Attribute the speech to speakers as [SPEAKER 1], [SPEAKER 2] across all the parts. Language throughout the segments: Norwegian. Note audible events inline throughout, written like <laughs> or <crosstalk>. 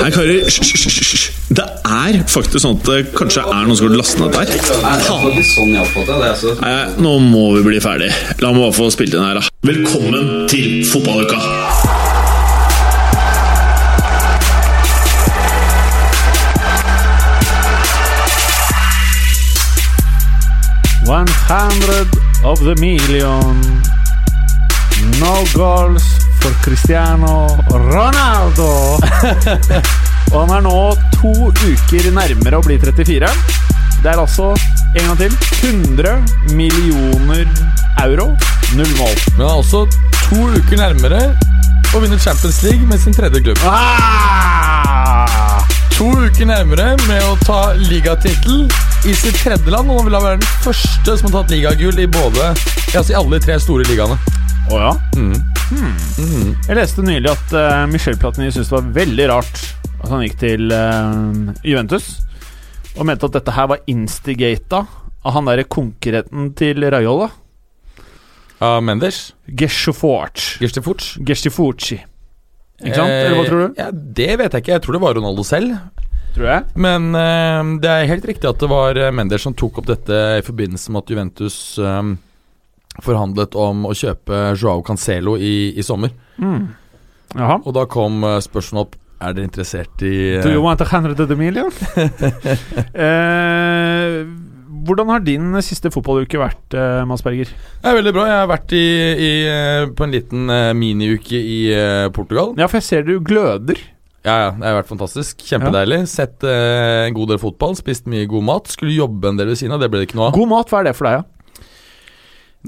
[SPEAKER 1] Nei, karer, hysj, hysj, hysj, hysj. Det er faktisk sånn at det kanskje er noen som går til å laste ned dette her. Faen.
[SPEAKER 2] Sånn jeg oppfatter det. Altså.
[SPEAKER 1] Nei, nå må vi bli ferdig. La meg bare få spilt inn her, da. Velkommen til fotballuka!
[SPEAKER 3] One hundred of the million. No goals for Cristiano Ronaldo. Og han er nå to uker nærmere å bli 34. Det er altså, en gang til, 100 millioner euro. Null mål.
[SPEAKER 4] Men han er også to uker nærmere å vinne Champions League med sin tredje klubb.
[SPEAKER 3] Ah!
[SPEAKER 4] To uker nærmere med å ta ligatittel i sitt tredje land. Og han vil da være den første som har tatt ligagull i både ja, altså i alle de tre store ligaene.
[SPEAKER 3] Å ja? Hmm. Jeg leste nylig at eh, Michel Platini syntes det var veldig rart at han gikk til eh, Juventus, og mente at dette her var instigata av han derre konkurrenten til Raiola,
[SPEAKER 4] Av Mendes.
[SPEAKER 3] Gesjoforch.
[SPEAKER 4] Gistefuc.
[SPEAKER 3] Gesjoforchi. Ikke sant? Eller hva tror du?
[SPEAKER 4] Eh, Ja, det vet jeg ikke. Jeg tror det var Ronaldo selv.
[SPEAKER 3] Eh, Tror jeg.
[SPEAKER 4] Men eh, det er helt riktig at det var eh, Mendes som tok opp dette i forbindelse med at Juventus eh, forhandlet om å kjøpe Joao Cancelo i, i sommer.
[SPEAKER 3] Hmm. Jaha.
[SPEAKER 4] Og da kom eh, spørsmålet opp Er dere interessert i eh,
[SPEAKER 3] Do you want a hundred of the million? <laughs> eh, hvordan har din siste fotballuke vært, eh, Mads Berger?
[SPEAKER 4] Det er veldig bra. Jeg har vært i, i, eh, på en liten eh, miniuke i eh, Portugal.
[SPEAKER 3] Ja, for jeg ser du gløder.
[SPEAKER 4] Ja, ja, Det har vært fantastisk. Kjempedeilig. Sett eh, en god del fotball, spist mye god mat. Skulle jobbe en del ved siden av, det ble det ikke noe av.
[SPEAKER 3] God mat, hva er det for deg, ja?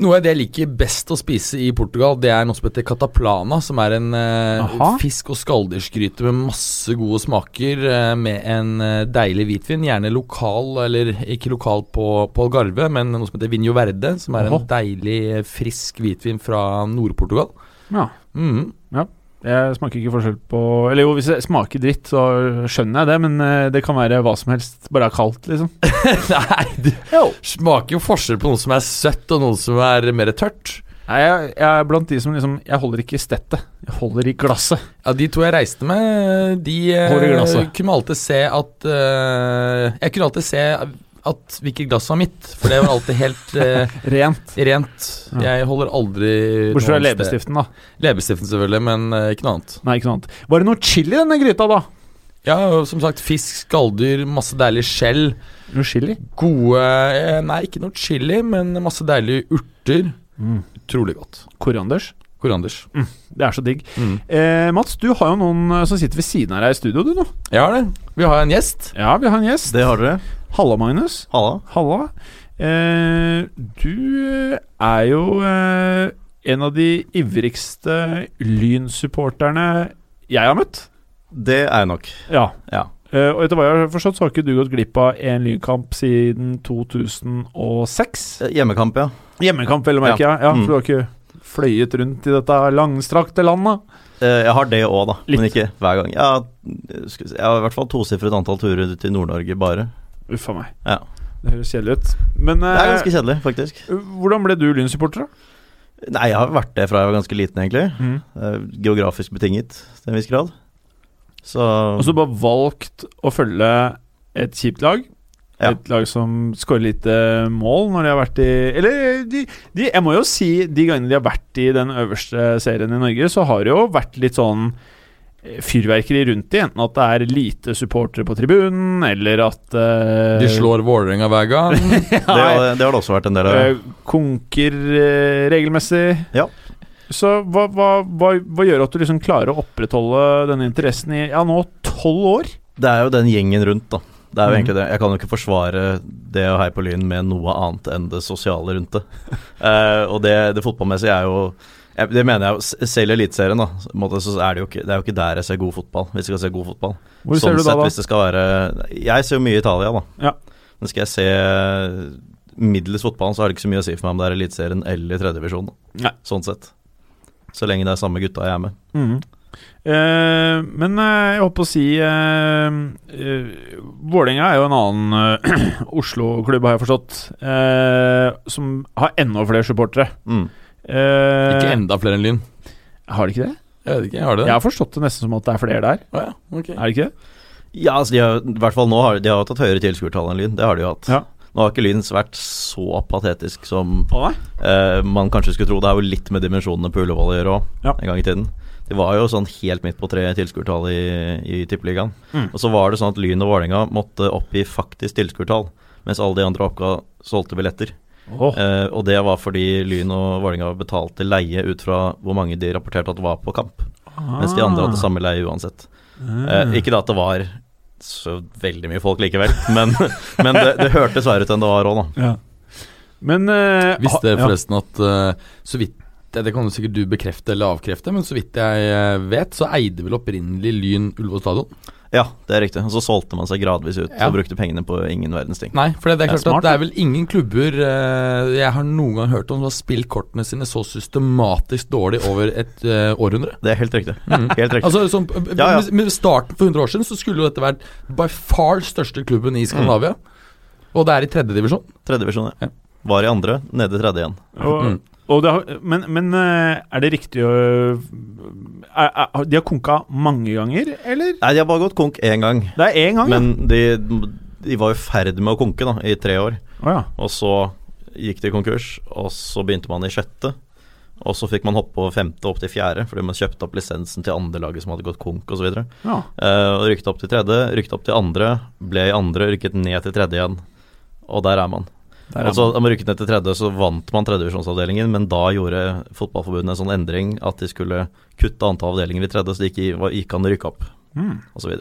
[SPEAKER 4] Noe av det jeg liker best å spise i Portugal, det er noe som heter cataplana, som er en eh,
[SPEAKER 3] Aha.
[SPEAKER 4] fisk- og skalldyrsgryte med masse gode smaker, eh, med en eh, deilig hvitvin. Gjerne lokal, eller ikke lokal på, på Algarve, men noe som heter vinho verde, som er
[SPEAKER 3] Aha.
[SPEAKER 4] en deilig, eh, frisk hvitvin fra Nord-Portugal.
[SPEAKER 3] ja.
[SPEAKER 4] Mhm.
[SPEAKER 3] Jeg smaker ikke forskjell på Eller jo, hvis det smaker dritt, så skjønner jeg det, men eh, det kan være hva som helst, bare det er kaldt, liksom.
[SPEAKER 4] <laughs> Nei, det smaker jo forskjell på noe som er søtt og noe som er mer tørt.
[SPEAKER 3] Nei, jeg, jeg er blant de som liksom Jeg holder ikke i stettet, jeg holder i glasset.
[SPEAKER 4] Ja, De to jeg reiste med, de eh,
[SPEAKER 3] Hvor er glasset?
[SPEAKER 4] kunne alltid se at eh, Jeg kunne alltid se at hvilket glass var mitt, for det var alltid
[SPEAKER 3] <laughs>
[SPEAKER 4] helt eh,
[SPEAKER 3] Rent.
[SPEAKER 4] rent. Jeg holder aldri
[SPEAKER 3] Bortsett fra
[SPEAKER 4] noe annet sted.
[SPEAKER 3] leppestiften, da.
[SPEAKER 4] Leppestiften, selvfølgelig, men eh, ikke noe annet.
[SPEAKER 3] Nei, ikke noe annet. Var det noe chili i denne gryta, da?
[SPEAKER 4] Ja, og som sagt, fisk, skalldyr, masse deilig skjell.
[SPEAKER 3] Noe chili?
[SPEAKER 4] Gode eh, Nei, ikke noe chili, men masse deilige urter.
[SPEAKER 3] Mm.
[SPEAKER 4] Utrolig godt.
[SPEAKER 3] Korianders.
[SPEAKER 4] Koranders.
[SPEAKER 3] Det er så digg.
[SPEAKER 4] Mm.
[SPEAKER 3] Eh, Mats, du har jo noen eh, som sitter ved siden av deg i studio, du nå.
[SPEAKER 4] Jeg har det. Vi har en gjest.
[SPEAKER 3] Ja, vi har en gjest.
[SPEAKER 5] Det har dere.
[SPEAKER 3] Halla, Magnus.
[SPEAKER 5] Halla.
[SPEAKER 3] Halla. Eh, du er jo eh, en av de ivrigste Lyn-supporterne jeg har møtt.
[SPEAKER 5] Det er jeg nok.
[SPEAKER 3] Ja.
[SPEAKER 5] Ja.
[SPEAKER 3] Eh, og etter hva jeg har forstått, så har ikke du gått glipp av en Lynkamp siden 2006.
[SPEAKER 5] Eh, Hjemmekamp, ja.
[SPEAKER 3] Hjemmekamp, vel å merke. Ja. Ja, for
[SPEAKER 5] Mm.
[SPEAKER 3] du har ikke fløyet rundt i dette langstrakte landet.
[SPEAKER 5] Eh, Jeg har det òg, da. Men
[SPEAKER 3] Litt.
[SPEAKER 5] ikke hver gang. Jeg har, skal vi se, jeg har i hvert fall tosifret antall turer ut til Nord-Norge bare.
[SPEAKER 3] Uff a meg.
[SPEAKER 5] Ja.
[SPEAKER 3] Det høres kjedelig ut. Men
[SPEAKER 5] Det er
[SPEAKER 3] eh,
[SPEAKER 5] ganske kjedelig, faktisk.
[SPEAKER 3] hvordan ble du Lyn-supporter, da?
[SPEAKER 5] Nei, jeg har vært det fra jeg var ganske liten, egentlig. Eh, Geografisk betinget til en viss grad. Så
[SPEAKER 3] Og så bare valgt å følge et kjipt lag.
[SPEAKER 5] Ja.
[SPEAKER 3] Et lag som skårer lite mål når de har vært i Eller de, de, jeg må jo si de gangene de har vært i den øverste serien i Norge, så har det jo vært litt sånn eh, fyrverkeri rundt de. Enten at det er lite supportere på tribunen, eller at eh,
[SPEAKER 4] De slår Vålerenga hver gang.
[SPEAKER 3] <laughs>
[SPEAKER 5] det, har- det har det også vært en del av.
[SPEAKER 3] Eh, konker eh, regelmessig.
[SPEAKER 5] Ja.
[SPEAKER 3] Så hva, hva, hva, hva gjør at du liksom klarer å opprettholde denne interessen i ja, nå tolv år?
[SPEAKER 5] Det er jo den gjengen rundt, da. Det er jo
[SPEAKER 3] Mhm.
[SPEAKER 5] egentlig det. Jeg kan jo ikke forsvare det å heie på Lyn med noe annet enn det sosiale rundt det. <laughs> Eh, og det, det fotballmessige er jo jeg- Det mener jeg jo, s- selv i Eliteserien, da. så på en måte Så er det, jo ikke, det er jo ikke der jeg ser god fotball, hvis jeg skal se god fotball.
[SPEAKER 3] Hvor
[SPEAKER 5] sånn
[SPEAKER 3] ser du
[SPEAKER 5] sett,
[SPEAKER 3] da, da?
[SPEAKER 5] hvis det skal være Jeg ser jo mye Italia, da.
[SPEAKER 3] Ja.
[SPEAKER 5] Men skal jeg se middels fotballen, så har det ikke så mye å si for meg om det er Eliteserien eller tredjedivisjon.
[SPEAKER 3] Nei.
[SPEAKER 5] Sånn sett. Så lenge det er samme gutta jeg er med.
[SPEAKER 3] Mhm. Eh, men eh, jeg holdt på å si uh, Vålerenga er jo en annen eh, <clears throat> Oslo-klubb, har jeg forstått, eh, som har enda flere supportere.
[SPEAKER 5] Mm.
[SPEAKER 3] Eh,
[SPEAKER 4] Ikke enda flere enn Lyn.
[SPEAKER 3] Har de ikke det?
[SPEAKER 4] Jeg vet ikke, jeg har det.
[SPEAKER 3] Jeg har forstått det nesten som at det er flere der.
[SPEAKER 4] Å, ja. ok.
[SPEAKER 3] Er det ikke det?
[SPEAKER 5] Ja, altså de har, i hvert fall nå har de har jo tatt høyere tilskuertall enn Lyn. Det har de jo hatt.
[SPEAKER 3] Ja.
[SPEAKER 5] Nå har ikke Lyn vært så patetisk som
[SPEAKER 3] Å nei.
[SPEAKER 5] eh, man kanskje skulle tro. Det er jo litt med dimensjonene på Ullevål å gjøre òg,
[SPEAKER 3] Ja.
[SPEAKER 5] en gang i tiden. De var jo sånn helt midt på tre tilskuertall i, i Tippeligaen.
[SPEAKER 3] Mm.
[SPEAKER 5] Og så var det sånn at Lyn og Vålerenga måtte oppgi faktisk tilskuertall, mens alle de andre oppga solgte billetter.
[SPEAKER 3] Åh.
[SPEAKER 5] Eh, og det var fordi Lyn og Vålerenga betalte leie ut fra hvor mange de rapporterte at var på kamp. Mens de andre
[SPEAKER 3] Ah.
[SPEAKER 5] hadde samme leie uansett. Eh, ikke da at det var så veldig mye folk likevel, men, <laughs> men det, det hørtes verre ut enn det var òg, da.
[SPEAKER 3] Ja. Men eh,
[SPEAKER 4] Visste
[SPEAKER 3] ha- ja.
[SPEAKER 4] forresten at eh, så vidt det kan jo sikkert du bekrefte eller avkrefte, men så vidt jeg eh, vet, så eide vel opprinnelig Lyn Ullevål stadion.
[SPEAKER 5] Ja, det er riktig. Og så solgte man seg gradvis ut
[SPEAKER 4] Ja.
[SPEAKER 5] og brukte pengene på ingen verdens ting.
[SPEAKER 4] Nei, for det, det er
[SPEAKER 3] Det er
[SPEAKER 4] klart
[SPEAKER 3] smart,
[SPEAKER 4] at det er vel ingen klubber eh, jeg har noen gang hørt om som har spilt kortene sine så systematisk dårlig over et eh, århundre.
[SPEAKER 5] Det er helt riktig. Helt riktig.
[SPEAKER 4] Altså, sånn, eh,
[SPEAKER 5] Ja, ja.
[SPEAKER 4] Med, med starten for 100 år siden så skulle jo dette vært by far største klubben
[SPEAKER 3] Mm.
[SPEAKER 4] i Skandinavia. Og det er i tredjedivisjon.
[SPEAKER 5] Tredjedivisjon,
[SPEAKER 4] Ja.
[SPEAKER 5] ja. Var i andre, nede i tredje igjen.
[SPEAKER 3] Og,
[SPEAKER 4] Mm.
[SPEAKER 3] og det har, men, men eh, er det riktig å er, er, De har konka mange ganger, eller?
[SPEAKER 5] Nei, de har bare gått konk én gang.
[SPEAKER 3] Det er én gang. ja.
[SPEAKER 5] Men de, de var i ferd med å konke da, i tre år.
[SPEAKER 3] Å ja.
[SPEAKER 5] Og så gikk de konkurs, og så begynte man i sjette. Og så fikk man hoppe over femte opp til fjerde, fordi man kjøpte opp lisensen til andre laget som hadde gått konk osv. Og,
[SPEAKER 3] ja.
[SPEAKER 5] uh, og rykte opp til tredje, rykte opp til andre, ble i andre, rykket ned til tredje igjen. Og der er man.
[SPEAKER 3] Der er
[SPEAKER 5] og så da man rykket ned til tredje, så vant man tredjevisjonsavdelingen, men da gjorde Fotballforbundet en sånn endring at de skulle kutte antall avdelinger i tredje, så det gikk, i- var- gikk an å rykke opp,
[SPEAKER 3] Mm.
[SPEAKER 5] osv.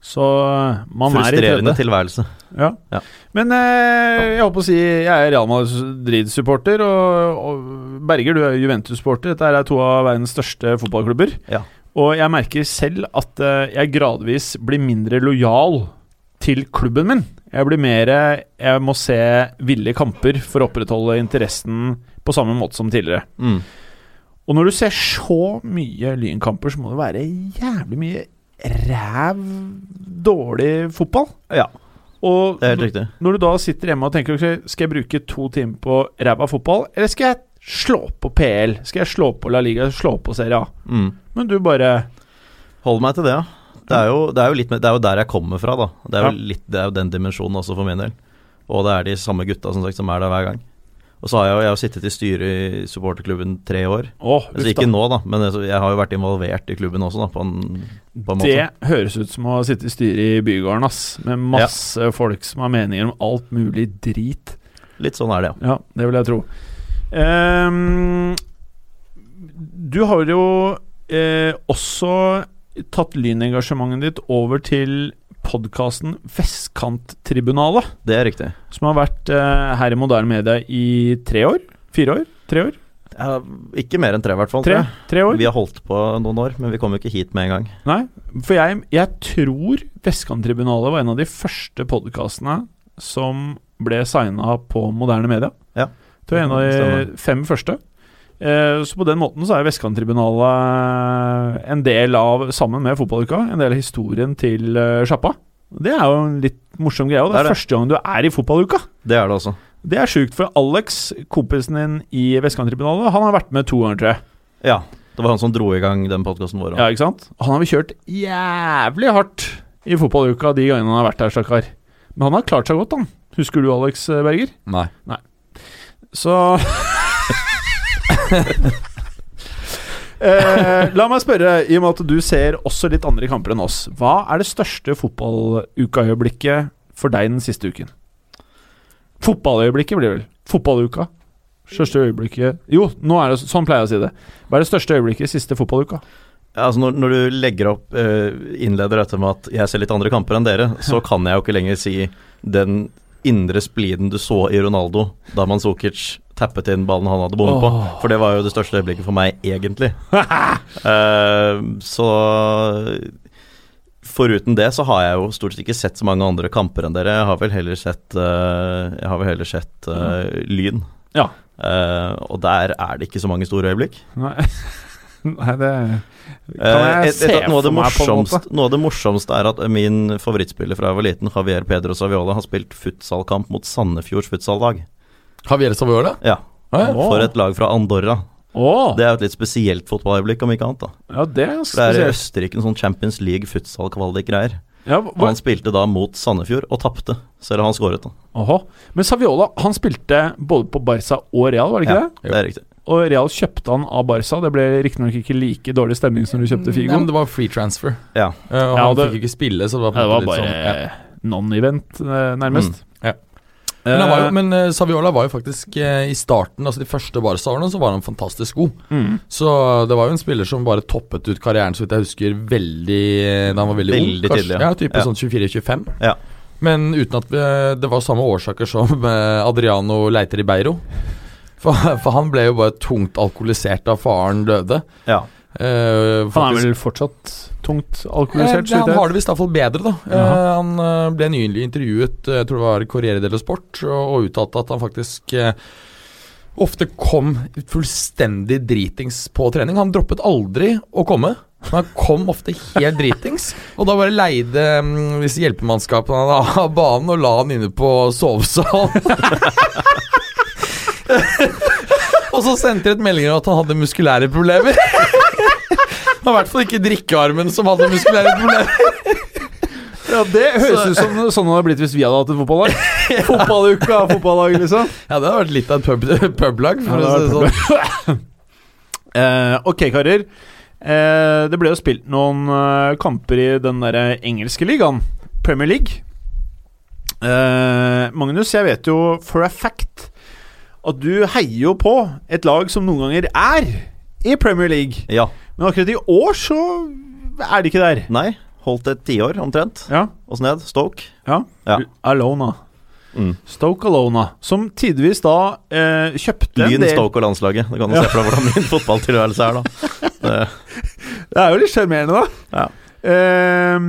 [SPEAKER 3] Så eh, man er i
[SPEAKER 5] Frustrerende
[SPEAKER 3] tredje.
[SPEAKER 5] tilværelse.
[SPEAKER 3] Ja.
[SPEAKER 5] Ja.
[SPEAKER 3] Men eh, jeg holdt på å si jeg er Real Madrid-supporter, og, og Berger, du er Juventus-supporter. Dette er to av verdens største fotballklubber.
[SPEAKER 5] Ja.
[SPEAKER 3] Og jeg merker selv at eh, jeg gradvis blir mindre lojal til klubben min. Jeg blir mer eh, Jeg må se ville kamper for å opprettholde interessen på samme måte som tidligere.
[SPEAKER 5] Mm.
[SPEAKER 3] Og når du ser så mye lynkamper, så må det være jævlig mye ræv dårlig fotball.
[SPEAKER 5] Ja,
[SPEAKER 3] Og
[SPEAKER 5] det er helt riktig.
[SPEAKER 3] når du da sitter hjemme og tenker ok, Skal jeg bruke to timer på ræva fotball, eller skal jeg slå på PL? Skal jeg slå på La Liga, slå på Serie A?
[SPEAKER 5] Mm.
[SPEAKER 3] Men du bare
[SPEAKER 5] Hold meg til det, ja. Det er jo, det er jo, litt, med- det er jo der jeg kommer fra, da. Det er jo,
[SPEAKER 3] Ja.
[SPEAKER 5] litt, det er jo den dimensjonen også, for min del. Og det er de samme gutta som, sagt, som er der hver gang. Og så har jeg jo jeg har sittet i styret i supporterklubben tre år.
[SPEAKER 3] Å,
[SPEAKER 5] Altså
[SPEAKER 3] uff da.
[SPEAKER 5] ikke nå, da, men altså, jeg har jo vært involvert i klubben også, da, på en, på en måte.
[SPEAKER 3] Det høres ut som å sitte i styret i bygården, ass. Med masse folk som har meninger om alt mulig drit.
[SPEAKER 5] Litt sånn er det, ja.
[SPEAKER 3] Ja, det vil jeg tro. Ehm, du har jo eh, også tatt lynengasjementet ditt over til podkasten Vestkanttribunalet.
[SPEAKER 5] Det er riktig.
[SPEAKER 3] som har vært eh, her i moderne media i tre år? Fire år? Tre år?
[SPEAKER 5] Ja, ikke mer enn tre, i hvert fall.
[SPEAKER 3] Tre,
[SPEAKER 5] tror jeg.
[SPEAKER 3] tre år?
[SPEAKER 5] Vi har holdt på noen år, men vi kom jo ikke hit med en gang.
[SPEAKER 3] Nei. For jeg, jeg tror Vestkanttribunalet var en av de første podkastene som ble signa på moderne media.
[SPEAKER 5] Ja.
[SPEAKER 3] Det var en av de
[SPEAKER 5] Stemmer.
[SPEAKER 3] fem første. Eh, Så på den måten så er Vestkanttribunalet en del av, sammen med fotballuka, en del av historien til eh, sjappa. Det er jo en litt morsom greie. Og det
[SPEAKER 5] Det
[SPEAKER 3] er,
[SPEAKER 5] er det.
[SPEAKER 3] første gang du er i fotballuka.
[SPEAKER 5] Det er det også.
[SPEAKER 3] Det er sjukt, for Alex, kompisen din i Vestkanttribunalet, han har vært med to ganger, tror jeg.
[SPEAKER 5] Ja. Det var han som dro i gang den podkasten vår.
[SPEAKER 3] Ja, ikke sant? Han har vel kjørt jævlig hardt i fotballuka de gangene han har vært der, stakkar. Men han har klart seg godt, han. Husker du Alex eh, Berger?
[SPEAKER 4] Nei.
[SPEAKER 3] Så <laughs> eh, La meg spørre, i og med at du ser også litt andre kamper enn oss, hva er det største fotballukaøyeblikket for deg den siste uken? Fotballøyeblikket blir det vel. Fotballuka. Største øyeblikket Jo, nå er det, sånn pleier jeg å si det. Hva er det største øyeblikket i siste fotballuka?
[SPEAKER 5] Ja, altså når, når du legger opp eh, innleder dette med at 'jeg ser litt andre kamper enn dere', så kan jeg jo ikke lenger si den indre spliden du så i Ronaldo da Manzukic tappet inn ballen han hadde bommet på.
[SPEAKER 3] Åh.
[SPEAKER 5] For det var jo det største øyeblikket for meg,
[SPEAKER 3] <laughs>
[SPEAKER 5] egentlig. Eh, så Foruten det så har jeg jo stort sett ikke sett så mange andre kamper enn dere. Jeg har vel heller sett, eh, jeg har vel heller sett eh, Lyn.
[SPEAKER 3] Ja.
[SPEAKER 5] Eh, og der er det ikke så mange store øyeblikk.
[SPEAKER 3] Nei, <laughs> Nei det Kan
[SPEAKER 5] Eh,
[SPEAKER 3] jeg
[SPEAKER 5] et,
[SPEAKER 3] se
[SPEAKER 5] et, noe, av det
[SPEAKER 3] for meg på en
[SPEAKER 5] morsomste, noe av det morsomste er at min favorittspiller fra jeg var liten, Javier Pedro Saviola, har spilt futsalkamp mot Sandefjords futsallag.
[SPEAKER 4] Javier Savoiola?
[SPEAKER 5] Ja,
[SPEAKER 4] Å, ja.
[SPEAKER 5] for et lag fra Andorra.
[SPEAKER 3] Å,
[SPEAKER 5] Det er jo et litt spesielt fotballøyeblikk, om ikke annet. da
[SPEAKER 3] ja, det er ganske
[SPEAKER 5] For Det er i
[SPEAKER 3] spesielt.
[SPEAKER 5] Østerrike en sånn Champions League futsal-kvalik-greier.
[SPEAKER 3] Ja,
[SPEAKER 5] Og
[SPEAKER 3] hva,
[SPEAKER 5] han spilte da mot Sandefjord, og tapte, selv om han skåret. da
[SPEAKER 3] Åhå. Men Saviola han spilte både på Barca og Real, var det ikke
[SPEAKER 5] Ja,
[SPEAKER 3] det?
[SPEAKER 5] det er riktig.
[SPEAKER 3] Og Real kjøpte han av Barca. Det ble riktignok ikke like dårlig stemning som du kjøpte
[SPEAKER 4] Ja,
[SPEAKER 3] Figo.
[SPEAKER 4] men det var free transfer.
[SPEAKER 5] Ja.
[SPEAKER 4] Eh, og
[SPEAKER 3] Ja,
[SPEAKER 4] han
[SPEAKER 3] det-
[SPEAKER 4] fikk jo ikke spille, så det var, på
[SPEAKER 3] Ja,
[SPEAKER 4] en
[SPEAKER 3] det var
[SPEAKER 4] måte
[SPEAKER 3] bare
[SPEAKER 4] litt sånn, ja.
[SPEAKER 3] non-event, eh, nærmest.
[SPEAKER 4] ja. Men, han var jo, men eh, Saviola var jo faktisk eh, I starten, altså de første Barca-årene, så var han fantastisk god.
[SPEAKER 3] mm.
[SPEAKER 4] Så eh, det var jo en spiller som bare toppet ut karrieren, så vidt jeg husker, veldig eh, da han var veldig,
[SPEAKER 5] Veldig
[SPEAKER 4] ung. kanskje.
[SPEAKER 5] tidlig, ja.
[SPEAKER 4] ja. Type
[SPEAKER 5] Ja.
[SPEAKER 4] sånn 24-25.
[SPEAKER 5] Ja.
[SPEAKER 4] Men uten at eh, det var samme årsaker som <laughs> eh, Adriano leiter i Beiro. For, <laughs> for han ble jo bare tungt alkoholisert da faren døde.
[SPEAKER 5] ja.
[SPEAKER 4] Eh,
[SPEAKER 3] han
[SPEAKER 4] faktisk-
[SPEAKER 3] er vel fortsatt tungt
[SPEAKER 4] Eh,
[SPEAKER 3] alkoholisert?
[SPEAKER 4] det-
[SPEAKER 3] så vidt
[SPEAKER 4] han
[SPEAKER 3] jeg
[SPEAKER 4] har
[SPEAKER 3] vet.
[SPEAKER 4] det visst iallfall bedre, da. Eh,
[SPEAKER 3] Jaha.
[SPEAKER 4] han eh, ble nylig intervjuet, eh, jeg tror det var i Corriere dello Sport, og, og uttalte at han faktisk eh, ofte kom fullstendig dritings på trening. Han droppet aldri å komme. Men han kom ofte helt dritings, og da bare leide mm, disse hjelpemannskapene han hadde av banen og la han inne på sovesal. <laughs> og så sendte de et melding om at han hadde muskulære problemer. <laughs> Det var i hvert fall ikke drikkearmen som hadde muskulære problemer.
[SPEAKER 3] Ja, det høres ut som sånn det hadde blitt hvis vi hadde hatt et fotballag. Fotballuka, fotballag, liksom.
[SPEAKER 4] Ja, det hadde vært litt av et pub- <laughs> publag. for å si det sånn.
[SPEAKER 3] Eh, ok, karer. Eh, det ble jo spilt noen eh, kamper i den derre engelske ligaen, Premier League. Eh, Magnus, jeg vet jo for a fact at du heier jo på et lag som noen ganger er i Premier League.
[SPEAKER 5] ja.
[SPEAKER 3] Men akkurat i år så er de ikke der.
[SPEAKER 5] Nei. Holdt et tiår, omtrent.
[SPEAKER 3] Ja,
[SPEAKER 5] Oss ned. Stoke.
[SPEAKER 3] ja.
[SPEAKER 5] Ja.
[SPEAKER 3] Alona.
[SPEAKER 5] Mm.
[SPEAKER 3] Stoke Alona, som tidvis da eh, kjøpte en
[SPEAKER 5] Lyn,
[SPEAKER 3] del
[SPEAKER 5] Stoke og landslaget. Du kan jo
[SPEAKER 3] Ja.
[SPEAKER 5] se for deg hvordan <laughs> min fotballtilværelse er, da. Det,
[SPEAKER 3] Det er jo litt sjarmerende, da.
[SPEAKER 5] Ja.
[SPEAKER 3] Ehm,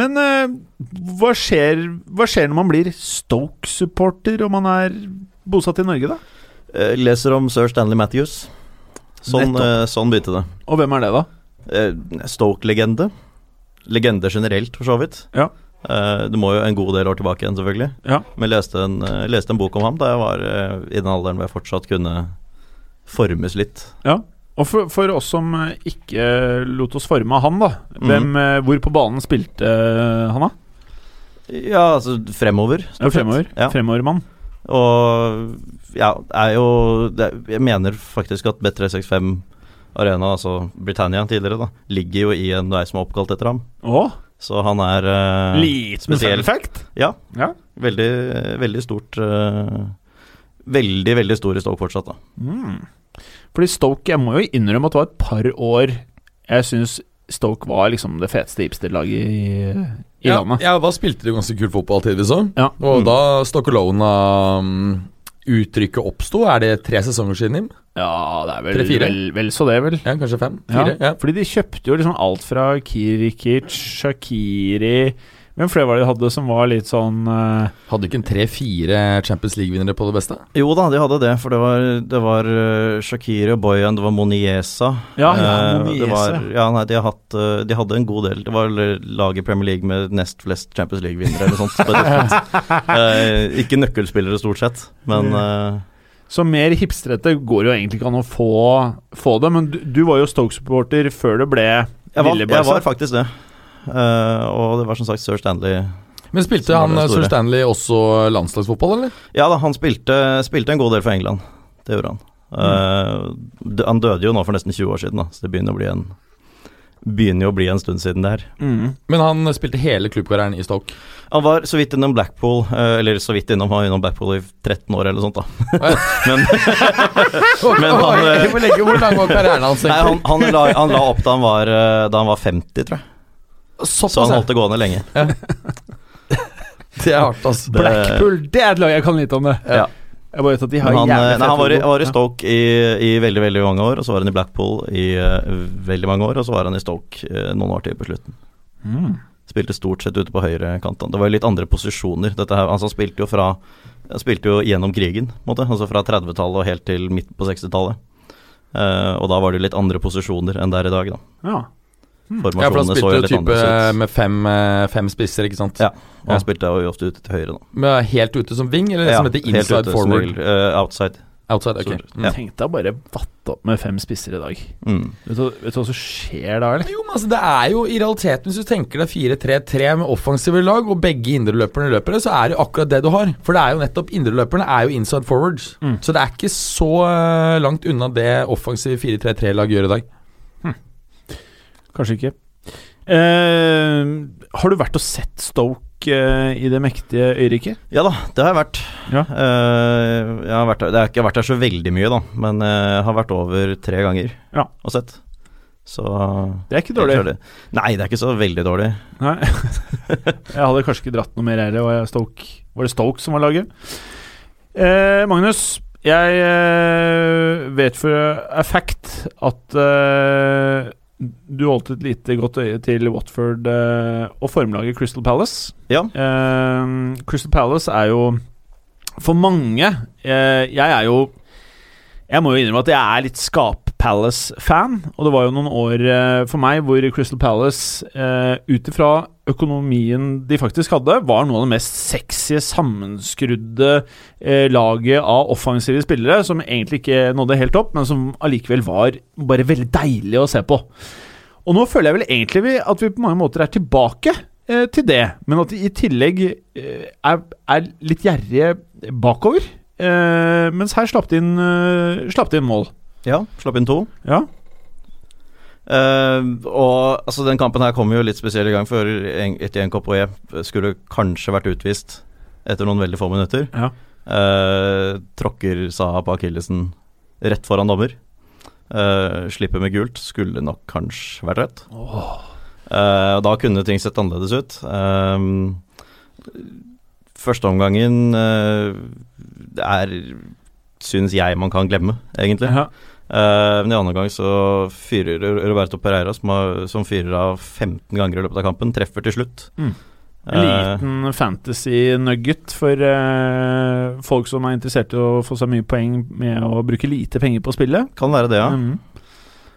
[SPEAKER 3] men eh, hva, skjer, hva skjer når man blir Stoke-supporter og man er bosatt i Norge, da?
[SPEAKER 5] eh, leser om sir Stanley Matthews. Sånn,
[SPEAKER 3] Nettopp.
[SPEAKER 5] eh, sånn begynte det.
[SPEAKER 3] Og hvem er det, da?
[SPEAKER 5] Eh, Stoke-legende. Legende generelt, for så vidt.
[SPEAKER 3] Ja.
[SPEAKER 5] Eh, du må jo en god del år tilbake igjen, selvfølgelig.
[SPEAKER 3] Ja.
[SPEAKER 5] Men jeg leste en, eh, leste en bok om ham da jeg var eh, i den alderen hvor jeg fortsatt kunne formes litt.
[SPEAKER 3] Og for, for oss som eh, ikke lot oss forme av han, da. Hvem, eh, hvor på banen spilte eh, han, da?
[SPEAKER 5] Ja, altså fremover.
[SPEAKER 3] Ja, fremover.
[SPEAKER 5] Ja.
[SPEAKER 3] Fremovermann.
[SPEAKER 5] Og ja, er jo det, er- Jeg mener faktisk at Bet365 Arena, altså Britannia tidligere, da ligger jo i en vei som er oppkalt etter ham.
[SPEAKER 3] Å,
[SPEAKER 5] Så han er eh,
[SPEAKER 3] liten
[SPEAKER 5] spesiell.
[SPEAKER 3] fun fact.
[SPEAKER 5] Ja.
[SPEAKER 3] Ja.
[SPEAKER 5] Veldig, eh, veldig stort eh, Veldig, veldig stor i Stoke fortsatt, da.
[SPEAKER 3] Mm. Fordi Stoke, jeg må jo innrømme at det var et par år jeg syns Stoke var liksom det feteste hipsterlaget i, i
[SPEAKER 4] Ja,
[SPEAKER 3] landet.
[SPEAKER 4] ja, da spilte de jo ganske kul fotball tidvis òg.
[SPEAKER 3] Ja.
[SPEAKER 4] Og da Stoccolona-uttrykket oppsto, er det tre sesonger siden, Jim?
[SPEAKER 3] Ja, det er vel,
[SPEAKER 4] Tre-fire?
[SPEAKER 3] vel, vel så det, vel.
[SPEAKER 4] Ja, kanskje fem?
[SPEAKER 3] Ja,
[SPEAKER 4] Fire? Ja.
[SPEAKER 3] Fordi de kjøpte jo liksom alt fra Kirikic, Shakiri Hvem flere var det de hadde som var litt sånn eh,
[SPEAKER 4] Hadde ikke en tre-fire Champions League-vinnere på det beste?
[SPEAKER 5] Jo da, de hadde det, for det var, det var eh, Shakiri og Boyan, det var Moniesa.
[SPEAKER 3] Ja,
[SPEAKER 5] Eh,
[SPEAKER 3] Moniesa.
[SPEAKER 5] det var, ja nei, de, har hatt, eh, de hadde en god del. Det var vel laget i Premier League med nest flest Champions League-vinnere eller sånt. på et tidspunkt.
[SPEAKER 3] <laughs>
[SPEAKER 5] Eh, ikke nøkkelspillere, stort sett, men eh,
[SPEAKER 3] Så mer hipstrete går jo egentlig ikke an å få, få det. Men du, du var jo Stoke-supporter før det ble
[SPEAKER 5] jeg, var,
[SPEAKER 3] Ville
[SPEAKER 5] jeg
[SPEAKER 3] Barca.
[SPEAKER 5] var faktisk det. Eh, og det var som sagt Sir Stanley
[SPEAKER 4] Men spilte
[SPEAKER 5] Som var
[SPEAKER 4] han
[SPEAKER 5] det
[SPEAKER 4] eh, Sir
[SPEAKER 5] store.
[SPEAKER 4] Stanley også landslagsfotball, eller?
[SPEAKER 5] Ja da, han spilte, spilte en god del for England. Det gjorde han.
[SPEAKER 3] Mm.
[SPEAKER 5] Eh, d- han døde jo nå for nesten 20 år siden, da, så det begynner, å bli en, begynner jo å bli en stund siden det her.
[SPEAKER 3] Mm.
[SPEAKER 4] Men han eh, spilte hele klubbkarrieren i <laughs> Stoke.
[SPEAKER 5] Han var så vidt innom Blackpool, eh, eller så vidt innom, han var innom Blackpool i 13 år eller sånt, da. Men Men han, eh,
[SPEAKER 4] Hvor lenge- hvor lang var karrieren hans?
[SPEAKER 5] nei, han,
[SPEAKER 4] egentlig?
[SPEAKER 5] han, la, han la opp da han var, eh, da han var 50, tror jeg. Så
[SPEAKER 4] Såpass,
[SPEAKER 5] han
[SPEAKER 4] ja.
[SPEAKER 5] holdt det gående lenge.
[SPEAKER 4] Det er hardt, altså.
[SPEAKER 5] Det-
[SPEAKER 3] Blackpool, det er et lag jeg kan lite om det!
[SPEAKER 5] Ja.
[SPEAKER 3] Jeg bare vet at de
[SPEAKER 5] Men
[SPEAKER 3] har
[SPEAKER 5] han, eh,
[SPEAKER 3] jævlig
[SPEAKER 5] nei, han var i,
[SPEAKER 3] fete
[SPEAKER 5] var i
[SPEAKER 3] logo.
[SPEAKER 5] Stoke i, i veldig veldig mange år, og så var han i Blackpool i eh, veldig mange år, og så var han i Stoke eh, noen år til på slutten.
[SPEAKER 3] Mm.
[SPEAKER 5] Spilte stort sett ute på høyrekanten. Det var jo litt andre posisjoner. Dette her, altså, han spilte jo fra han spilte jo gjennom krigen, på en måte. altså fra 30-tallet og helt til midt på 60-tallet. Eh, og da var det jo litt andre posisjoner enn det er i dag, da.
[SPEAKER 3] Ja.
[SPEAKER 4] Ja, for han spilte
[SPEAKER 5] Formasjonene så jo
[SPEAKER 4] jo
[SPEAKER 5] litt
[SPEAKER 4] type
[SPEAKER 5] annerledes ut.
[SPEAKER 4] med fem, eh, fem spisser, ikke sant?
[SPEAKER 5] Ja. Og
[SPEAKER 4] ja.
[SPEAKER 5] han spilte jo ofte ute til høyre, da.
[SPEAKER 4] Med helt ute som wing, eller det som heter
[SPEAKER 5] helt
[SPEAKER 4] inside
[SPEAKER 5] ute, som
[SPEAKER 4] forward?
[SPEAKER 5] regel, eh, outside.
[SPEAKER 4] Outside, ok.
[SPEAKER 5] Så-
[SPEAKER 4] Mm.
[SPEAKER 5] Ja.
[SPEAKER 3] Tenk deg å bare vatte opp med fem spisser i dag.
[SPEAKER 5] Mm.
[SPEAKER 3] Vet du, vet du hva som skjer da, eller?
[SPEAKER 4] Jo, men altså, Det er jo i realiteten, hvis du tenker deg 4-3-3 med offensive lag, og begge indreløperne løper det, så er det jo akkurat det du har. For det er jo nettopp indreløperne er jo inside forwards.
[SPEAKER 3] Mm.
[SPEAKER 4] Så det er ikke så eh, langt unna det offensive 4-3-3-lag gjør i dag.
[SPEAKER 3] Kanskje ikke. Eh, har du vært og sett Stoke eh, i det mektige øyriket?
[SPEAKER 5] Ja da, det har jeg vært.
[SPEAKER 3] Ja.
[SPEAKER 5] Eh, jeg har vært der, det har ikke jeg har vært der så veldig mye, da, men eh, jeg har vært over tre ganger
[SPEAKER 3] Ja.
[SPEAKER 5] og sett. Så
[SPEAKER 3] Det er ikke dårlig.
[SPEAKER 5] ellers er det- Nei, det er ikke så veldig dårlig.
[SPEAKER 3] Nei. <laughs> Jeg hadde kanskje ikke dratt noe mer her. det Var, jeg Stoke. var det Stoke som var laget? Eh, Magnus, jeg eh, vet for a fact at eh, du holdt et lite godt øye til Watford eh, og formlaget Crystal Palace.
[SPEAKER 5] Ja.
[SPEAKER 3] Eh, Crystal Palace er jo for mange eh, Jeg er jo jeg må jo innrømme at jeg er litt Skap Palace-fan. Og det var jo noen år eh, for meg hvor Crystal Palace, eh, ut ifra økonomien de faktisk hadde, var noe av det mest sexy, sammenskrudde eh, laget av offensive spillere, som egentlig ikke nådde helt opp, men som allikevel var bare veldig deilig å se på. Og nå føler jeg vel egentlig vi- at vi på mange måter er tilbake eh, til det, men at de i tillegg eh, er, er litt gjerrige bakover. Eh, mens her slapp de inn, eh, slapp de inn mål.
[SPEAKER 5] ja. Slapp inn to.
[SPEAKER 3] Ja.
[SPEAKER 5] Eh, og altså, den kampen her kom jo litt spesiell i gang, for Etienkopp og jeg skulle kanskje vært utvist etter noen veldig få minutter.
[SPEAKER 3] Ja.
[SPEAKER 5] Eh, tråkker Saha på akillesen rett foran dommer. Eh, slipper med gult. Skulle nok kanskje vært rødt. Eh, og da kunne ting sett annerledes ut. Um, første omgangen eh, det er Syns jeg man kan glemme, egentlig.
[SPEAKER 3] Ja.
[SPEAKER 5] Eh, men i andre gang så fyrer Roberto Pereira, som, har, som fyrer av 15 ganger i løpet av kampen, treffer til slutt.
[SPEAKER 3] Mm. En
[SPEAKER 5] Eh,
[SPEAKER 3] liten fantasy nugget for eh, folk som er interessert i å få seg mye poeng med å bruke lite penger på spillet.
[SPEAKER 5] kan være det, ja.
[SPEAKER 3] Mhm.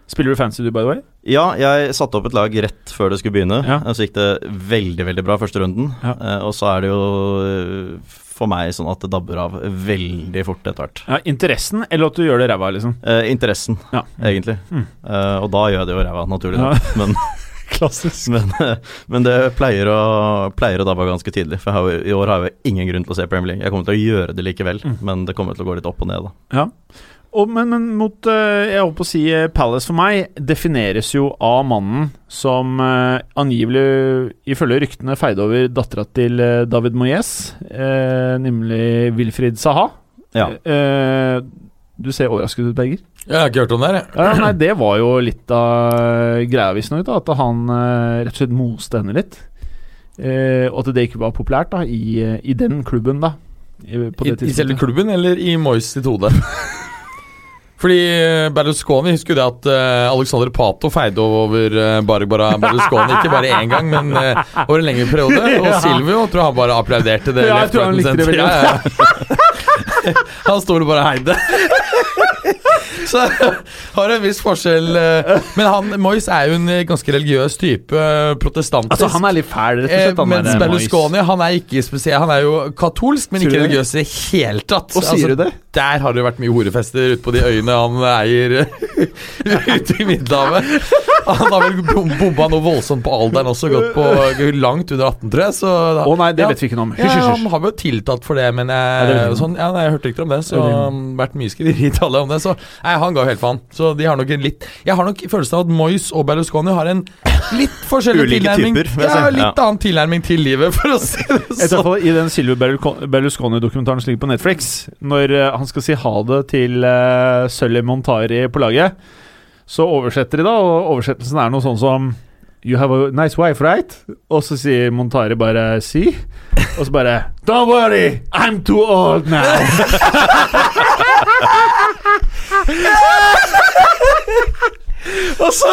[SPEAKER 3] Spiller du fancy du, by the way?
[SPEAKER 5] Ja, jeg satte opp et lag rett før det skulle begynne.
[SPEAKER 3] Ja.
[SPEAKER 5] Og Så gikk det veldig, veldig bra første runden.
[SPEAKER 3] Ja.
[SPEAKER 5] Eh, og så er det jo eh, for meg sånn at det dabber av veldig fort etter hvert.
[SPEAKER 3] Ja, Interessen, eller at du gjør det ræva, liksom?
[SPEAKER 5] Eh, interessen,
[SPEAKER 3] Ja.
[SPEAKER 5] egentlig.
[SPEAKER 3] Mm.
[SPEAKER 5] Eh, og da gjør jeg det jo ræva, naturlig nok. Men,
[SPEAKER 3] <laughs> Klassisk.
[SPEAKER 5] men, eh, men det pleier å, pleier å dabbe av ganske tidlig. For jeg har, jo- i år har jeg jo ingen grunn til å se Premier League. Jeg kommer til å gjøre det likevel,
[SPEAKER 3] Mm.
[SPEAKER 5] men det kommer til å gå litt opp og ned, da.
[SPEAKER 3] Og, men, men mot eh, Jeg holdt på å si eh, Palace for meg defineres jo av mannen som eh, angivelig, ifølge ryktene, feide over dattera til eh, David Moyes, eh, nemlig Wilfried Saha.
[SPEAKER 5] Ja.
[SPEAKER 3] Eh, du ser overrasket ut, Berger.
[SPEAKER 4] Jeg har ikke hørt om det her, jeg.
[SPEAKER 3] Ja, nei, det var jo litt av greia, visstnok, da, at han eh, rett og slett moste henne litt. Eh, og at det ikke var populært da, i, eh, i den klubben, da. I, på
[SPEAKER 4] I,
[SPEAKER 3] det
[SPEAKER 4] I selve
[SPEAKER 3] tidspunktet.
[SPEAKER 4] klubben eller i Moyes
[SPEAKER 3] <laughs>
[SPEAKER 4] sitt hode? Fordi eh, Berlusconi husker jo det at eh, Alexander Pato feide over eh, Barbara Berlusconi. Ikke bare én gang, men eh, over en lengre periode.
[SPEAKER 3] <laughs>
[SPEAKER 4] Og
[SPEAKER 3] Ja.
[SPEAKER 4] Silvio tror jeg han bare applauderte det.
[SPEAKER 3] Ja, jeg
[SPEAKER 4] left,
[SPEAKER 3] tror han
[SPEAKER 4] right and
[SPEAKER 3] likte det
[SPEAKER 4] center.
[SPEAKER 3] veldig
[SPEAKER 4] Ja, ja, ja. <laughs> Han sto vel bare og heide. <laughs> Så <laughs> har det en viss forskjell. eh, Men han, Moyes er jo en eh, ganske religiøs type. eh, Protestantisk.
[SPEAKER 3] Altså, han er litt fæl, rett og
[SPEAKER 4] Eh,
[SPEAKER 3] slett. Han
[SPEAKER 4] mens
[SPEAKER 3] der, eh,
[SPEAKER 4] Berlusconi han er ikke spesiell Han er jo katolsk, men
[SPEAKER 3] Sier
[SPEAKER 4] ikke
[SPEAKER 3] du det?
[SPEAKER 4] religiøs i det hele tatt. Altså,
[SPEAKER 3] Og sier du det?
[SPEAKER 4] Der har det vært mye horefester ute på de øyene han eier eh, <laughs> ute i Middelhavet. Han har vel bom- bomba noe voldsomt på alderen også, gått på langt under 18, tror jeg. Så da,
[SPEAKER 3] Moyes. Å nei, det
[SPEAKER 4] Ja.
[SPEAKER 3] vet vi ikke noe om.
[SPEAKER 4] ja,
[SPEAKER 3] Hysj, hysj,
[SPEAKER 4] han
[SPEAKER 3] hysj.
[SPEAKER 4] har jo tiltalt for det, men
[SPEAKER 3] Ja,
[SPEAKER 4] jeg,
[SPEAKER 3] det vet jeg.
[SPEAKER 4] sånn, ja, nei, jeg hørte rykter om det. Så
[SPEAKER 3] Det vet jeg.
[SPEAKER 4] um, vært mye skriverier i Italia om det. Så nei, han ga jo helt faen. Så de har nok en litt Jeg har nok følelsen av at Moyes og Berlusconi har en litt forskjellig
[SPEAKER 5] Ulike
[SPEAKER 4] tilnærming.
[SPEAKER 5] typer, vil jeg
[SPEAKER 4] ja,
[SPEAKER 5] si.
[SPEAKER 4] litt
[SPEAKER 5] Ja.
[SPEAKER 4] annen tilnærming til livet, for å si det
[SPEAKER 3] I hvert
[SPEAKER 4] sånn.
[SPEAKER 3] fall I den Silvio Berluco- Berlusconi-dokumentaren som ligger på Netflix, når eh, han skal si ha det til uh, Sully Montari på laget, så oversetter de, da, og oversettelsen er noe sånn som You have a nice wife, right? Og så sier Montari bare si. Og så bare Don't worry, I'm too old now. <laughs> og, så,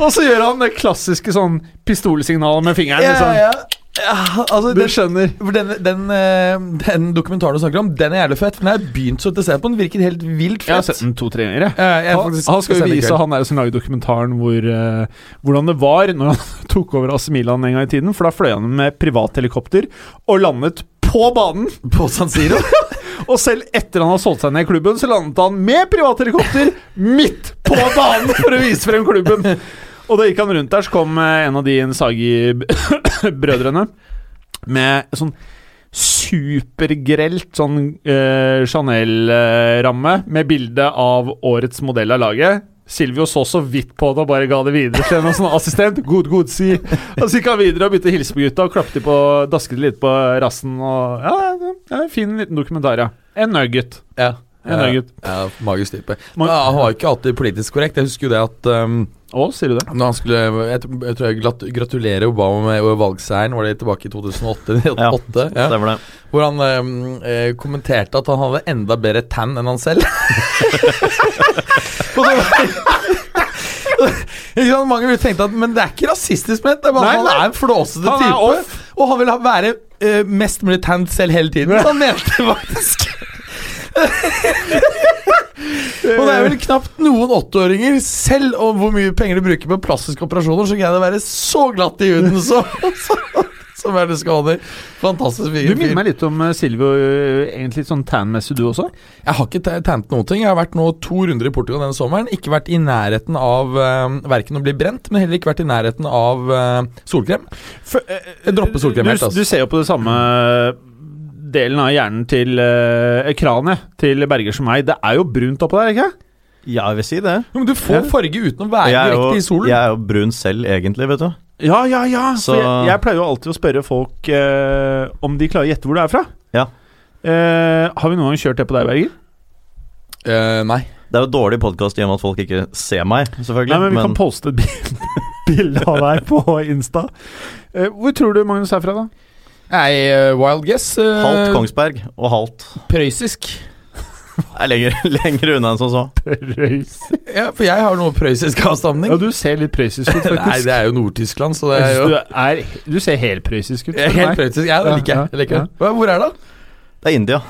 [SPEAKER 3] og så gjør han det klassiske sånn pistolsignalet med fingeren.
[SPEAKER 4] Ja,
[SPEAKER 3] liksom.
[SPEAKER 4] ja. Ja, altså,
[SPEAKER 3] Du
[SPEAKER 4] den,
[SPEAKER 3] skjønner.
[SPEAKER 4] for den, den, eh, den dokumentaren du snakker om, den er jævlig fett. For den har jeg begynt så å se på. Den virker helt vilt
[SPEAKER 3] Jeg har
[SPEAKER 4] fett.
[SPEAKER 3] sett den to-tre ganger. jeg.
[SPEAKER 4] Ja, jeg
[SPEAKER 3] Han,
[SPEAKER 4] faktisk-
[SPEAKER 3] han skal
[SPEAKER 4] se
[SPEAKER 3] jo
[SPEAKER 4] den i
[SPEAKER 3] vise
[SPEAKER 4] kveld.
[SPEAKER 3] han der som lager dokumentaren hvor, eh, hvordan det var når han <laughs> tok over AC Milan en gang i tiden. For da fløy han med privat helikopter og landet på banen!
[SPEAKER 4] på San Siro.
[SPEAKER 3] <laughs> Og selv etter han har solgt seg ned i klubben, så landet han med privat helikopter midt på banen for å vise frem klubben. Og da gikk han rundt der, så kom eh, en av de Insagi-brødrene med sånn supergrelt sånn eh, Chanel-ramme med bilde av årets modell av laget. Silvio så så vidt på det og bare ga det videre til en sånn assistent. Good, good, si. Og så gikk han videre og begynte å hilse på gutta og klappet de på, dasket litt på rassen. Og, ja, det er en fin liten dokumentar, ja. En nugget.
[SPEAKER 4] Ja.
[SPEAKER 3] En nugget.
[SPEAKER 4] Ja, magisk type.
[SPEAKER 3] Man-
[SPEAKER 4] Ja, han var jo ikke alltid politisk korrekt. Jeg husker jo det at um,
[SPEAKER 3] Å, sier du det?
[SPEAKER 4] når han skulle Jeg, tror- jeg tror jeg glatt, gratulerer Obama med valgseieren, var det tilbake i 2008? <laughs>
[SPEAKER 5] Ja.
[SPEAKER 4] 2008 ja.
[SPEAKER 5] Stemmer det.
[SPEAKER 4] Hvor han um, eh, kommenterte at han hadde enda bedre tann enn han
[SPEAKER 3] <laughs>
[SPEAKER 4] selv. Og det var- Ikke sant, Mange ville tenkt at Men det er ikke rasistisk ment. Det er bare
[SPEAKER 3] Nei,
[SPEAKER 4] at
[SPEAKER 3] nei.
[SPEAKER 4] han er en flåsete
[SPEAKER 3] Han er
[SPEAKER 4] type.
[SPEAKER 3] off.
[SPEAKER 4] Og han vil ha, være eh, mest mulig tant selv hele tiden. Så han mente
[SPEAKER 3] <laughs>
[SPEAKER 4] faktisk Og det er vel knapt noen åtteåringer, selv om hvor mye penger de bruker på plastiske operasjoner, så greier de å være så glatt i huden så, så, <laughs> som er det skader. Fantastisk
[SPEAKER 3] Du
[SPEAKER 4] fyr.
[SPEAKER 3] minner meg litt om eh, Silvio, eh, egentlig litt sånn tan-messig du også.
[SPEAKER 4] Jeg har ikke ta- tegnet noen ting. Jeg har vært nå to runder i Portugal denne sommeren. Ikke vært i nærheten av eh, verken å bli brent, men heller ikke vært i nærheten av eh, solkrem. Jeg dropper solkrem helt,
[SPEAKER 3] du,
[SPEAKER 4] altså.
[SPEAKER 3] du ser jo på det samme delen av hjernen til eh, kranet til Berger som meg. Det er jo brunt oppå der, ikke
[SPEAKER 5] Ja, jeg vil si det.
[SPEAKER 4] Jo, men du får farge uten å være
[SPEAKER 5] Jeg er,
[SPEAKER 4] direkte i
[SPEAKER 5] jo,
[SPEAKER 4] solen.
[SPEAKER 5] jeg er jo brun selv, egentlig, vet du.
[SPEAKER 3] Ja, ja, ja.
[SPEAKER 5] Så-
[SPEAKER 3] For jeg, jeg pleier jo alltid å spørre folk eh, om de klarer å gjette hvor du er fra.
[SPEAKER 5] Ja.
[SPEAKER 3] Eh, har vi noen gang kjørt det på deg, Berger?
[SPEAKER 4] Eh, nei.
[SPEAKER 5] Det er jo dårlig podkast i og med at folk ikke ser meg, selvfølgelig.
[SPEAKER 3] Nei, men vi kan poste et bil- <laughs> bilde av deg på Insta. Eh, hvor tror du Magnus er fra, da?
[SPEAKER 4] Nei, eh, wild guess. eh,
[SPEAKER 5] halvt Kongsberg og halvt
[SPEAKER 4] prøysisk.
[SPEAKER 5] er lenger, <laughs> lenger unna enn som så.
[SPEAKER 3] Prøysisk.
[SPEAKER 4] Ja, for jeg har noe prøysisk avstamning.
[SPEAKER 3] Ja, du ser litt prøysisk <laughs> ut,
[SPEAKER 4] Nei,
[SPEAKER 3] faktisk.
[SPEAKER 4] det er jo Nord-Tyskland, så det
[SPEAKER 3] Jeg
[SPEAKER 4] er
[SPEAKER 3] synes
[SPEAKER 4] jo
[SPEAKER 3] du, er, du ser helt prøysisk ut.
[SPEAKER 4] Jeg er Helt prøysisk. Ja, <laughs> det
[SPEAKER 3] Ja,
[SPEAKER 4] liker jeg. jeg liker
[SPEAKER 3] ja,
[SPEAKER 4] det. Hva- Hvor er det? da?
[SPEAKER 5] Det er India.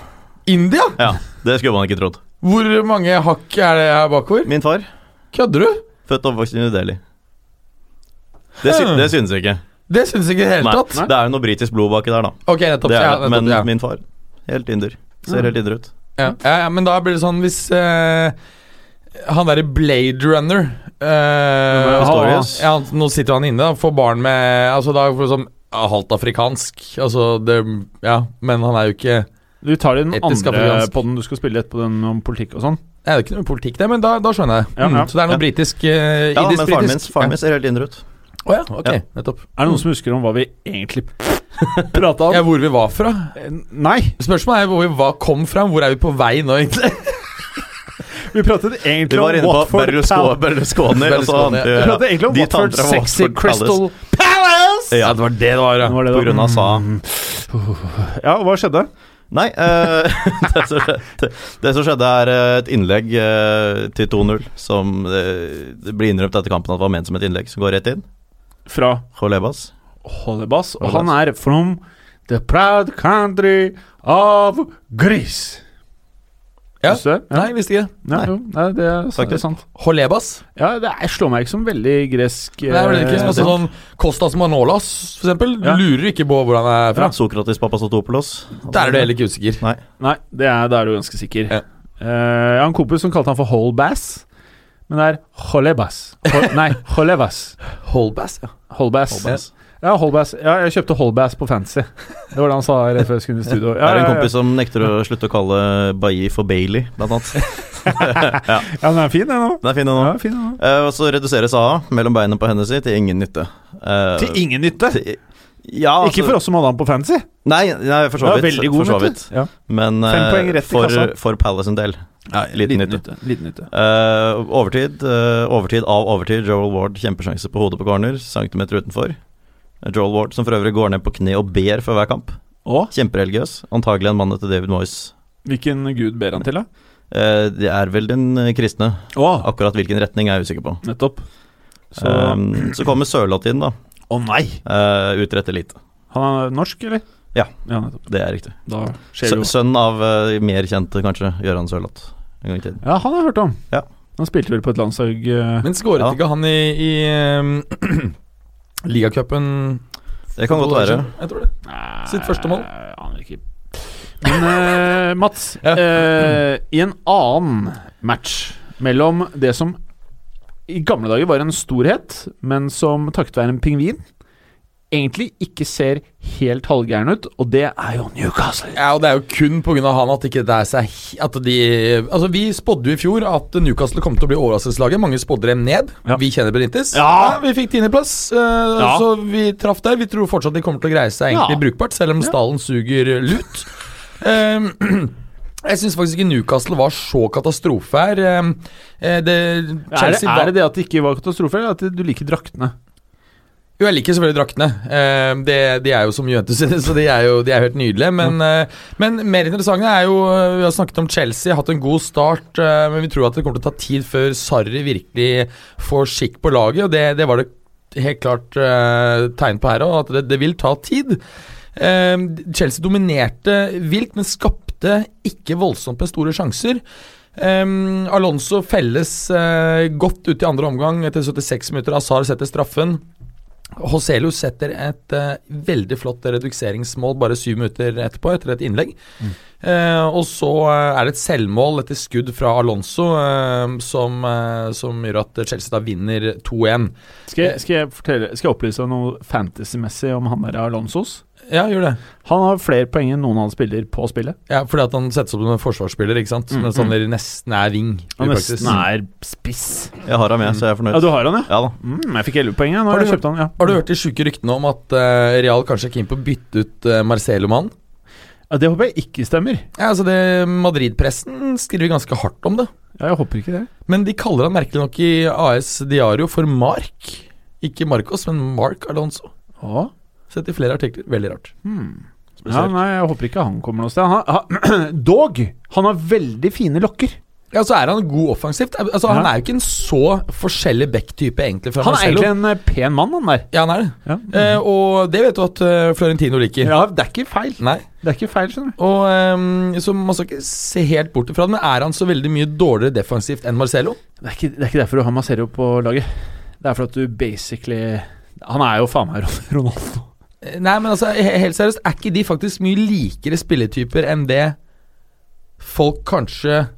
[SPEAKER 4] India?
[SPEAKER 5] Ja, Det skulle man ikke trodd.
[SPEAKER 4] Hvor mange hakk er det her bakover?
[SPEAKER 5] Min far,
[SPEAKER 4] Kødder du?
[SPEAKER 5] født og oppvokst i New Delhi. Det, sy
[SPEAKER 4] Hmm.
[SPEAKER 5] det synes jeg ikke.
[SPEAKER 4] Det syns jeg ikke i det hele
[SPEAKER 5] Nei,
[SPEAKER 4] tatt.
[SPEAKER 5] det er jo noe britisk blod baki der, da.
[SPEAKER 4] Ok, nettopp.
[SPEAKER 5] Det
[SPEAKER 4] ja,
[SPEAKER 5] er, det,
[SPEAKER 4] nettopp
[SPEAKER 5] men
[SPEAKER 4] ja.
[SPEAKER 5] min far, helt inder. Ser
[SPEAKER 3] Ja.
[SPEAKER 5] helt inder ut.
[SPEAKER 4] Ja, ja, ja men da blir det sånn hvis eh, han derre Blade Runner eh,
[SPEAKER 5] Pistorius.
[SPEAKER 4] ja, han- Nå sitter han inne, da. Får barn med Altså, da får du sånn ja, halvt afrikansk. Altså, det Ja, men han er jo ikke
[SPEAKER 3] Du tar den
[SPEAKER 4] Etisk
[SPEAKER 3] andre
[SPEAKER 4] afrikansk.
[SPEAKER 3] podden du skal spille etterpå, den om politikk og sånn.
[SPEAKER 4] Det er jo ikke noe politikk der, men da, da skjønner jeg.
[SPEAKER 3] Ja, ja.
[SPEAKER 4] Mm, så det er noe
[SPEAKER 5] Ja.
[SPEAKER 4] britisk eh,
[SPEAKER 5] Ja, men faren min,
[SPEAKER 4] britisk-
[SPEAKER 5] faren min ser helt inder ut.
[SPEAKER 4] Ja. Å ja, ok,
[SPEAKER 5] Ja.
[SPEAKER 4] nettopp.
[SPEAKER 3] Er det noen som husker om hva vi egentlig <laughs> prata om?
[SPEAKER 4] Ja, hvor vi var fra?
[SPEAKER 3] Eh, Nei,
[SPEAKER 4] Spørsmålet er hvor vi var, kom fra. Hvor er vi på vei nå,
[SPEAKER 5] <laughs>
[SPEAKER 4] egentlig?
[SPEAKER 3] vi pratet egentlig
[SPEAKER 5] Vi var
[SPEAKER 3] om
[SPEAKER 5] inne på
[SPEAKER 3] Watford
[SPEAKER 5] Berlusconi,
[SPEAKER 3] Pal-
[SPEAKER 5] Berlusconi og så
[SPEAKER 4] Berlusconi,
[SPEAKER 5] andre-
[SPEAKER 3] Vi pratet egentlig om
[SPEAKER 5] De
[SPEAKER 3] Watford
[SPEAKER 5] tantra
[SPEAKER 3] Sexy
[SPEAKER 5] Watford
[SPEAKER 3] Crystal Palace!
[SPEAKER 5] Ja,
[SPEAKER 4] det var det det Mm. var,
[SPEAKER 3] Det var det
[SPEAKER 5] På
[SPEAKER 3] det var.
[SPEAKER 5] grunn av SA.
[SPEAKER 3] Ja, og hva skjedde?
[SPEAKER 5] Nei, eh, <laughs> det, som skjedde, det som skjedde er eh, et innlegg eh, til 2-0 som eh, det blir innrømt etter kampen at var ment som et innlegg, som går rett inn.
[SPEAKER 3] Fra
[SPEAKER 5] Jolebas.
[SPEAKER 3] Holebas, og han er from the proud country of Greece.
[SPEAKER 4] Ja.
[SPEAKER 3] Husker du det?
[SPEAKER 4] Nei, visste ikke.
[SPEAKER 3] Ja,
[SPEAKER 5] Nei.
[SPEAKER 3] jo, nei, det er sant. Det er sant.
[SPEAKER 4] Holebas.
[SPEAKER 3] Ja, det er, slår meg ikke som veldig gresk
[SPEAKER 4] Det er vel ikke
[SPEAKER 3] eh,
[SPEAKER 4] altså, sånn Kostas Manolas, for eksempel.
[SPEAKER 3] Ja.
[SPEAKER 4] Lurer ikke på hvor han er fra.
[SPEAKER 5] Ja. Sokrates Papasotopoulos.
[SPEAKER 4] Der er du heller ikke usikker.
[SPEAKER 3] Nei, det er, da er du ganske sikker.
[SPEAKER 4] Ja.
[SPEAKER 3] Eh, jeg har en kompis som kalte han for Holbass, men det er Holebas. Hol, <laughs> nei, Holebas.
[SPEAKER 4] Holbass, ja.
[SPEAKER 3] Holbass. Ja, Holbass. Ja, jeg kjøpte Holbass på Fancy. Det var det han sa rett før jeg
[SPEAKER 5] <laughs>
[SPEAKER 3] skulle inn i studio. Ja,
[SPEAKER 5] er det en
[SPEAKER 3] ja,
[SPEAKER 5] kompis som nekter å slutte å kalle Bailly for Bailey, blant annet.
[SPEAKER 3] Ja, ja den er fin, den òg.
[SPEAKER 5] Den er fin, den
[SPEAKER 3] Ja,
[SPEAKER 5] òg.
[SPEAKER 3] fin, den også.
[SPEAKER 5] Eh, og så reduseres A mellom beina på henne si til ingen nytte. Eh,
[SPEAKER 3] Til ingen nytte!
[SPEAKER 5] til- ja, altså,
[SPEAKER 3] Ikke for oss som hadde han på Fancy.
[SPEAKER 5] Nei, nei for så
[SPEAKER 3] Det var
[SPEAKER 5] vidt.
[SPEAKER 3] veldig god
[SPEAKER 5] for så
[SPEAKER 3] nytte.
[SPEAKER 5] vidt.
[SPEAKER 3] Ja.
[SPEAKER 5] Men
[SPEAKER 3] Fem
[SPEAKER 5] eh,
[SPEAKER 3] poeng rett i
[SPEAKER 5] for,
[SPEAKER 3] kassa.
[SPEAKER 5] for Palace en del. liten nytte.
[SPEAKER 3] Liten nytte.
[SPEAKER 5] Eh, overtid, eh, overtid av overtid. Joel Ward kjempesjanse på hodet på corner, centimeter utenfor. Joel Ward som for øvrig går ned på kne og ber før hver kamp.
[SPEAKER 3] Og
[SPEAKER 5] Kjempereligiøs. Antagelig en mann etter David Moyes.
[SPEAKER 3] hvilken gud ber han til, da?
[SPEAKER 5] Eh, det er vel den eh, kristne.
[SPEAKER 3] Å,
[SPEAKER 5] Akkurat hvilken retning er jeg usikker på.
[SPEAKER 3] nettopp. Så
[SPEAKER 5] Så,
[SPEAKER 3] Ehm.
[SPEAKER 5] så kommer Sørloth inn, da.
[SPEAKER 3] Å nei!
[SPEAKER 5] Eh, utretter lite.
[SPEAKER 3] Han er norsk, eller?
[SPEAKER 5] Ja.
[SPEAKER 3] ja nettopp.
[SPEAKER 5] Det er riktig.
[SPEAKER 3] Da skjer det
[SPEAKER 5] Sø
[SPEAKER 3] jo
[SPEAKER 5] sønn av eh, mer kjente, kanskje, Gøran Sørloth. En gang i tiden.
[SPEAKER 3] Ja, han har jeg hørt om.
[SPEAKER 5] Ja.
[SPEAKER 3] Han spilte vel på et landslag eh,
[SPEAKER 4] Men skåret
[SPEAKER 5] Ja.
[SPEAKER 4] ikke han i, i um, <clears throat> ligacupen
[SPEAKER 5] Det kan
[SPEAKER 4] for
[SPEAKER 5] godt
[SPEAKER 4] to år
[SPEAKER 5] være.
[SPEAKER 4] siden? Jeg tror det. Sitt første mål.
[SPEAKER 3] Nei, jeg Aner ikke. Men eh, <laughs> Mats, eh, i en annen match mellom det som i gamle dager var en storhet, men som takket være en pingvin egentlig ikke ser helt halvgæren ut, og det er jo Newcastle.
[SPEAKER 4] Ja, og Det er jo kun pga. han at ikke det er seg at de, altså Vi spådde jo i fjor at Newcastle kom til å bli overraskelseslaget. Mange spådde dem ned.
[SPEAKER 3] Ja.
[SPEAKER 4] Vi kjenner Benintis.
[SPEAKER 3] Ja.
[SPEAKER 4] vi fikk tiendeplass, eh,
[SPEAKER 3] Ja.
[SPEAKER 4] så vi traff der. Vi tror fortsatt de kommer til å greie seg egentlig
[SPEAKER 3] Ja.
[SPEAKER 4] brukbart, selv om stallen suger lut. Ehm, <clears throat> jeg syns faktisk ikke Newcastle var så katastrofe her. Ehm, eh, det,
[SPEAKER 3] Er det,
[SPEAKER 4] Chelsea
[SPEAKER 3] er
[SPEAKER 4] var-
[SPEAKER 3] det det at det ikke var katastrofe, eller at du liker draktene?
[SPEAKER 4] Jo, jeg liker selvfølgelig draktene. Eh, det, de er jo som Juventus sine, så de er jo de er jo helt nydelige. Men, eh, men mer interessant er jo eh, Vi har snakket om Chelsea, hatt en god start. eh, men vi tror at det kommer til å ta tid før Sarri virkelig får skikk på laget, og det, det var det helt klart eh, tegn på her òg, at det, det vil ta tid. Eh, Chelsea dominerte vilt, men skapte ikke voldsomt med store sjanser. Ehm, Alonso felles eh, godt ut i andre omgang etter 76 minutter. Azar setter straffen. Hoselius setter et eh, veldig flott reduseringsmål bare syv minutter etterpå, etter et innlegg.
[SPEAKER 3] Mm.
[SPEAKER 4] Eh, og så eh, er det et selvmål etter skudd fra Alonso eh, som, eh, som gjør at Chelsea da vinner 2-1.
[SPEAKER 3] Skal jeg, skal, jeg fortelle, skal jeg opplyse deg noe fantasy-messig om han der Alonsos?
[SPEAKER 4] Ja, gjør det.
[SPEAKER 3] Han har flere poeng enn noen annen spiller på spillet.
[SPEAKER 4] Ja, fordi at han settes opp som en forsvarsspiller, ikke sant?
[SPEAKER 3] Mm,
[SPEAKER 4] Mens han nesten er wing. i
[SPEAKER 3] Han
[SPEAKER 4] praksis.
[SPEAKER 3] nesten er spiss.
[SPEAKER 5] Jeg har ham, jeg, så jeg er fornøyd.
[SPEAKER 3] Ja, du har han, ja?
[SPEAKER 5] Ja da.
[SPEAKER 3] Mm, jeg fikk 11 poeng, ja. Nå
[SPEAKER 4] Har
[SPEAKER 3] har jeg
[SPEAKER 4] du
[SPEAKER 3] kjøpt han, ja. Mm.
[SPEAKER 4] Har du hørt de sjuke ryktene om at eh, Real kanskje er keen på å bytte ut eh, Marcelo-mannen?
[SPEAKER 3] Ja, Det håper jeg ikke stemmer.
[SPEAKER 4] Ja, altså det Madrid-pressen skriver ganske hardt om det.
[SPEAKER 3] Ja, jeg håper ikke det.
[SPEAKER 4] Men de kaller han merkelig nok i AS Diario for Mark. Ikke Marcos, men Mark Alonso.
[SPEAKER 3] Ja.
[SPEAKER 4] Sett i flere artikler. Veldig rart.
[SPEAKER 3] Hmm. ja,
[SPEAKER 4] Spesielt.
[SPEAKER 3] nei, jeg håper ikke han kommer noe sted. Han har, han, <clears throat> dog, han har veldig fine lokker.
[SPEAKER 4] Ja, så er han god offensivt. Altså,
[SPEAKER 3] Ja.
[SPEAKER 4] Han er jo ikke en så forskjellig back-type, egentlig, fra
[SPEAKER 3] Han er
[SPEAKER 4] Marcelo.
[SPEAKER 3] egentlig en eh, pen mann, han der.
[SPEAKER 4] Ja, han er det.
[SPEAKER 3] Ja.
[SPEAKER 4] Eh, og det vet du at eh, Florentino liker.
[SPEAKER 3] Ja, det er ikke feil.
[SPEAKER 4] Nei.
[SPEAKER 3] Det er ikke feil, skjønner du.
[SPEAKER 4] Og ehm, Så man skal ikke se helt bort ifra det, men er han så veldig mye dårligere defensivt enn Marcelo?
[SPEAKER 3] Det er ikke, det er ikke derfor du har Masero på laget. Det er fordi at du basically Han er jo faen meg Ron- Ronaldo.
[SPEAKER 4] Eh, Nei, men altså, he- helt seriøst, er ikke de faktisk mye likere spilletyper enn det folk kanskje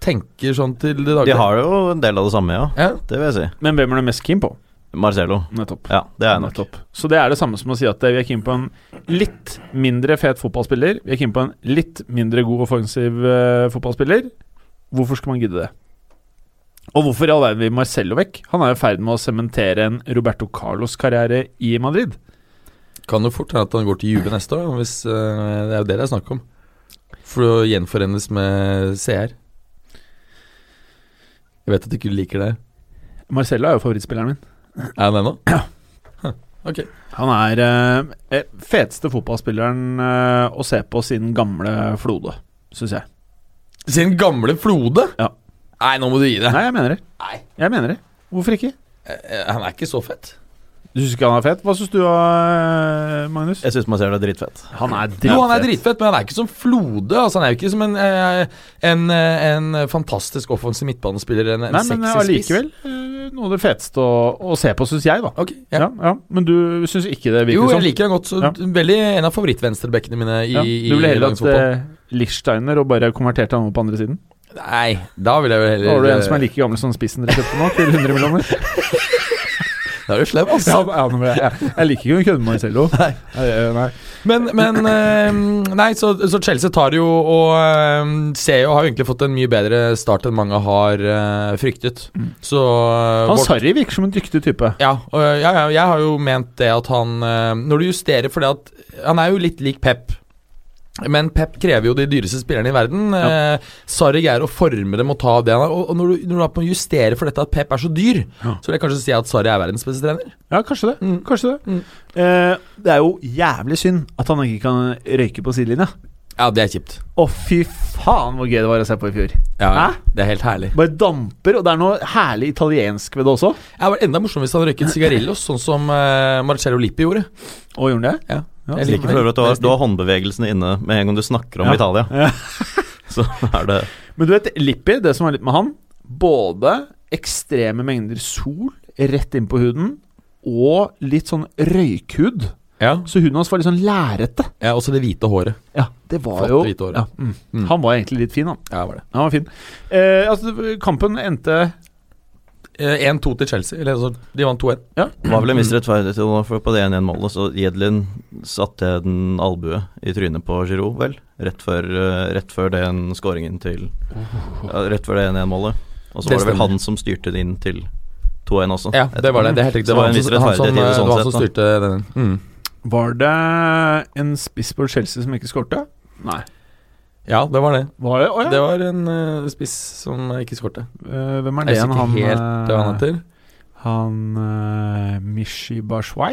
[SPEAKER 4] tenker sånn til det daglige?
[SPEAKER 5] De har jo en del av det samme, ja.
[SPEAKER 4] Ja.
[SPEAKER 5] Det vil jeg si.
[SPEAKER 3] Men hvem er du mest keen på?
[SPEAKER 5] Marcelo.
[SPEAKER 3] Nettopp.
[SPEAKER 5] Ja, det er jeg nok.
[SPEAKER 3] Nettopp. Så det er det samme som å si at eh, vi er keen på en litt mindre fet fotballspiller. Vi er keen på en litt mindre god offensiv eh, fotballspiller. Hvorfor skal man gidde det? Og hvorfor i all verden vil Marcello vekk? Han er i ferd med å sementere en Roberto Carlos-karriere i Madrid.
[SPEAKER 4] Kan jo fort hende at han går til Juve neste år, da, hvis, eh, det er jo det det er snakk om. For å gjenforenes med CR. Jeg vet at du ikke liker det.
[SPEAKER 3] Marcello er jo favorittspilleren min.
[SPEAKER 4] Er han det nå? Ja. Ok.
[SPEAKER 3] Han er eh, eh, feteste fotballspilleren eh, å se på siden gamle Flode, syns jeg.
[SPEAKER 4] Sin gamle Flode?
[SPEAKER 3] Ja.
[SPEAKER 4] Nei, nå må du gi deg.
[SPEAKER 3] Nei, jeg mener det.
[SPEAKER 4] Nei.
[SPEAKER 3] Jeg mener det. Hvorfor ikke?
[SPEAKER 4] Eh, Han er ikke så fett.
[SPEAKER 3] Du syns ikke han er fet? Hva syns du, eh, Magnus?
[SPEAKER 5] Jeg syns Marcelo er dritfett.
[SPEAKER 3] Han er
[SPEAKER 4] Jo, han er
[SPEAKER 3] dritfet.
[SPEAKER 4] dritfett, men han er ikke som Flode. Altså, han er jo ikke som en, eh, en, eh, en fantastisk offensiv midtbanespiller. En, en
[SPEAKER 3] Nei, men
[SPEAKER 4] sexy spiss.
[SPEAKER 3] allikevel eh, noe av det feteste å, å se på, syns jeg, da.
[SPEAKER 4] Ok,
[SPEAKER 3] Ja.
[SPEAKER 4] ja.
[SPEAKER 3] Ja, Men du syns ikke det
[SPEAKER 4] Jo,
[SPEAKER 3] virker
[SPEAKER 4] jeg
[SPEAKER 3] sånn?
[SPEAKER 4] liker han godt. Så
[SPEAKER 3] Ja.
[SPEAKER 4] Veldig en av favorittvenstrebekkene mine i,
[SPEAKER 3] Ja. Du ville
[SPEAKER 4] i
[SPEAKER 3] heller
[SPEAKER 4] dagens
[SPEAKER 3] hatt
[SPEAKER 4] fotball.
[SPEAKER 3] eh, Lichsteiner og bare konvertert han over på andre siden?
[SPEAKER 4] Nei, da vil jeg jo heller
[SPEAKER 3] Da har du en som er like gammel som spissen dere kjøpte nå, til 100
[SPEAKER 4] <laughs>
[SPEAKER 3] millioner.
[SPEAKER 4] Da er du slem, altså.
[SPEAKER 3] ja, ja, men jeg, jeg, jeg liker ikke å kødde med Marcello. Nei. Nei.
[SPEAKER 4] Men, men eh, Nei, så, så Chelsea tar jo og eh, ser jo Har jo egentlig fått en mye bedre start enn mange har eh, fryktet.
[SPEAKER 3] Mm.
[SPEAKER 4] Så eh,
[SPEAKER 3] Han
[SPEAKER 4] vårt-
[SPEAKER 3] Sarri virker som en dyktig type.
[SPEAKER 4] Ja, og, eh, ja, ja, jeg har jo ment det at han eh, Når du justerer for det at Han er jo litt lik Pep. Men Pep krever jo de dyreste spillerne i verden. Ja. Sarri greier å forme dem og ta av det han har. Og, og når du, når du da må justere for dette at Pep er så dyr,
[SPEAKER 3] Ja.
[SPEAKER 4] så vil jeg kanskje si at Sarri er verdens beste trener.
[SPEAKER 3] Ja, kanskje det.
[SPEAKER 4] Mm.
[SPEAKER 3] Kanskje det.
[SPEAKER 4] Mm.
[SPEAKER 3] Eh, det er jo jævlig synd at han ikke kan røyke på sidelinja.
[SPEAKER 4] Ja, det er kjipt.
[SPEAKER 3] Å, fy faen hvor gøy det var å se på i fjor.
[SPEAKER 4] Ja,
[SPEAKER 3] Hæ?
[SPEAKER 4] det er helt herlig.
[SPEAKER 3] Bare damper, og det er noe herlig italiensk ved det også.
[SPEAKER 4] Det hadde vært enda morsommere hvis han røyket sigarillos, sånn som eh, Marcello Lippi gjorde.
[SPEAKER 3] Og gjorde han det?
[SPEAKER 4] Ja.
[SPEAKER 3] Ja,
[SPEAKER 4] Jeg
[SPEAKER 5] Jeg liker for øvrig at du har, du har håndbevegelsene inne med en gang du snakker om
[SPEAKER 3] Ja.
[SPEAKER 5] Italia.
[SPEAKER 3] Ja.
[SPEAKER 5] <laughs> Så er det
[SPEAKER 3] Men du vet, Lippi, det som er litt med han Både ekstreme mengder sol rett inn på huden, og litt sånn røykhud.
[SPEAKER 4] Ja.
[SPEAKER 3] Så hunden hans var litt sånn lærete.
[SPEAKER 4] ja, Også det hvite håret.
[SPEAKER 3] Ja, det var
[SPEAKER 4] Flotte
[SPEAKER 3] jo
[SPEAKER 4] hvite håret.
[SPEAKER 3] ja, mm.
[SPEAKER 4] Mm.
[SPEAKER 3] Han var egentlig litt fin, han.
[SPEAKER 4] Ja, var det.
[SPEAKER 3] Han var fin. Eh, altså, kampen endte
[SPEAKER 4] Eh, 1-2 til Chelsea. Eller altså, de vant 2-1.
[SPEAKER 5] Det var vel en viss rettferdighet til nå, for på det 1-1-målet så Jedlin satte en albue i trynet på Giroud, vel? Rett før, eh, rett før den skåringen til ja, Rett før det 1-1-målet. Og så
[SPEAKER 4] Det
[SPEAKER 5] var det vel
[SPEAKER 4] stemmer.
[SPEAKER 5] han som styrte det inn til 2-1 også.
[SPEAKER 4] Ja, det var det. Det er helt riktig.
[SPEAKER 5] Så
[SPEAKER 4] Det var
[SPEAKER 5] en
[SPEAKER 4] han
[SPEAKER 5] viss
[SPEAKER 4] som, han som,
[SPEAKER 5] rettferdighet i det
[SPEAKER 4] det
[SPEAKER 5] sånn
[SPEAKER 4] var han som
[SPEAKER 5] sett,
[SPEAKER 4] styrte den. Mm.
[SPEAKER 3] Var det en spiss på Chelsea som ikke skårte? Nei.
[SPEAKER 4] Ja, det var det.
[SPEAKER 3] Var det? Å, ja.
[SPEAKER 4] Det var en eh, spiss som ikke skårte.
[SPEAKER 3] Eh, hvem er
[SPEAKER 4] Jeg
[SPEAKER 3] det igjen?
[SPEAKER 4] husker ikke
[SPEAKER 3] Han,
[SPEAKER 4] helt
[SPEAKER 3] eh,
[SPEAKER 4] hva han heter.
[SPEAKER 3] han eh, Mishi Bashwai?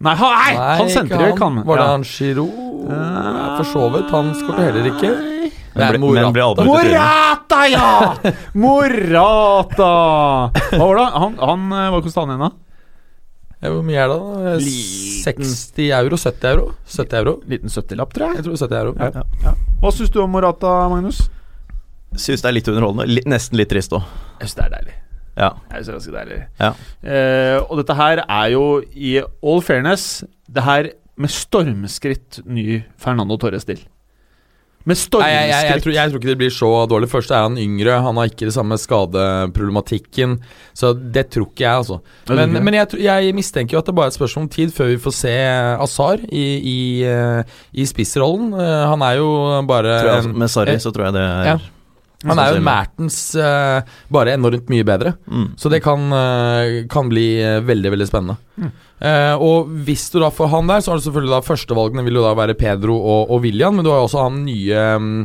[SPEAKER 3] Nei, han, nei,
[SPEAKER 4] Nei,
[SPEAKER 3] han
[SPEAKER 4] ikke
[SPEAKER 3] sentrer kan
[SPEAKER 4] Var det
[SPEAKER 3] ja.
[SPEAKER 4] han Giro? Ja, for så vidt. Han skårte heller ikke.
[SPEAKER 3] Nei.
[SPEAKER 5] Men
[SPEAKER 4] Nei,
[SPEAKER 5] ble, men ble albuen til trynet.
[SPEAKER 3] Morata,
[SPEAKER 4] <laughs>
[SPEAKER 3] ja! Morata! Hva var det? Han, han eh, var kostet han igjen, da?
[SPEAKER 4] Ja, Hvor mye er det, da? Eh,
[SPEAKER 3] Liten.
[SPEAKER 4] 60 euro? 70 euro? 70 euro?
[SPEAKER 3] Liten 70-lapp, tror
[SPEAKER 4] Jeg tror 70 euro. Ja.
[SPEAKER 3] Ja. Hva syns du om Morata, Magnus?
[SPEAKER 5] Syns det er litt underholdende. Litt, nesten litt trist òg.
[SPEAKER 3] Jeg syns det er deilig.
[SPEAKER 5] Ja.
[SPEAKER 3] Jeg synes det er ganske deilig.
[SPEAKER 5] Ja.
[SPEAKER 3] Eh, og dette her er jo, i all fairness, det her med stormskritt ny Fernando Torres-stil. Med
[SPEAKER 4] Nei, jeg, jeg, jeg,
[SPEAKER 3] stormskritt.
[SPEAKER 4] tror, jeg tror ikke det blir så dårlig. Først er han yngre, han har ikke det samme skadeproblematikken. Så det tror ikke jeg, altså.
[SPEAKER 3] tror
[SPEAKER 4] Men,
[SPEAKER 3] ikke det.
[SPEAKER 4] men jeg, tror- jeg mistenker jo at det bare er et spørsmål om tid før vi får se Azar i, i, eh, i spissrollen. Eh, Han er jo bare
[SPEAKER 5] Tror jeg,
[SPEAKER 4] en,
[SPEAKER 5] med Sarri
[SPEAKER 4] eh,
[SPEAKER 5] så tror jeg det er
[SPEAKER 4] ja. Han er jo
[SPEAKER 5] sannsynlig.
[SPEAKER 4] en Mertens eh, bare enormt mye bedre.
[SPEAKER 5] mm.
[SPEAKER 4] Så det kan, eh, kan bli eh, veldig, veldig spennende. Eh, og hvis du da får han der, så har du selvfølgelig da førstevalgene vil jo da være Pedro og, og William, men du har jo også han nye mm,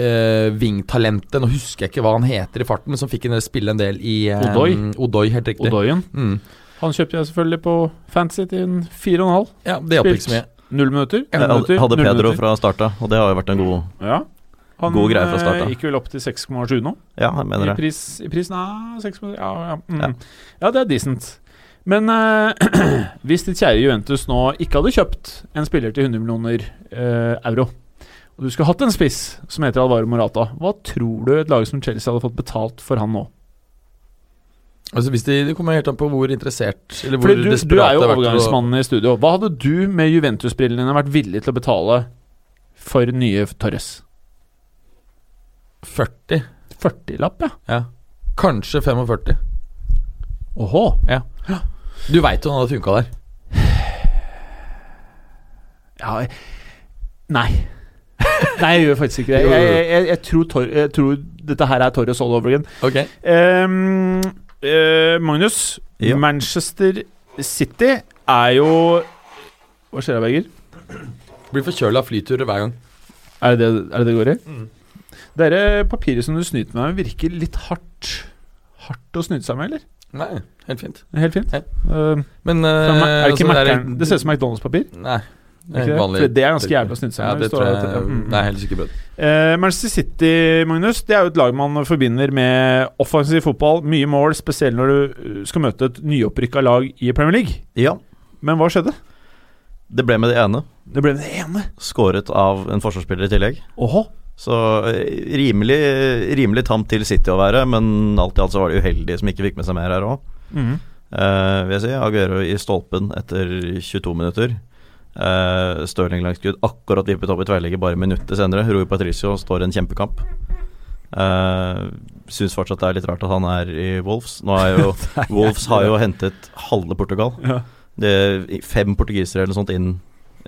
[SPEAKER 4] eh, vingtalentet, nå husker jeg ikke hva han heter i farten, men som fikk en del spille en del i eh,
[SPEAKER 3] Odoi.
[SPEAKER 4] Odoi, helt riktig.
[SPEAKER 3] Odoien.
[SPEAKER 4] Mm.
[SPEAKER 3] Han kjøpte jeg selvfølgelig på Fantasy til en 4,5.
[SPEAKER 4] Ja, det hjalp ikke så mye.
[SPEAKER 3] Null minutter.
[SPEAKER 5] Jeg
[SPEAKER 3] null minutter,
[SPEAKER 5] hadde
[SPEAKER 3] null
[SPEAKER 5] Pedro
[SPEAKER 3] minutter.
[SPEAKER 5] fra starta, og det har jo vært en god
[SPEAKER 3] Ja. Han
[SPEAKER 5] God greie fra
[SPEAKER 3] eh,
[SPEAKER 5] start, da.
[SPEAKER 3] gikk vel opp til 6,7 nå.
[SPEAKER 5] Ja, jeg mener
[SPEAKER 3] I
[SPEAKER 5] det.
[SPEAKER 3] pris, i pris Nei, 6,7 ja, ja. Mm.
[SPEAKER 5] Ja.
[SPEAKER 3] ja, det er decent. Men eh, <clears throat> hvis ditt kjære Juventus nå ikke hadde kjøpt en spiller til 100 millioner eh, euro, og du skulle hatt en spiss som heter Alvaro Morata, hva tror du et lag som Chelsea hadde fått betalt for han nå?
[SPEAKER 4] Altså, hvis de, det kommer helt an på hvor interessert eller hvor
[SPEAKER 3] Fordi du, du
[SPEAKER 4] desperat
[SPEAKER 3] er jo
[SPEAKER 4] det har vært til å-
[SPEAKER 3] overgangsmannen i studio. Hva hadde du med Juventus-brillene dine vært villig til å betale for nye Torres?
[SPEAKER 4] 40.
[SPEAKER 3] 40-lapp, ja.
[SPEAKER 4] Ja. Kanskje 45.
[SPEAKER 3] Åhå.
[SPEAKER 4] Du veit jo han hadde funka der.
[SPEAKER 3] Ja Nei. <laughs> Nei, jeg gjør faktisk ikke det.
[SPEAKER 4] Jo, jo, jo.
[SPEAKER 3] Jeg, jeg, jeg, jeg, tror, Tor, jeg tror dette her er Torres all over again.
[SPEAKER 4] Ok
[SPEAKER 3] Ehm, eh, Magnus,
[SPEAKER 5] Ja.
[SPEAKER 3] Manchester City er jo Hva skjer da, Berger?
[SPEAKER 4] Blir forkjøla av flyturer hver gang.
[SPEAKER 3] Er det det er det, det går i? Det derre papiret som du snyter meg med, virker litt hardt. Hardt å snyte seg med, eller?
[SPEAKER 4] Nei, helt fint.
[SPEAKER 3] Helt fint.
[SPEAKER 4] Ja.
[SPEAKER 3] Ehm,
[SPEAKER 4] Men eh,
[SPEAKER 3] fra, er det,
[SPEAKER 4] altså,
[SPEAKER 3] ikke
[SPEAKER 4] er-
[SPEAKER 3] Mac'eren? det ser ut som McDonald's-papir.
[SPEAKER 4] Nei.
[SPEAKER 3] Er ikke det?
[SPEAKER 4] vanlig-
[SPEAKER 3] For det er ganske jævlig å snyte seg
[SPEAKER 4] Ja,
[SPEAKER 3] med.
[SPEAKER 4] det
[SPEAKER 3] hvis du
[SPEAKER 4] tror
[SPEAKER 3] har-
[SPEAKER 4] jeg
[SPEAKER 3] Mm, mm.
[SPEAKER 4] Det er helt sikkert brød.
[SPEAKER 3] Eh, Manchester City Magnus, det er jo et lag man forbinder med offensiv fotball. Mye mål, spesielt når du eh, skal møte et nyopprykka lag i Premier League.
[SPEAKER 5] Ja,
[SPEAKER 3] Men hva skjedde?
[SPEAKER 5] det ble med det ene.
[SPEAKER 3] Det ble det ene.
[SPEAKER 5] Skåret av en forsvarsspiller i tillegg.
[SPEAKER 3] Åhå.
[SPEAKER 5] Så eh, rimelig, rimelig tamt til City å være, men alt i alt så var det uheldige som ikke fikk med seg mer her òg.
[SPEAKER 3] Mhm.
[SPEAKER 5] Eh, vil jeg si. Aguero i stolpen etter 22 minutter. Uh, Stirling langskudd akkurat vippet opp i tverrligger bare minutter senere. Rui Patricio står i en kjempekamp. Uh, Syns fortsatt det er litt rart at han er i Wolves. Nå
[SPEAKER 3] <laughs>
[SPEAKER 5] er jo, Wolves har jo hentet halve Portugal.
[SPEAKER 3] Ja.
[SPEAKER 5] Det er fem portugisere eller noe sånt inn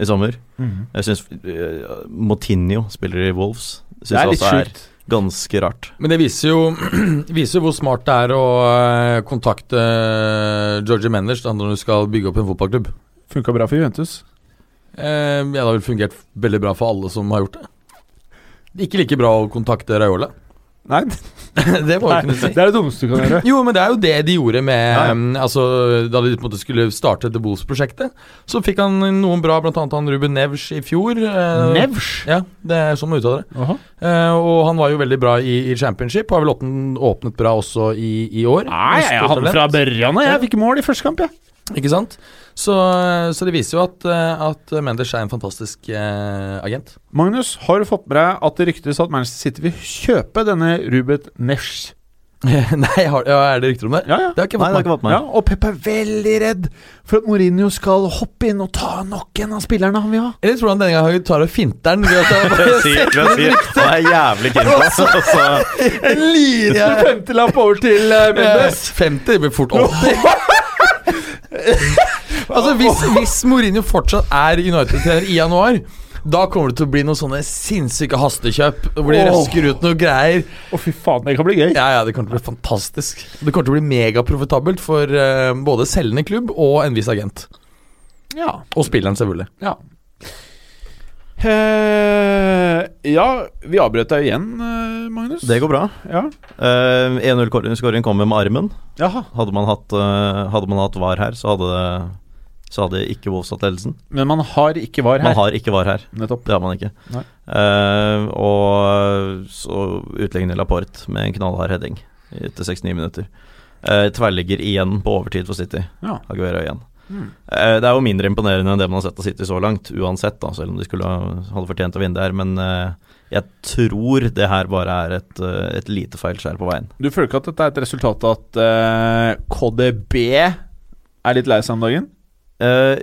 [SPEAKER 5] i sommer.
[SPEAKER 3] Mhm.
[SPEAKER 5] Jeg syns uh, Motinho spiller i Wolves. Synes
[SPEAKER 3] Det er litt
[SPEAKER 5] også
[SPEAKER 3] sjukt.
[SPEAKER 5] Ganske rart.
[SPEAKER 4] altså, Men det viser jo, <clears throat> viser jo hvor smart det er å eh, kontakte eh, Georgie Menders da, når du skal bygge opp en fotballklubb.
[SPEAKER 3] Funka bra for Juventus.
[SPEAKER 4] Eh, ja, det har vel fungert veldig bra for alle som har gjort det. Ikke like bra å kontakte Raiola.
[SPEAKER 3] <laughs> Nei,
[SPEAKER 4] det må vi kunne si.
[SPEAKER 3] det er det dummeste du kan gjøre.
[SPEAKER 4] Jo, men det er jo det de gjorde med
[SPEAKER 5] Ja, ja.
[SPEAKER 4] um, Altså, Da de på en måte skulle starte The Bulls-prosjektet, så fikk han noen bra, blant annet han Ruben Nevs i fjor. eh,
[SPEAKER 3] Nevsj.
[SPEAKER 4] <laughs> Ja, det er sånn man uttaler det.
[SPEAKER 3] Åhå.
[SPEAKER 4] Eh, og han var jo veldig bra i, i championship, har vel åpnet, åpnet bra også i, i år.
[SPEAKER 3] Nei, jeg
[SPEAKER 4] Stort
[SPEAKER 3] hadde
[SPEAKER 4] talent.
[SPEAKER 3] fra Børjan, og jeg fikk mål i første kamp, jeg.
[SPEAKER 4] Ikke sant? Så, så det viser jo at, eh, at Menders er en fantastisk eh, agent. <laughs>
[SPEAKER 3] Magnus, har du fått med deg at det ryktes at Manchester City vil kjøpe denne Rubet Nevsj?
[SPEAKER 4] Nei, har, ja, er det rykter om det?
[SPEAKER 3] Ja, ja.
[SPEAKER 4] Det har ikke fått
[SPEAKER 5] Nei, det har
[SPEAKER 4] meg.
[SPEAKER 5] ikke fått meg.
[SPEAKER 3] Ja, og Pep er veldig redd for at Mourinho skal hoppe inn og ta nok en av spillerne han vil ha.
[SPEAKER 4] Eller tror han denne gangen tar og finter den? ved at
[SPEAKER 5] <laughs>
[SPEAKER 4] han
[SPEAKER 5] Jeg
[SPEAKER 4] bare
[SPEAKER 5] sier,
[SPEAKER 4] setter
[SPEAKER 5] jeg <laughs> sier, han er jævlig Altså, keen på oss. og så-
[SPEAKER 4] En liten femtelapp over til
[SPEAKER 3] eh,
[SPEAKER 4] Mendes. 50 blir fort
[SPEAKER 3] <laughs>
[SPEAKER 4] 80. altså, hvis, hvis Mourinho fortsatt er United-trener i januar da kommer det til å bli noen sånne sinnssyke hastekjøp hvor de
[SPEAKER 3] Åh.
[SPEAKER 4] røsker ut noe greier.
[SPEAKER 3] Å, fy faen, det kan bli gøy.
[SPEAKER 4] Ja, ja, Det kommer til å bli fantastisk. Det kommer til å bli megaprofitabelt for eh, både selgende klubb og en viss agent.
[SPEAKER 3] Ja.
[SPEAKER 4] Og spilleren, selvfølgelig.
[SPEAKER 3] Ja. Eh, ja, vi avbrøt deg igjen, eh, Magnus.
[SPEAKER 5] Det går bra.
[SPEAKER 3] Ja.
[SPEAKER 5] Eh, 1-0-skåringen kommer med armen.
[SPEAKER 3] Jaha.
[SPEAKER 5] Hadde man hatt, eh, hadde man hatt VAR her, så hadde, det, så hadde ikke Wolves tatt ledelsen.
[SPEAKER 3] Men man har ikke var her.
[SPEAKER 5] Man har ikke VAR her.
[SPEAKER 3] Nettopp.
[SPEAKER 5] Det har man ikke.
[SPEAKER 3] Nei.
[SPEAKER 5] Eh, og så utligner Laporte med en knallhard heading etter 69 minutter. Eh, tverrligger igjen på overtid for City.
[SPEAKER 3] Ja.
[SPEAKER 5] Aguero igjen.
[SPEAKER 3] Mm.
[SPEAKER 5] Eh, Det er jo mindre imponerende enn det man har sett av City så langt, uansett, da, selv om de skulle ha, hadde fortjent å vinne der. Men eh, jeg tror det her bare er et, eh, et lite feilskjær på veien.
[SPEAKER 3] Du føler ikke at dette er et resultat av at eh, KDB er litt lei seg om dagen?
[SPEAKER 5] Eh,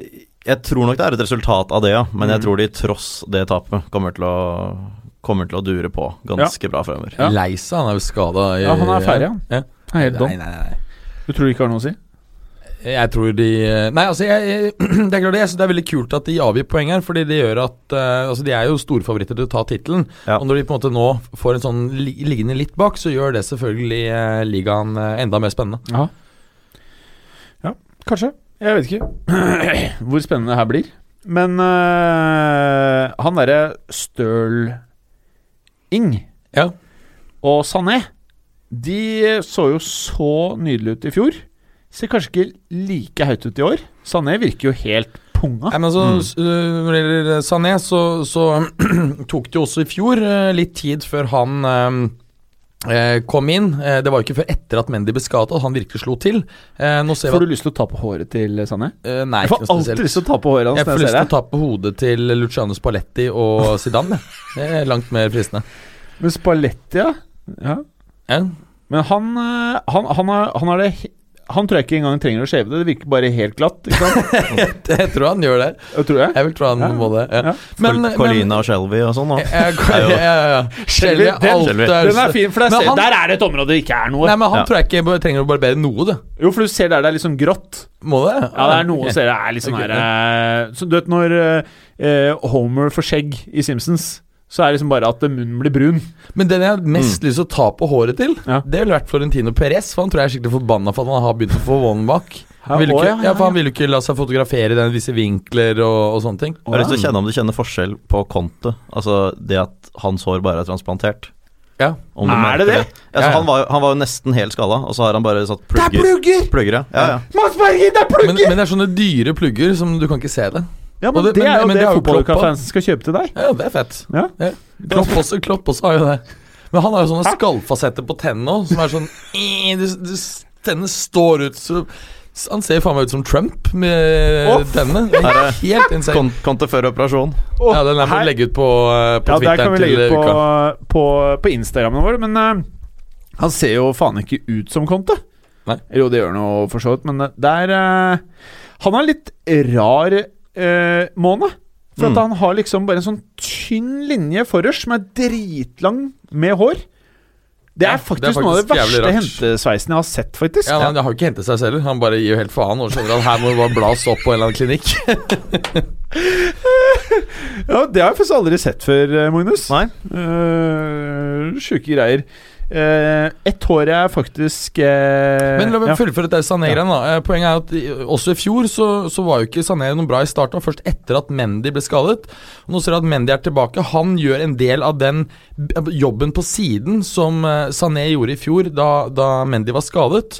[SPEAKER 5] Jeg tror nok det er et resultat av det, ja. Men
[SPEAKER 3] Mm.
[SPEAKER 5] jeg tror de tross det tapet kommer til å, kommer til å dure på ganske bra fremover.
[SPEAKER 3] Ja.
[SPEAKER 4] Lei seg, han er jo skada.
[SPEAKER 3] Ja, han er ferdig, han.
[SPEAKER 4] Ja.
[SPEAKER 3] Han er helt
[SPEAKER 4] Nei,
[SPEAKER 3] dom.
[SPEAKER 4] nei, nei.
[SPEAKER 3] Du tror det ikke har noe å si?
[SPEAKER 4] Jeg tror de Nei, altså, jeg, jeg, <clears throat> det er klart det, jeg synes det er veldig kult at de avgir poeng her, fordi det gjør at eh, Altså, de er jo storfavoritter til å ta tittelen,
[SPEAKER 5] Ja.
[SPEAKER 4] og når de på en måte nå får en sånn li, liggende litt bak, så gjør det selvfølgelig eh, ligaen eh, enda mer spennende.
[SPEAKER 3] Ja. ja, kanskje. Jeg vet ikke <clears throat> hvor spennende det her blir. Men eh, han derre Støl-Ing
[SPEAKER 4] Ja.
[SPEAKER 3] og Sané, de så jo så nydelige ut i fjor. Ser kanskje ikke like høyt ut i år. Sané virker jo helt punga.
[SPEAKER 4] Nei, men altså, s- øh, Når det gjelder Sané, så, så <clears throat> tok det jo også i fjor eh, litt tid før han eh, eh, kom inn. Eh, Det var jo ikke før etter at Mendy ble skadet at han virkelig slo til. Eh, Nå ser
[SPEAKER 3] Får
[SPEAKER 4] vi at
[SPEAKER 3] du lyst til å ta på håret til Sané?
[SPEAKER 4] eh, Nei,
[SPEAKER 3] Jeg
[SPEAKER 4] ikke
[SPEAKER 3] får
[SPEAKER 4] noe
[SPEAKER 3] alltid
[SPEAKER 4] spesielt.
[SPEAKER 3] lyst til å ta på håret hans
[SPEAKER 4] Jeg
[SPEAKER 3] når
[SPEAKER 4] får
[SPEAKER 3] jeg
[SPEAKER 4] lyst til
[SPEAKER 3] ser
[SPEAKER 4] å ta på hodet til Luciano Spalletti og Zidane. jeg. Det er langt mer fristende.
[SPEAKER 3] det. Men Spalletti, ja. ja.
[SPEAKER 4] Ja. <laughs>
[SPEAKER 3] Men han, eh, han, han, er, han er det he- Han tror jeg ikke engang trenger å shave det. Det virker bare helt glatt. Ikke
[SPEAKER 4] <laughs>
[SPEAKER 3] sant?
[SPEAKER 4] Jeg tror han gjør det.
[SPEAKER 3] Jeg tror jeg.
[SPEAKER 4] Jeg vil tro han
[SPEAKER 3] Ja.
[SPEAKER 4] må det.
[SPEAKER 3] Ja.
[SPEAKER 4] Ja.
[SPEAKER 5] Col- Colina og Shelby og sånn, da.
[SPEAKER 4] <laughs>
[SPEAKER 3] Eh,
[SPEAKER 4] Ja, ja, ja, ja. Shelby,
[SPEAKER 3] Shelby, den-
[SPEAKER 4] alt er-
[SPEAKER 3] Den er fin, for der,
[SPEAKER 4] Men
[SPEAKER 3] ser,
[SPEAKER 4] han-
[SPEAKER 3] der er det et område det ikke er noe.
[SPEAKER 4] Nei, men han
[SPEAKER 5] Ja.
[SPEAKER 4] tror jeg ikke bare trenger å barbere noe, det.
[SPEAKER 3] Jo, for du ser der det er liksom grått.
[SPEAKER 4] Må det?
[SPEAKER 3] Ja, det er noe
[SPEAKER 4] Ok.
[SPEAKER 3] ser det er liksom
[SPEAKER 4] Ok,
[SPEAKER 3] her eh, Så du vet når eh, eh, Homer får skjegg i Simpsons, så er det liksom bare at eh, munnen blir brun.
[SPEAKER 4] Men den jeg har
[SPEAKER 5] Mm.
[SPEAKER 4] mest lyst til å ta på håret til,
[SPEAKER 3] Ja.
[SPEAKER 4] det ville vært Florentino Perez. For han tror jeg er skikkelig forbanna for at han har begynt å få one back.
[SPEAKER 3] Ja,
[SPEAKER 4] Han ville
[SPEAKER 3] å,
[SPEAKER 4] ikke,
[SPEAKER 3] ja, ja,
[SPEAKER 4] ja, for han ville ikke la seg fotografere i den visse vinkler og, og sånne ting.
[SPEAKER 5] Jeg har lyst til å kjenne om du kjenner forskjell på Conte. Altså det at hans hår bare er transplantert.
[SPEAKER 4] Ja.
[SPEAKER 5] Om du
[SPEAKER 3] Er
[SPEAKER 5] merker
[SPEAKER 3] det det?
[SPEAKER 5] Ja,
[SPEAKER 4] Ja,
[SPEAKER 5] så
[SPEAKER 4] ja.
[SPEAKER 5] han, var, han var jo nesten helt skalla, og så har han bare satt plugger.
[SPEAKER 3] plugger!
[SPEAKER 5] Plugger, ja. ja, ja.
[SPEAKER 3] Mads Berger, det er
[SPEAKER 4] Men, men det er sånne dyre plugger som du kan ikke se det.
[SPEAKER 3] Ja, men
[SPEAKER 4] Og
[SPEAKER 3] det,
[SPEAKER 4] det- men-
[SPEAKER 3] er jo
[SPEAKER 4] men det
[SPEAKER 3] det
[SPEAKER 4] er jo
[SPEAKER 3] fotballfansen skal kjøpe til deg.
[SPEAKER 4] Ja, det er fett.
[SPEAKER 3] Ja.
[SPEAKER 4] Klopp også, Klopp også har jo det. Men han har jo sånne skallfasetter på tennene òg, som er sånn eh, du, du, Tennene står ut så Han ser faen meg ut som Trump med
[SPEAKER 3] Å,
[SPEAKER 4] tennene. Det
[SPEAKER 5] Her
[SPEAKER 4] er
[SPEAKER 5] er-
[SPEAKER 4] Helt insane.
[SPEAKER 5] Con- Conte før operasjon.
[SPEAKER 3] Å,
[SPEAKER 4] Ja, den der må
[SPEAKER 3] her-
[SPEAKER 4] du legge ut på, eh, på
[SPEAKER 3] Ja, der kan
[SPEAKER 4] Twitteren
[SPEAKER 3] vi legge
[SPEAKER 4] til
[SPEAKER 3] ut
[SPEAKER 4] uka.
[SPEAKER 3] på, på, på Instagrammen vår, men eh, han ser jo faen ikke ut som Conte.
[SPEAKER 4] Nei.
[SPEAKER 3] Jo, det gjør han jo for så vidt, men eh, der eh, Han har en litt rar eh, måned. For
[SPEAKER 5] Mm.
[SPEAKER 3] at han har liksom bare en sånn tynn linje forrest som er dritlang med hår. Det
[SPEAKER 4] Ja,
[SPEAKER 3] er
[SPEAKER 4] det er
[SPEAKER 3] faktisk, noe av det
[SPEAKER 4] faktisk jævlig
[SPEAKER 3] verste
[SPEAKER 4] rart.
[SPEAKER 3] hentesveisen jeg har sett, faktisk.
[SPEAKER 4] Ja, men Det har jo ikke hentet seg selv. Han bare gir jo helt faen og skjønner at her må du bare blas opp på en eller annen klinikk.
[SPEAKER 3] Ja, Det har jeg faktisk aldri sett før, eh, Magnus.
[SPEAKER 5] Nei.
[SPEAKER 3] Uh, Sjuke greier. Eh, ett hår jeg faktisk eh,
[SPEAKER 4] Men la meg
[SPEAKER 3] ja.
[SPEAKER 4] fullføre dette Sané-greiene. da. Eh, Poenget er at i- også i fjor så, så var jo ikke Sané noe bra i starten. og Først etter at Mendy ble skadet. Og nå ser du at Mendy er tilbake. Han gjør en del av den b- eh, jobben på siden som eh, Sané gjorde i fjor, da, da Mendy var skadet.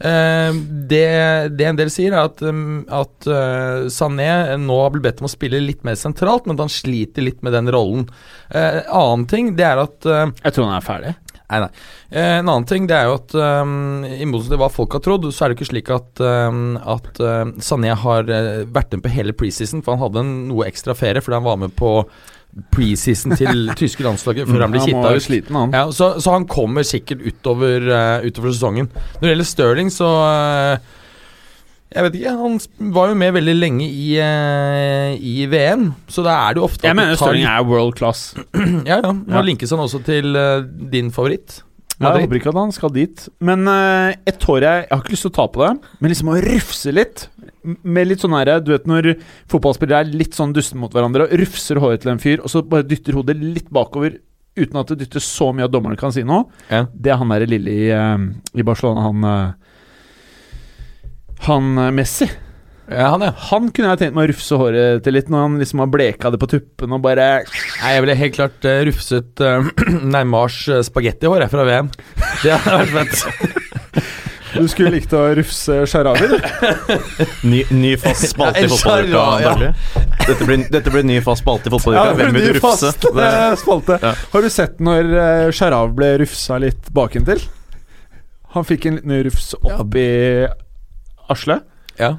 [SPEAKER 4] Eh, det, det en del sier, er at, um, at eh, Sané nå har blitt bedt om å spille litt mer sentralt, men at han sliter litt med den rollen. Eh, annen ting, det er at eh,
[SPEAKER 3] Jeg tror han er ferdig.
[SPEAKER 4] Nei, nei. Eh, en annen ting det er jo at ehm, i motsetning til hva folk har trodd, så er det ikke slik at, ehm, at eh, ehm, Sané har eh, vært med på hele preseason, for han hadde en noe ekstra ferie fordi han var med på preseason
[SPEAKER 3] <laughs>
[SPEAKER 4] til tyske landslaget før han blir
[SPEAKER 3] var
[SPEAKER 4] kitta
[SPEAKER 3] jo
[SPEAKER 4] ut.
[SPEAKER 3] sliten, Mm, han.
[SPEAKER 4] Ja, så, så han kommer sikkert utover, eh, utover sesongen. Når det gjelder Stirling, så eh, Jeg vet ikke. Han sp- var jo med veldig lenge i, eh, i VM, så da er det jo ofte
[SPEAKER 3] Jeg mener Stirling
[SPEAKER 4] ja.
[SPEAKER 3] er world class.
[SPEAKER 4] ja, ja. Nå
[SPEAKER 3] Ja.
[SPEAKER 4] linkes han også til eh, din favoritt.
[SPEAKER 3] Ja, jeg
[SPEAKER 4] Madrid.
[SPEAKER 3] håper ikke at han skal dit. Men eh, et hår jeg Jeg har ikke lyst til å ta på det, men liksom å rufse litt. M- Med litt sånn her, Du vet når fotballspillere er litt sånn dusten mot hverandre og rufser håret til en fyr, og så bare dytter hodet litt bakover uten at det dytter så mye at dommeren kan si noe.
[SPEAKER 4] Ja.
[SPEAKER 3] Det er han derre lille i, eh, i Barcelona, han eh, Han eh, Messi.
[SPEAKER 4] Ja, han, ja.
[SPEAKER 3] Han kunne jeg tenkt meg å rufse håret til litt, når han liksom har bleka det på tuppen og bare
[SPEAKER 4] Nei, jeg ville helt klart eh, rufset eh, <clears throat> Neymars eh, spagettihår jeg, fra VM. Det hadde vært fett.
[SPEAKER 3] Du skulle likt å rufse Sharawi, du.
[SPEAKER 5] Ny, ny fast
[SPEAKER 4] Ja,
[SPEAKER 5] spalte i
[SPEAKER 4] El
[SPEAKER 5] fotballuka,
[SPEAKER 4] Shaarawy, ja.
[SPEAKER 5] Dagli. Dette, blir- dette blir ny fast spalte i fotballuka. Hvem vil du rufse? Det,
[SPEAKER 4] <laughs>
[SPEAKER 3] spalte.
[SPEAKER 5] Ja.
[SPEAKER 3] Har du sett når eh, Sharaw ble rufsa litt bakentil? Han fikk en liten rufs opp i Asle.
[SPEAKER 4] Ja.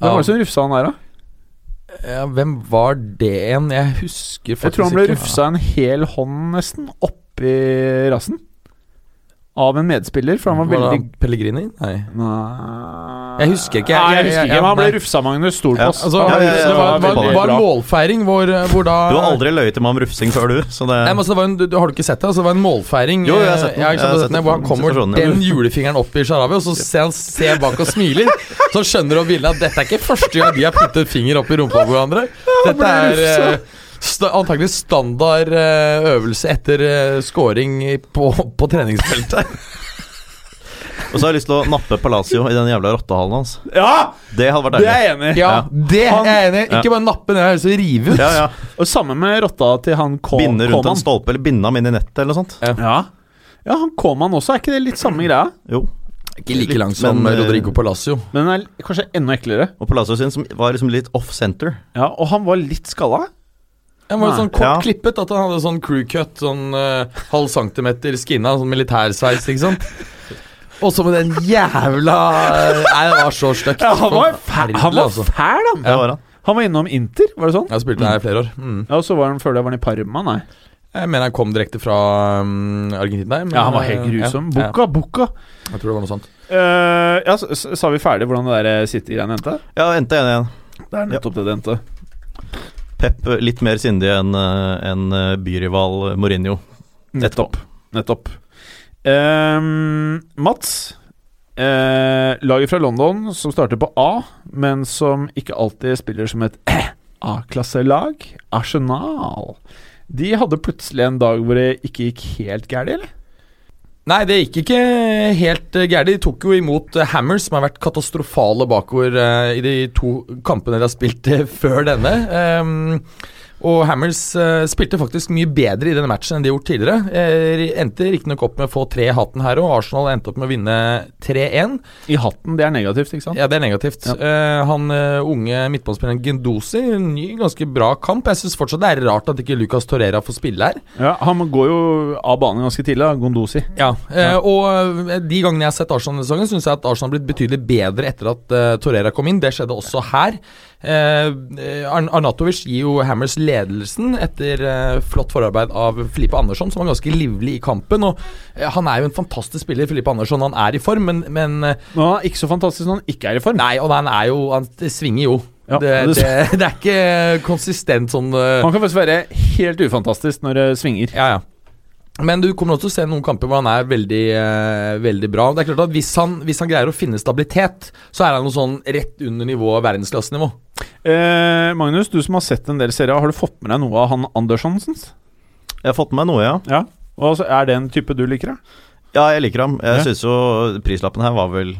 [SPEAKER 3] Hvem
[SPEAKER 4] Ja.
[SPEAKER 3] var det som rufsa han der, da?
[SPEAKER 4] Ja, hvem var det en? Jeg husker faktisk
[SPEAKER 3] Jeg tror han ble
[SPEAKER 4] ikke.
[SPEAKER 3] rufsa en hel hånd nesten oppi rassen. Av en medspiller, for han var
[SPEAKER 4] det
[SPEAKER 3] veldig
[SPEAKER 4] Pellegrini? Nei.
[SPEAKER 3] Nei
[SPEAKER 4] Jeg husker ikke, jeg-
[SPEAKER 3] Nei,
[SPEAKER 4] jeg-
[SPEAKER 3] jeg husker
[SPEAKER 4] jeg-
[SPEAKER 3] ikke men han ble
[SPEAKER 4] nei.
[SPEAKER 3] rufsa, Magnus
[SPEAKER 5] Ja,
[SPEAKER 3] Storpass.
[SPEAKER 4] Altså,
[SPEAKER 5] Ja, ja, ja,
[SPEAKER 4] det var,
[SPEAKER 5] det var
[SPEAKER 4] var,
[SPEAKER 5] veldig
[SPEAKER 4] var
[SPEAKER 5] bra.
[SPEAKER 4] målfeiring hvor, eh, hvor da
[SPEAKER 5] du har aldri løyet til meg om rufsing før, du. Så det,
[SPEAKER 4] Nei, men altså, det var en, du, du Har du ikke sett det? Altså, det var en målfeiring
[SPEAKER 5] Jo, jo, jeg har sett den.
[SPEAKER 4] eh, ja, ikke sant,
[SPEAKER 5] Jeg har
[SPEAKER 4] du har
[SPEAKER 5] sett
[SPEAKER 4] sett den, Hvor han
[SPEAKER 5] den.
[SPEAKER 4] kommer
[SPEAKER 5] Situasjonen, ja.
[SPEAKER 4] den julefingeren opp i Sharawi, og så ser han ser bak og smiler. Så skjønner han bildet at dette er ikke første gang de har puttet finger opp i rumpa på hverandre. Dette er eh, sta, antakelig standard eh, øvelse etter eh, scoring i- på, på treningsfeltet.
[SPEAKER 5] Og så har jeg lyst til å nappe Palacio i den jævla rottehalen hans.
[SPEAKER 3] Ja!
[SPEAKER 5] Det hadde vært
[SPEAKER 3] Det er
[SPEAKER 5] deilig.
[SPEAKER 3] jeg enig i.
[SPEAKER 4] Ja,
[SPEAKER 5] Ja.
[SPEAKER 4] det er jeg enig i.
[SPEAKER 5] Ja.
[SPEAKER 4] Ikke bare nappe ned, jeg har lyst til å rive ut.
[SPEAKER 5] Ja, ja.
[SPEAKER 3] Og samme med rotta til han K-
[SPEAKER 5] Binde rundt en
[SPEAKER 3] Kåman.
[SPEAKER 5] stolpe, eller binde ham inn i nettet, eller noe sånt.
[SPEAKER 3] Ja. ja, han Kåman også. Er ikke det litt samme greia?
[SPEAKER 5] Jo.
[SPEAKER 4] Ikke like lang
[SPEAKER 5] Litt,
[SPEAKER 4] som
[SPEAKER 5] men, eh,
[SPEAKER 4] Rodrigo Palacio.
[SPEAKER 3] Men den er kanskje enda eklere.
[SPEAKER 5] Og Palacio sin, som var liksom litt off center.
[SPEAKER 3] Ja, Og han var litt skalla.
[SPEAKER 4] Han var jo
[SPEAKER 3] Nei.
[SPEAKER 4] sånn kort
[SPEAKER 5] Ja.
[SPEAKER 4] klippet, at han hadde sånn crew cut, sånn eh, halv centimeter skinna, sånn militærsveis, ikke sant. Og så med den jævla Nei, det var så stygt. Forferdelig,
[SPEAKER 3] han var
[SPEAKER 4] altså.
[SPEAKER 3] fæl, han.
[SPEAKER 5] Det var han.
[SPEAKER 3] Han var innom Inter, var det sånn?
[SPEAKER 4] Jeg har spilt der i flere år. Mm.
[SPEAKER 3] Ja, Og så var han før det var han i Parma, nei.
[SPEAKER 4] Jeg mener han kom direkte fra um, Argentina. men,
[SPEAKER 3] Ja, han var helt
[SPEAKER 4] eh,
[SPEAKER 3] grusom.
[SPEAKER 4] Ja,
[SPEAKER 3] Bukka, bukka.
[SPEAKER 4] ja, jeg tror det var noe sånt.
[SPEAKER 3] Eh, ja, så, så- sa vi ferdig hvordan det der eh, City-greiene endte?
[SPEAKER 5] Ja, endte igjen igjen.
[SPEAKER 3] Det er nettopp det det endte.
[SPEAKER 5] Pep eh, litt mer sindig enn eh, enn, eh, byrival eh, Mourinho.
[SPEAKER 3] Nettopp. Nettopp. Ehm, Mats. Eh, laget fra London som starter på A, men som ikke alltid spiller som et <clears throat> A-klasselag. Arsenal. De hadde plutselig en dag hvor det ikke gikk helt gærent, eller?
[SPEAKER 4] Nei, det gikk ikke helt eh, gærent. De tok jo imot eh, Hammers, som har vært katastrofale bakover eh, i de to kampene de har spilt eh, før denne. Ehm, og Hammers eh, spilte faktisk mye bedre i denne matchen enn de har gjort tidligere. Uh, endte riktignok opp med å få tre i hatten her, og Arsenal endte opp med å vinne 3-1.
[SPEAKER 3] I hatten, det er negativt, ikke sant?
[SPEAKER 4] Ja, det er negativt. Eh, han eh, unge midtbanespilleren Gendosi, en ny, ganske bra kamp. Jeg syns fortsatt det er rart at ikke Lucas Torreira får spille her.
[SPEAKER 3] Ja, han går jo av banen ganske tidlig, da, Gondosi.
[SPEAKER 4] Ja, eh, og eh, de gangene jeg har sett Arsenal denne sesongen, syns jeg at Arsenal har blitt betydelig bedre etter at eh, Torreira kom inn. Det skjedde også her. Eh, eh, Arn- Arnatovic gir jo Hammers ledelsen etter eh, flott forarbeid av Filipe Andersson, som var ganske livlig i kampen. Og eh, han er jo en fantastisk spiller, Filipe Andersson. Han er i form, men, men eh,
[SPEAKER 3] Men han er ikke så fantastisk når han ikke er i form.
[SPEAKER 4] Nei, og han er jo Han svinger jo.
[SPEAKER 3] Ja,
[SPEAKER 4] det,
[SPEAKER 3] og
[SPEAKER 4] det, <laughs>
[SPEAKER 3] det-
[SPEAKER 4] det er ikke konsistent sånn eh,
[SPEAKER 3] Han kan faktisk være helt ufantastisk når det svinger.
[SPEAKER 4] Ja, ja. Men du kommer også til å se noen kamper hvor han er veldig, eh, veldig bra. Det er klart at hvis han, hvis han greier å finne stabilitet, så er han noe sånn rett under nivået verdensklassenivå.
[SPEAKER 3] Eh, Magnus, du som har sett en del serier, har du fått med deg noe av han Anderssonsens?
[SPEAKER 5] Jeg har fått med meg noe, ja.
[SPEAKER 3] Ja, og altså, Er det en type du liker? Da?
[SPEAKER 5] Ja, jeg liker ham. Jeg
[SPEAKER 3] Ja.
[SPEAKER 5] synes jo prislappen her var vel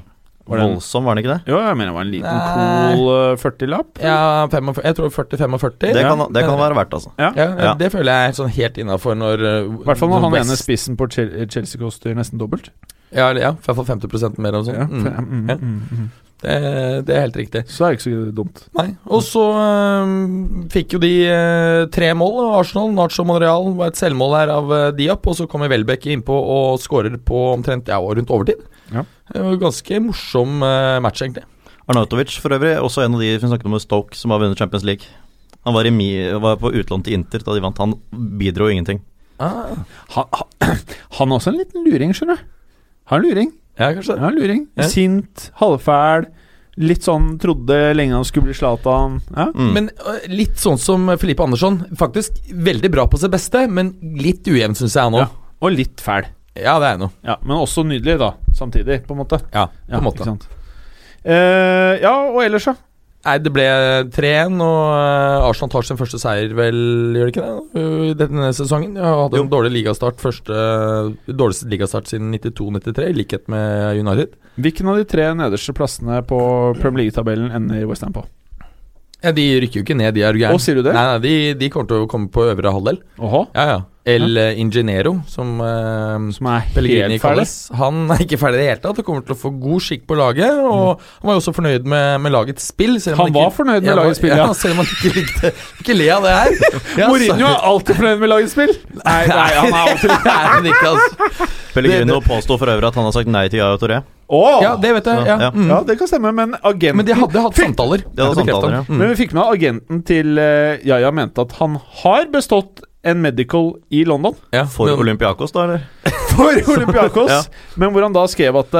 [SPEAKER 3] Var den-
[SPEAKER 5] voldsom, var den ikke det?
[SPEAKER 3] Jo, jeg mener det var en liten,
[SPEAKER 4] Nei.
[SPEAKER 3] cool eh, 40-lapp.
[SPEAKER 4] Ja, 45, jeg tror 40-45.
[SPEAKER 5] Det
[SPEAKER 4] ja.
[SPEAKER 5] kan, det kan være verdt, altså.
[SPEAKER 4] ja,
[SPEAKER 5] Ja.
[SPEAKER 4] Det føler jeg er sånn helt innafor når
[SPEAKER 3] I hvert fall når han ene spissen på Chel- Chelsea koster nesten dobbelt.
[SPEAKER 4] Ja, ja, i hvert fall 50 mer og sånn.
[SPEAKER 3] Ja, for-
[SPEAKER 4] Mm.
[SPEAKER 3] mm,
[SPEAKER 4] Ja.
[SPEAKER 3] mm, mm.
[SPEAKER 4] Det, det er helt riktig.
[SPEAKER 3] Så er det ikke så dumt.
[SPEAKER 4] Nei. Og så øhm, fikk jo de øh, tre mål. og Arsenal, Nacho Monreal var et selvmål her av øh, Diop. Og så kommer Welbeck innpå og skårer på omtrent ja, rundt overtid.
[SPEAKER 3] Ja.
[SPEAKER 4] Det var Ganske morsom øh, match, egentlig.
[SPEAKER 5] Arnautovic for øvrig, også en av de som snakket om Stoke, som har vunnet Champions League. Han var, i mi, var på utlån til Inter da de vant. Han bidro ingenting.
[SPEAKER 4] Ah,
[SPEAKER 3] Han, han, han er også en liten luring, skjønner du. Han er en luring.
[SPEAKER 4] ja, kanskje det.
[SPEAKER 3] Ja, luring.
[SPEAKER 4] Ja.
[SPEAKER 3] Sint, halvfæl. Litt sånn trodde lenge han skulle bli Zlatan. Ja.
[SPEAKER 5] Mm.
[SPEAKER 4] Men øh, litt sånn som Filippe Andersson. Faktisk veldig bra på sitt beste, men litt ujevn, syns jeg nå.
[SPEAKER 3] Ja. Og litt fæl.
[SPEAKER 4] Ja, det er jeg nå.
[SPEAKER 3] Ja, men også nydelig, da. Samtidig, på en måte.
[SPEAKER 4] Ja, på en
[SPEAKER 3] ikke
[SPEAKER 4] måte.
[SPEAKER 3] sant? Eh, ja, og ellers, ja.
[SPEAKER 4] Nei, det ble 3-1, og øh, Arsenal tar sin første seier, vel, gjør det ikke det? øh, I denne sesongen. Jeg hadde en dårlig ligastart, første dårligste ligastart siden 92-93, i likhet med United.
[SPEAKER 3] Hvilken av de tre nederste plassene på Premier League-tabellen ender West Ham på?
[SPEAKER 4] Ja, De rykker jo ikke ned, de er jo
[SPEAKER 3] Å, sier du det?
[SPEAKER 4] Nei, nei, de, de kommer til å komme på øvre halvdel.
[SPEAKER 3] Åhå,
[SPEAKER 4] Ja, ja. El ja. Ingeniero, som øh,
[SPEAKER 3] som er
[SPEAKER 4] Pellegrini
[SPEAKER 3] helt ferdig?
[SPEAKER 4] kalles. Han <laughs> er ikke ferdig i det hele tatt og kommer til å få god skikk på laget. Og han var jo også fornøyd med, med lagets spill. selv om
[SPEAKER 3] Mm. Han var fornøyd med
[SPEAKER 4] Ja,
[SPEAKER 3] lagets spill, ja.
[SPEAKER 4] <laughs> Selv om han ikke likte Ikke le av det
[SPEAKER 3] <laughs>
[SPEAKER 4] her. Ja,
[SPEAKER 3] Mourinho
[SPEAKER 4] sorry.
[SPEAKER 3] er alltid fornøyd med lagets spill! <laughs> Nei, nei, han er alltid
[SPEAKER 4] Nei, han ikke, altså.
[SPEAKER 5] Pellegrino påsto for øvrig at han har sagt nei til Yaya Toré.
[SPEAKER 3] Åh!
[SPEAKER 4] Ja, det vet jeg. Ja.
[SPEAKER 5] Ja.
[SPEAKER 4] Mm.
[SPEAKER 3] Ja, det kan stemme, men agenten
[SPEAKER 4] Men de hadde hatt samtaler.
[SPEAKER 5] De hadde
[SPEAKER 4] Det bekreftet
[SPEAKER 5] samtaler,
[SPEAKER 4] han.
[SPEAKER 3] Men
[SPEAKER 4] Mm.
[SPEAKER 3] vi fikk med agenten til eh, Yaya mente at han har bestått en medical i London
[SPEAKER 4] Ja,
[SPEAKER 5] For
[SPEAKER 4] men-
[SPEAKER 5] Olympiakos, da, eller?
[SPEAKER 3] for <laughs> Olympiakos,
[SPEAKER 5] Ja.
[SPEAKER 3] men hvor han da skrev at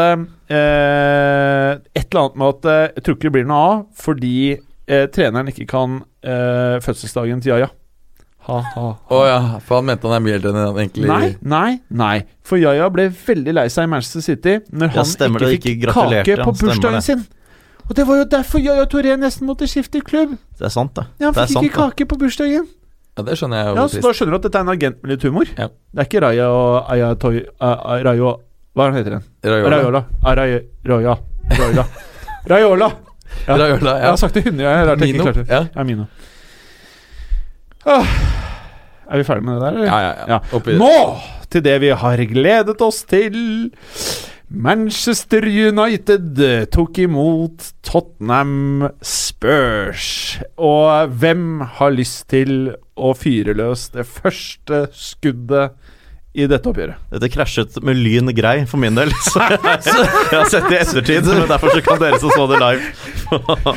[SPEAKER 3] eh, Et eller annet med at eh, jeg tror ikke det blir noe av fordi eh, treneren ikke kan eh, fødselsdagen til Yaya. Ha, ha.
[SPEAKER 4] Å ja, for han mente han er mye eldre enn han egentlig
[SPEAKER 3] Nei, nei, nei. For Yaya ble veldig lei seg i Manchester City når
[SPEAKER 5] Ja,
[SPEAKER 3] han
[SPEAKER 5] stemmer
[SPEAKER 3] ikke
[SPEAKER 5] det,
[SPEAKER 3] fikk
[SPEAKER 5] ikke gratulerte,
[SPEAKER 3] kake
[SPEAKER 5] ja,
[SPEAKER 3] på
[SPEAKER 5] stemmer
[SPEAKER 3] bursdagen
[SPEAKER 5] det.
[SPEAKER 3] sin. Og det var jo derfor Yaya Toré nesten måtte skifte klubb.
[SPEAKER 5] Det er sant, det.
[SPEAKER 3] Ja, han
[SPEAKER 5] det er
[SPEAKER 3] fikk
[SPEAKER 5] sant,
[SPEAKER 3] ikke kake på bursdagen.
[SPEAKER 4] Ja, Det skjønner jeg jo.
[SPEAKER 3] Ja,
[SPEAKER 4] hvor
[SPEAKER 3] så
[SPEAKER 4] trist.
[SPEAKER 3] da skjønner du at dette er en agent med litt humor?
[SPEAKER 4] Ja.
[SPEAKER 3] Det er ikke Raja og Aya Toy... A- A- Rayo Hva er han heter den?
[SPEAKER 4] Raiola.
[SPEAKER 3] Raiola. Raja Raja.
[SPEAKER 5] <laughs>
[SPEAKER 3] Raiola. Raiola. Ja.
[SPEAKER 4] Raiola,
[SPEAKER 3] Jeg
[SPEAKER 4] ja.
[SPEAKER 3] har sagt det hundre ganger. rart jeg ikke
[SPEAKER 4] Mino.
[SPEAKER 3] klarte det.
[SPEAKER 4] Ja.
[SPEAKER 3] Ja, Mino. Ah. Er vi ferdige med det der, eller?
[SPEAKER 4] Ja, ja, ja.
[SPEAKER 3] Ja.
[SPEAKER 4] Opp i det.
[SPEAKER 3] Nå til det vi har gledet oss til. Manchester United tok imot Tottenham Spurs. Og hvem har lyst til å fyre løs det første skuddet i dette oppgjøret?
[SPEAKER 5] Dette krasjet med lyn grei for min del. <laughs> Så jeg, jeg har sett det i ettertid, men derfor så kan dere som så det live, få-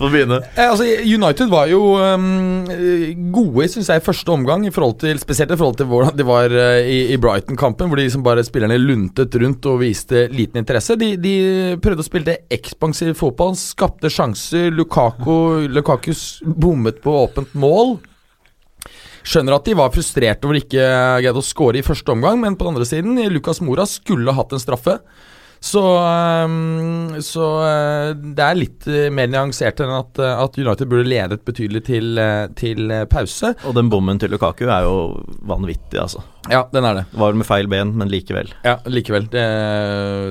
[SPEAKER 5] få begynne.
[SPEAKER 4] Eh, Altså, United var jo ehm, eh, gode synes jeg, i første omgang, i forhold til, spesielt i forhold til hvordan de var eh, i, i Brighton-kampen, hvor de liksom bare spillerne luntet rundt og viste liten interesse. De, de prøvde å spille ekspansiv fotball, skapte sjanser. Lukaku, Lukakus bommet på åpent mål. Skjønner at de var frustrerte over ikke greide å skåre i første omgang, men på den andre siden, Lucas Mora skulle hatt en straffe. Så, ehm, så eh, det er litt eh, mer nyansert enn at, eh, at United burde ledet betydelig til, eh, til eh, pause.
[SPEAKER 5] Og den bommen til Lukaku er jo vanvittig, altså.
[SPEAKER 4] Ja, den er det.
[SPEAKER 5] Det var med feil ben, men likevel.
[SPEAKER 4] Ja, likevel. Det,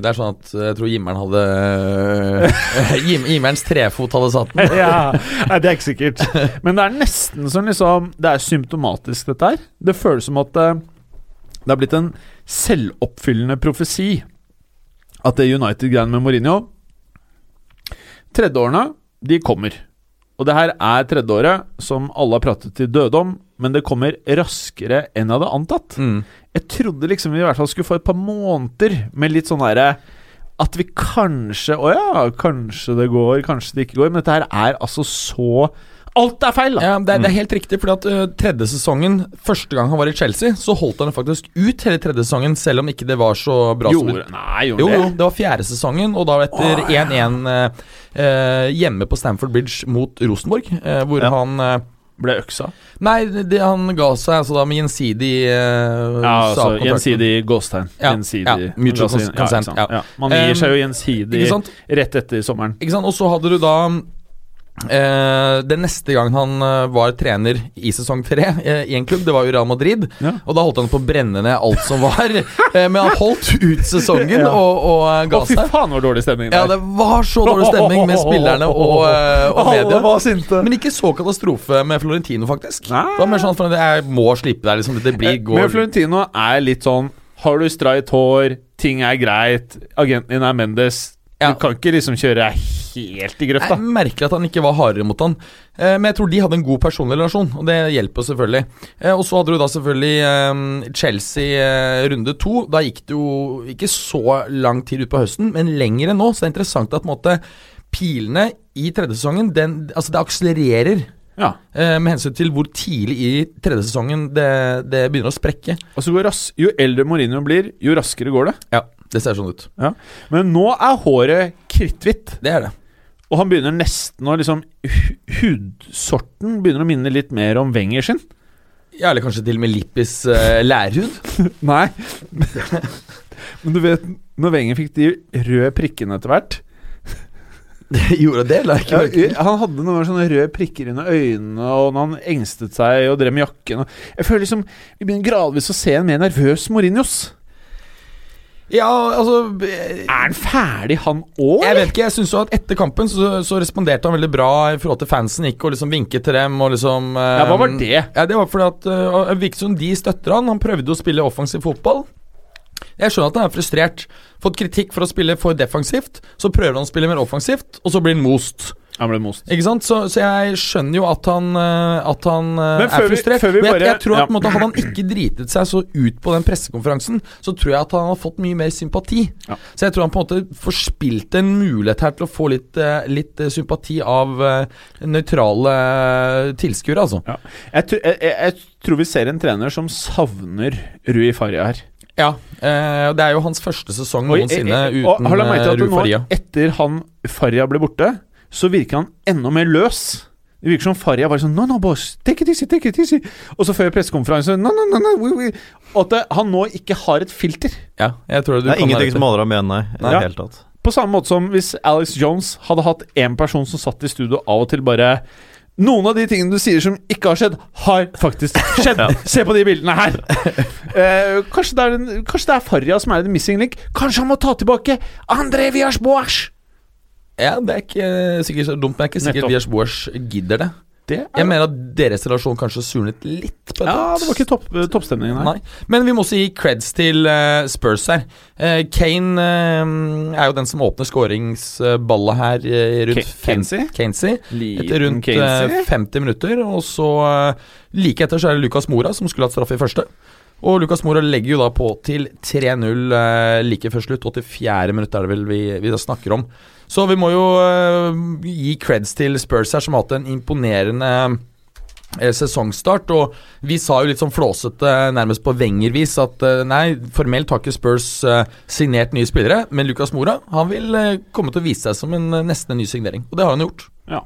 [SPEAKER 4] det er sånn at eh, jeg tror Jimmeren hadde eh, <laughs> Jim, Jimmerens trefot hadde satt <laughs> den.
[SPEAKER 3] ja, nei, det er ikke sikkert. Men det er nesten som liksom Det er symptomatisk, dette her. Det føles som at eh, det er blitt en selvoppfyllende profesi at det United-greiene med Mourinho Tredjeårene, de kommer. Og det her er tredjeåret som alle har pratet til døde om, men det kommer raskere enn jeg hadde antatt.
[SPEAKER 4] Mm.
[SPEAKER 3] Jeg trodde liksom vi i hvert fall skulle få et par måneder med litt sånn derre At vi kanskje Å ja, kanskje det går, kanskje det ikke går. Men dette her er altså så Alt er feil, da!
[SPEAKER 4] Ja, det, er, det er helt riktig, fordi at ø, tredje sesongen, første gang han var i Chelsea, så holdt han faktisk ut hele tredje sesongen, selv om ikke det var så bra som
[SPEAKER 3] Gjorde,
[SPEAKER 4] det
[SPEAKER 3] Altså, nei,
[SPEAKER 4] jo,
[SPEAKER 3] gjorde
[SPEAKER 4] jo,
[SPEAKER 3] det?
[SPEAKER 4] det var fjerde sesongen, og da etter 1-1 ø, ø, hjemme på Stamford Bridge mot Rosenborg, ø, hvor
[SPEAKER 5] Ja.
[SPEAKER 4] han ø,
[SPEAKER 3] Ble øksa.
[SPEAKER 4] Nei, det, han ga seg altså da med gjensidig eh, ø,
[SPEAKER 3] Ja,
[SPEAKER 4] sa
[SPEAKER 3] altså
[SPEAKER 4] kontrakten.
[SPEAKER 3] gjensidig gåstegn.
[SPEAKER 4] Ja,
[SPEAKER 3] Gjensidig.
[SPEAKER 4] ja, mutual
[SPEAKER 3] Altså,
[SPEAKER 4] consent,
[SPEAKER 3] ikke sant?
[SPEAKER 4] ja.
[SPEAKER 3] Man gir seg jo
[SPEAKER 4] Ikke
[SPEAKER 3] gjensidig
[SPEAKER 4] sant?
[SPEAKER 3] rett etter sommeren.
[SPEAKER 4] Ikke sant? Og så hadde du da eh, Den neste gang han eh, var trener i sesong tre eh, i en klubb, det var jo Real Madrid.
[SPEAKER 3] Ja.
[SPEAKER 4] Og da holdt han på å brenne ned alt som var. <laughs> eh, men han holdt ut sesongen
[SPEAKER 3] Ja.
[SPEAKER 4] og, og eh,
[SPEAKER 3] Å,
[SPEAKER 4] ga
[SPEAKER 3] fy
[SPEAKER 4] seg.
[SPEAKER 3] faen, hvor dårlig stemning det
[SPEAKER 4] Ja,
[SPEAKER 3] er!
[SPEAKER 4] det var så dårlig stemning med spillerne
[SPEAKER 3] <laughs>
[SPEAKER 4] og, eh, og
[SPEAKER 3] Alle
[SPEAKER 4] media.
[SPEAKER 3] var sinte!
[SPEAKER 4] Men ikke så katastrofe med Florentino, faktisk.
[SPEAKER 3] Nei. Eh,
[SPEAKER 4] Det var mer sånn at jeg må slippe deg, liksom. Det blir
[SPEAKER 3] Men
[SPEAKER 4] går
[SPEAKER 3] Florentino er litt sånn Har du streit hår, ting er greit, agenten din er Mendes
[SPEAKER 4] Ja.
[SPEAKER 3] Du kan ikke liksom kjøre deg helt i grøfta.
[SPEAKER 4] Jeg merker at han ikke var hardere mot han. Eh, men jeg tror de hadde en god personlig relasjon, og det hjelper jo selvfølgelig. Eh, og så hadde du da selvfølgelig eh, Chelsea eh, runde to. Da gikk det jo ikke så lang tid utpå høsten, men lenger enn nå. Så det er interessant at på en måte, pilene i tredje sesongen, den, altså det akselererer.
[SPEAKER 3] Ja.
[SPEAKER 4] Eh, med hensyn til hvor tidlig i tredje sesongen det, det begynner å sprekke.
[SPEAKER 3] Og så går rass, Jo eldre Mourinho blir, jo raskere går det.
[SPEAKER 4] Ja, det ser sånn ut.
[SPEAKER 3] Men nå er håret kritthvitt,
[SPEAKER 4] Det er det.
[SPEAKER 3] og han begynner nesten å liksom hu- Hudsorten begynner å minne litt mer om Wenger sin.
[SPEAKER 4] Ja, eller kanskje til og med Lippis eh, lærhud.
[SPEAKER 3] Nei. <laughs> Men du vet, når Wenger fikk de røde prikkene etter hvert
[SPEAKER 4] Gjorde <laughs> det, la jeg
[SPEAKER 3] ja, Han hadde noen ganger sånne røde prikker under øynene, og når han engstet seg og drev med jakken og Jeg føler liksom Vi begynner gradvis å se en mer nervøs Mourinhos.
[SPEAKER 4] Ja, altså eh,
[SPEAKER 3] Er han ferdig, han òg?
[SPEAKER 4] Jeg vet ikke, jeg synes jo at etter kampen så, så responderte han veldig bra i forhold til fansen. Gikk og liksom vinket til dem og liksom eh,
[SPEAKER 3] Ja, hva var det?
[SPEAKER 4] Ja, Det var fordi at eh, det virket som de støtter han. Han prøvde å spille offensiv fotball. Jeg skjønner at han er frustrert. Fått kritikk for å spille for defensivt. Så prøver han å spille mer offensivt, og så blir han most.
[SPEAKER 3] Han ble most.
[SPEAKER 4] Ikke sant? Så, så jeg skjønner jo at han, eh, at han eh,
[SPEAKER 3] Men før
[SPEAKER 4] er
[SPEAKER 3] vi-
[SPEAKER 4] frustrert.
[SPEAKER 3] før vi
[SPEAKER 4] Men jeg,
[SPEAKER 3] bare-
[SPEAKER 4] jeg tror at
[SPEAKER 3] ja.
[SPEAKER 4] på en måte, Hadde han ikke dritet seg så ut på den pressekonferansen, så tror jeg at han har fått mye mer sympati.
[SPEAKER 3] Ja.
[SPEAKER 4] Så jeg tror han på en måte forspilte en mulighet her til å få litt, eh, litt eh, sympati av eh, nøytrale eh, tilskuere, altså.
[SPEAKER 3] Ja. Jeg, tr- jeg, jeg, jeg tror vi ser en trener som savner Rui Faria her.
[SPEAKER 4] Ja, eh, og Det er jo hans første sesong noensinne
[SPEAKER 3] jeg- jeg- og
[SPEAKER 4] uten
[SPEAKER 3] eh, har du merket at
[SPEAKER 4] eh, Ruud
[SPEAKER 3] nå,
[SPEAKER 4] Faria.
[SPEAKER 3] Etter han Faria ble borte, så virker han enda mer løs. Det virker som Faria var sånn No, no, boss. Take it easy, take it easy. Og så før pressekonferansen No, no, no, no. We, we. Og at det- han nå ikke har et filter.
[SPEAKER 4] Ja, jeg tror du
[SPEAKER 5] det er
[SPEAKER 4] kan være rett
[SPEAKER 5] ingenting
[SPEAKER 4] i.
[SPEAKER 5] som holder ham igjen, nei. I
[SPEAKER 3] Ja.
[SPEAKER 5] det hele tatt.
[SPEAKER 3] På samme måte som hvis Alex Jones hadde hatt én person som satt i studio av og til bare noen av de tingene du sier som ikke har skjedd, har faktisk
[SPEAKER 4] <laughs>
[SPEAKER 3] skjedd! Se på de bildene her! Eh, kanskje, det er den, kanskje det er Faria som er the missing link? Kanskje han må ta tilbake André Vias Boas!
[SPEAKER 4] Ja, Det er ikke eh, sikkert så dumt, men jeg er ikke sikkert
[SPEAKER 3] Nettopp.
[SPEAKER 4] Viers Boers gidder det.
[SPEAKER 3] Det
[SPEAKER 4] Jeg mener at deres relasjon kanskje surnet litt. på et
[SPEAKER 3] Ja,
[SPEAKER 4] punkt.
[SPEAKER 3] det var ikke topp, eh, toppstemningen her.
[SPEAKER 4] Nei. Men vi må også gi creds til eh, Spurs her. Eh, Kane eh, er jo den som åpner skåringsballet her eh, rundt
[SPEAKER 3] Ke- Kenzie?
[SPEAKER 4] Kenzie. Etter
[SPEAKER 3] Liten
[SPEAKER 4] rundt
[SPEAKER 3] Casey.
[SPEAKER 4] eh, 50 minutter, og så eh, like etter så er det Lucas Mora som skulle hatt straffe i første. Og Lucas Mora legger jo da på til 3-0 eh, like før slutt. 84. minutt er det vel vi, vi da snakker om. Så vi må jo eh, gi creds til Spurs her, som har hatt en imponerende eh, sesongstart. Og vi sa jo litt sånn flåsete, nærmest på Wenger-vis, at eh, nei, formelt har ikke Spurs eh, signert nye spillere, men Lucas Mora han vil eh, komme til å vise seg som en eh, nesten ny signering. Og det har han gjort.
[SPEAKER 3] Ja.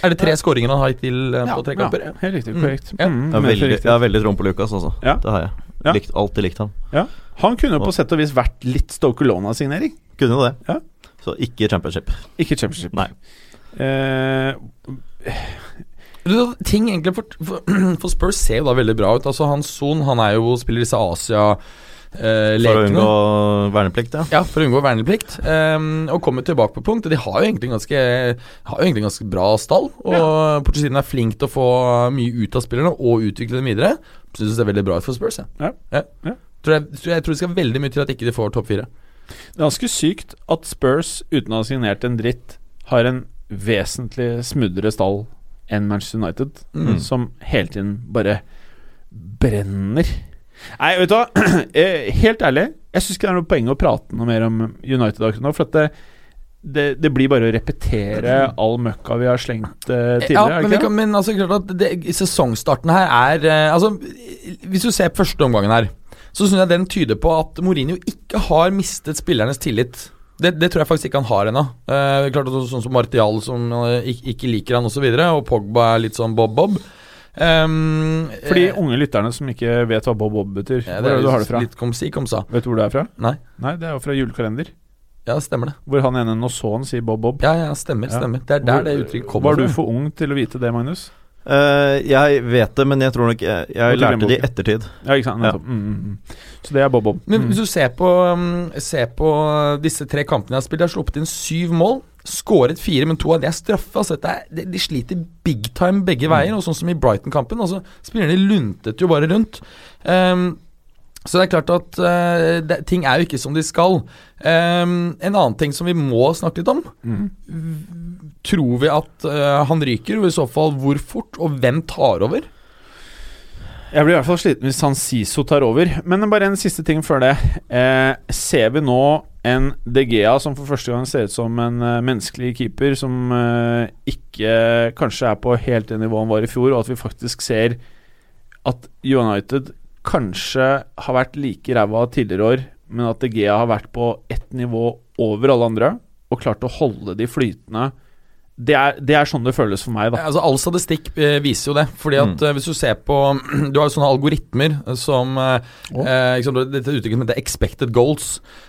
[SPEAKER 4] Er det tre skåringer han har hittil eh, på tre kamper?
[SPEAKER 3] Ja, helt riktig.
[SPEAKER 4] Mm.
[SPEAKER 3] Korrekt.
[SPEAKER 4] Ja.
[SPEAKER 3] Mm,
[SPEAKER 5] Jeg har
[SPEAKER 3] helt
[SPEAKER 5] veldig,
[SPEAKER 3] riktig.
[SPEAKER 5] jeg har veldig troen på Lucas, altså.
[SPEAKER 3] Ja.
[SPEAKER 5] Det har jeg.
[SPEAKER 3] Ja.
[SPEAKER 5] Likt, alltid likt ham.
[SPEAKER 3] Han kunne på sett og vis vært litt Stoke Lona-signering.
[SPEAKER 5] Kunne jo det.
[SPEAKER 3] Ja.
[SPEAKER 5] Så ikke championship.
[SPEAKER 3] Ikke championship.
[SPEAKER 5] Nei.
[SPEAKER 3] Eh,
[SPEAKER 4] Du, ting egentlig for, <clears throat> for, for Spurs ser jo da veldig bra ut. Altså Hans Son han er jo spiller disse
[SPEAKER 5] For å
[SPEAKER 4] Asia-lekene.
[SPEAKER 5] unngå verneplikt, ja.
[SPEAKER 4] ja, for å unngå verneplikt. ehm, og kommer tilbake på punkt. De har jo egentlig en ganske, har jo egentlig en ganske bra stall. Og Portugisien er flink til å få mye ut av spillerne og utvikle dem videre. Syns det ser veldig bra ut for Spurs. Jeg,
[SPEAKER 3] Ja. Ja.
[SPEAKER 4] Tror, jeg, tror, jeg tror det skal veldig mye til at ikke de får topp fire.
[SPEAKER 3] det er ganske sykt at Spurs, uten å ha signert en dritt, har en vesentlig smuddere stall enn Manchester United,
[SPEAKER 4] Mm.
[SPEAKER 3] som hele tiden bare brenner. Nei, vet du hva. <clears throat> Eh, Helt ærlig, jeg syns ikke det er noe poeng å prate noe mer om United akkurat nå. For at det, det, det blir bare å repetere all møkka vi har slengt eh, tidligere.
[SPEAKER 4] Ja,
[SPEAKER 3] er det
[SPEAKER 4] men,
[SPEAKER 3] ikke
[SPEAKER 4] vi kan, men altså, klart at det, sesongstarten her er eh, altså, Hvis du ser første omgangen her, så syns jeg den tyder på at Mourinho ikke har mistet spillernes tillit. Det, det tror jeg faktisk ikke han har ennå. Eh, klart at Sånn som Martial, som eh, ikke, ikke liker han osv., og, så videre, og Pogba er litt sånn bob-bob. Um,
[SPEAKER 3] For de unge lytterne som ikke vet hva Bob Bob betyr, hvor er det du har det fra?
[SPEAKER 4] Litt kom si, kom sa.
[SPEAKER 3] Vet du hvor det er fra?
[SPEAKER 4] Nei.
[SPEAKER 3] Nei, det er jo fra julekalender,
[SPEAKER 4] Ja, stemmer det.
[SPEAKER 3] hvor han ene nå så han sier Bob Bob.
[SPEAKER 4] Ja, ja, stemmer,
[SPEAKER 3] Ja.
[SPEAKER 4] stemmer. Det er der det uttrykket kommer
[SPEAKER 3] Var du for ung til å vite det, Magnus?
[SPEAKER 5] Eh, jeg vet det, men jeg tror nok Jeg, jeg
[SPEAKER 3] Gå til
[SPEAKER 5] lærte det i
[SPEAKER 3] Grønboken.
[SPEAKER 5] ettertid.
[SPEAKER 3] Ja, ikke sant?
[SPEAKER 5] Ja.
[SPEAKER 3] nettopp. Mm, mm, mm. Så det er Bob Bob.
[SPEAKER 4] Men
[SPEAKER 3] Mm.
[SPEAKER 4] hvis du ser på, um, ser på disse tre kampene jeg har spilt, jeg har sluppet inn syv mål. Skåret fire, men to av de er straffe. Altså, dette er, de, de sliter big time
[SPEAKER 3] Mm.
[SPEAKER 4] begge veier. Og sånn som i Brighton-kampen. Altså, spillerne luntet jo bare rundt. Ehm, så det er klart at eh, det, ting er jo ikke som de skal. Ehm, en annen ting som vi må snakke litt om
[SPEAKER 3] Mm.
[SPEAKER 4] Tror vi at eh, han ryker, og i så fall hvor fort, og hvem tar over?
[SPEAKER 3] Jeg blir i hvert fall sliten hvis han Siso tar over. Men bare en siste ting før det. Eh, ser vi nå en De Gea som for første gang ser ut som en eh, menneskelig keeper, som eh, ikke kanskje er på helt det nivået han var i fjor, og at vi faktisk ser at United kanskje har vært like ræva tidligere år, men at De Gea har vært på ett nivå over alle andre, og klart å holde de flytende. Det er, det er sånn det føles for meg, da.
[SPEAKER 4] Ja, Altså, all statistikk eh, viser jo det. Fordi at eh, Hvis du ser på <clears throat> Du har jo sånne algoritmer eh, som eh, eh, ikke sant, Dette uttrykket som heter 'expected goals'.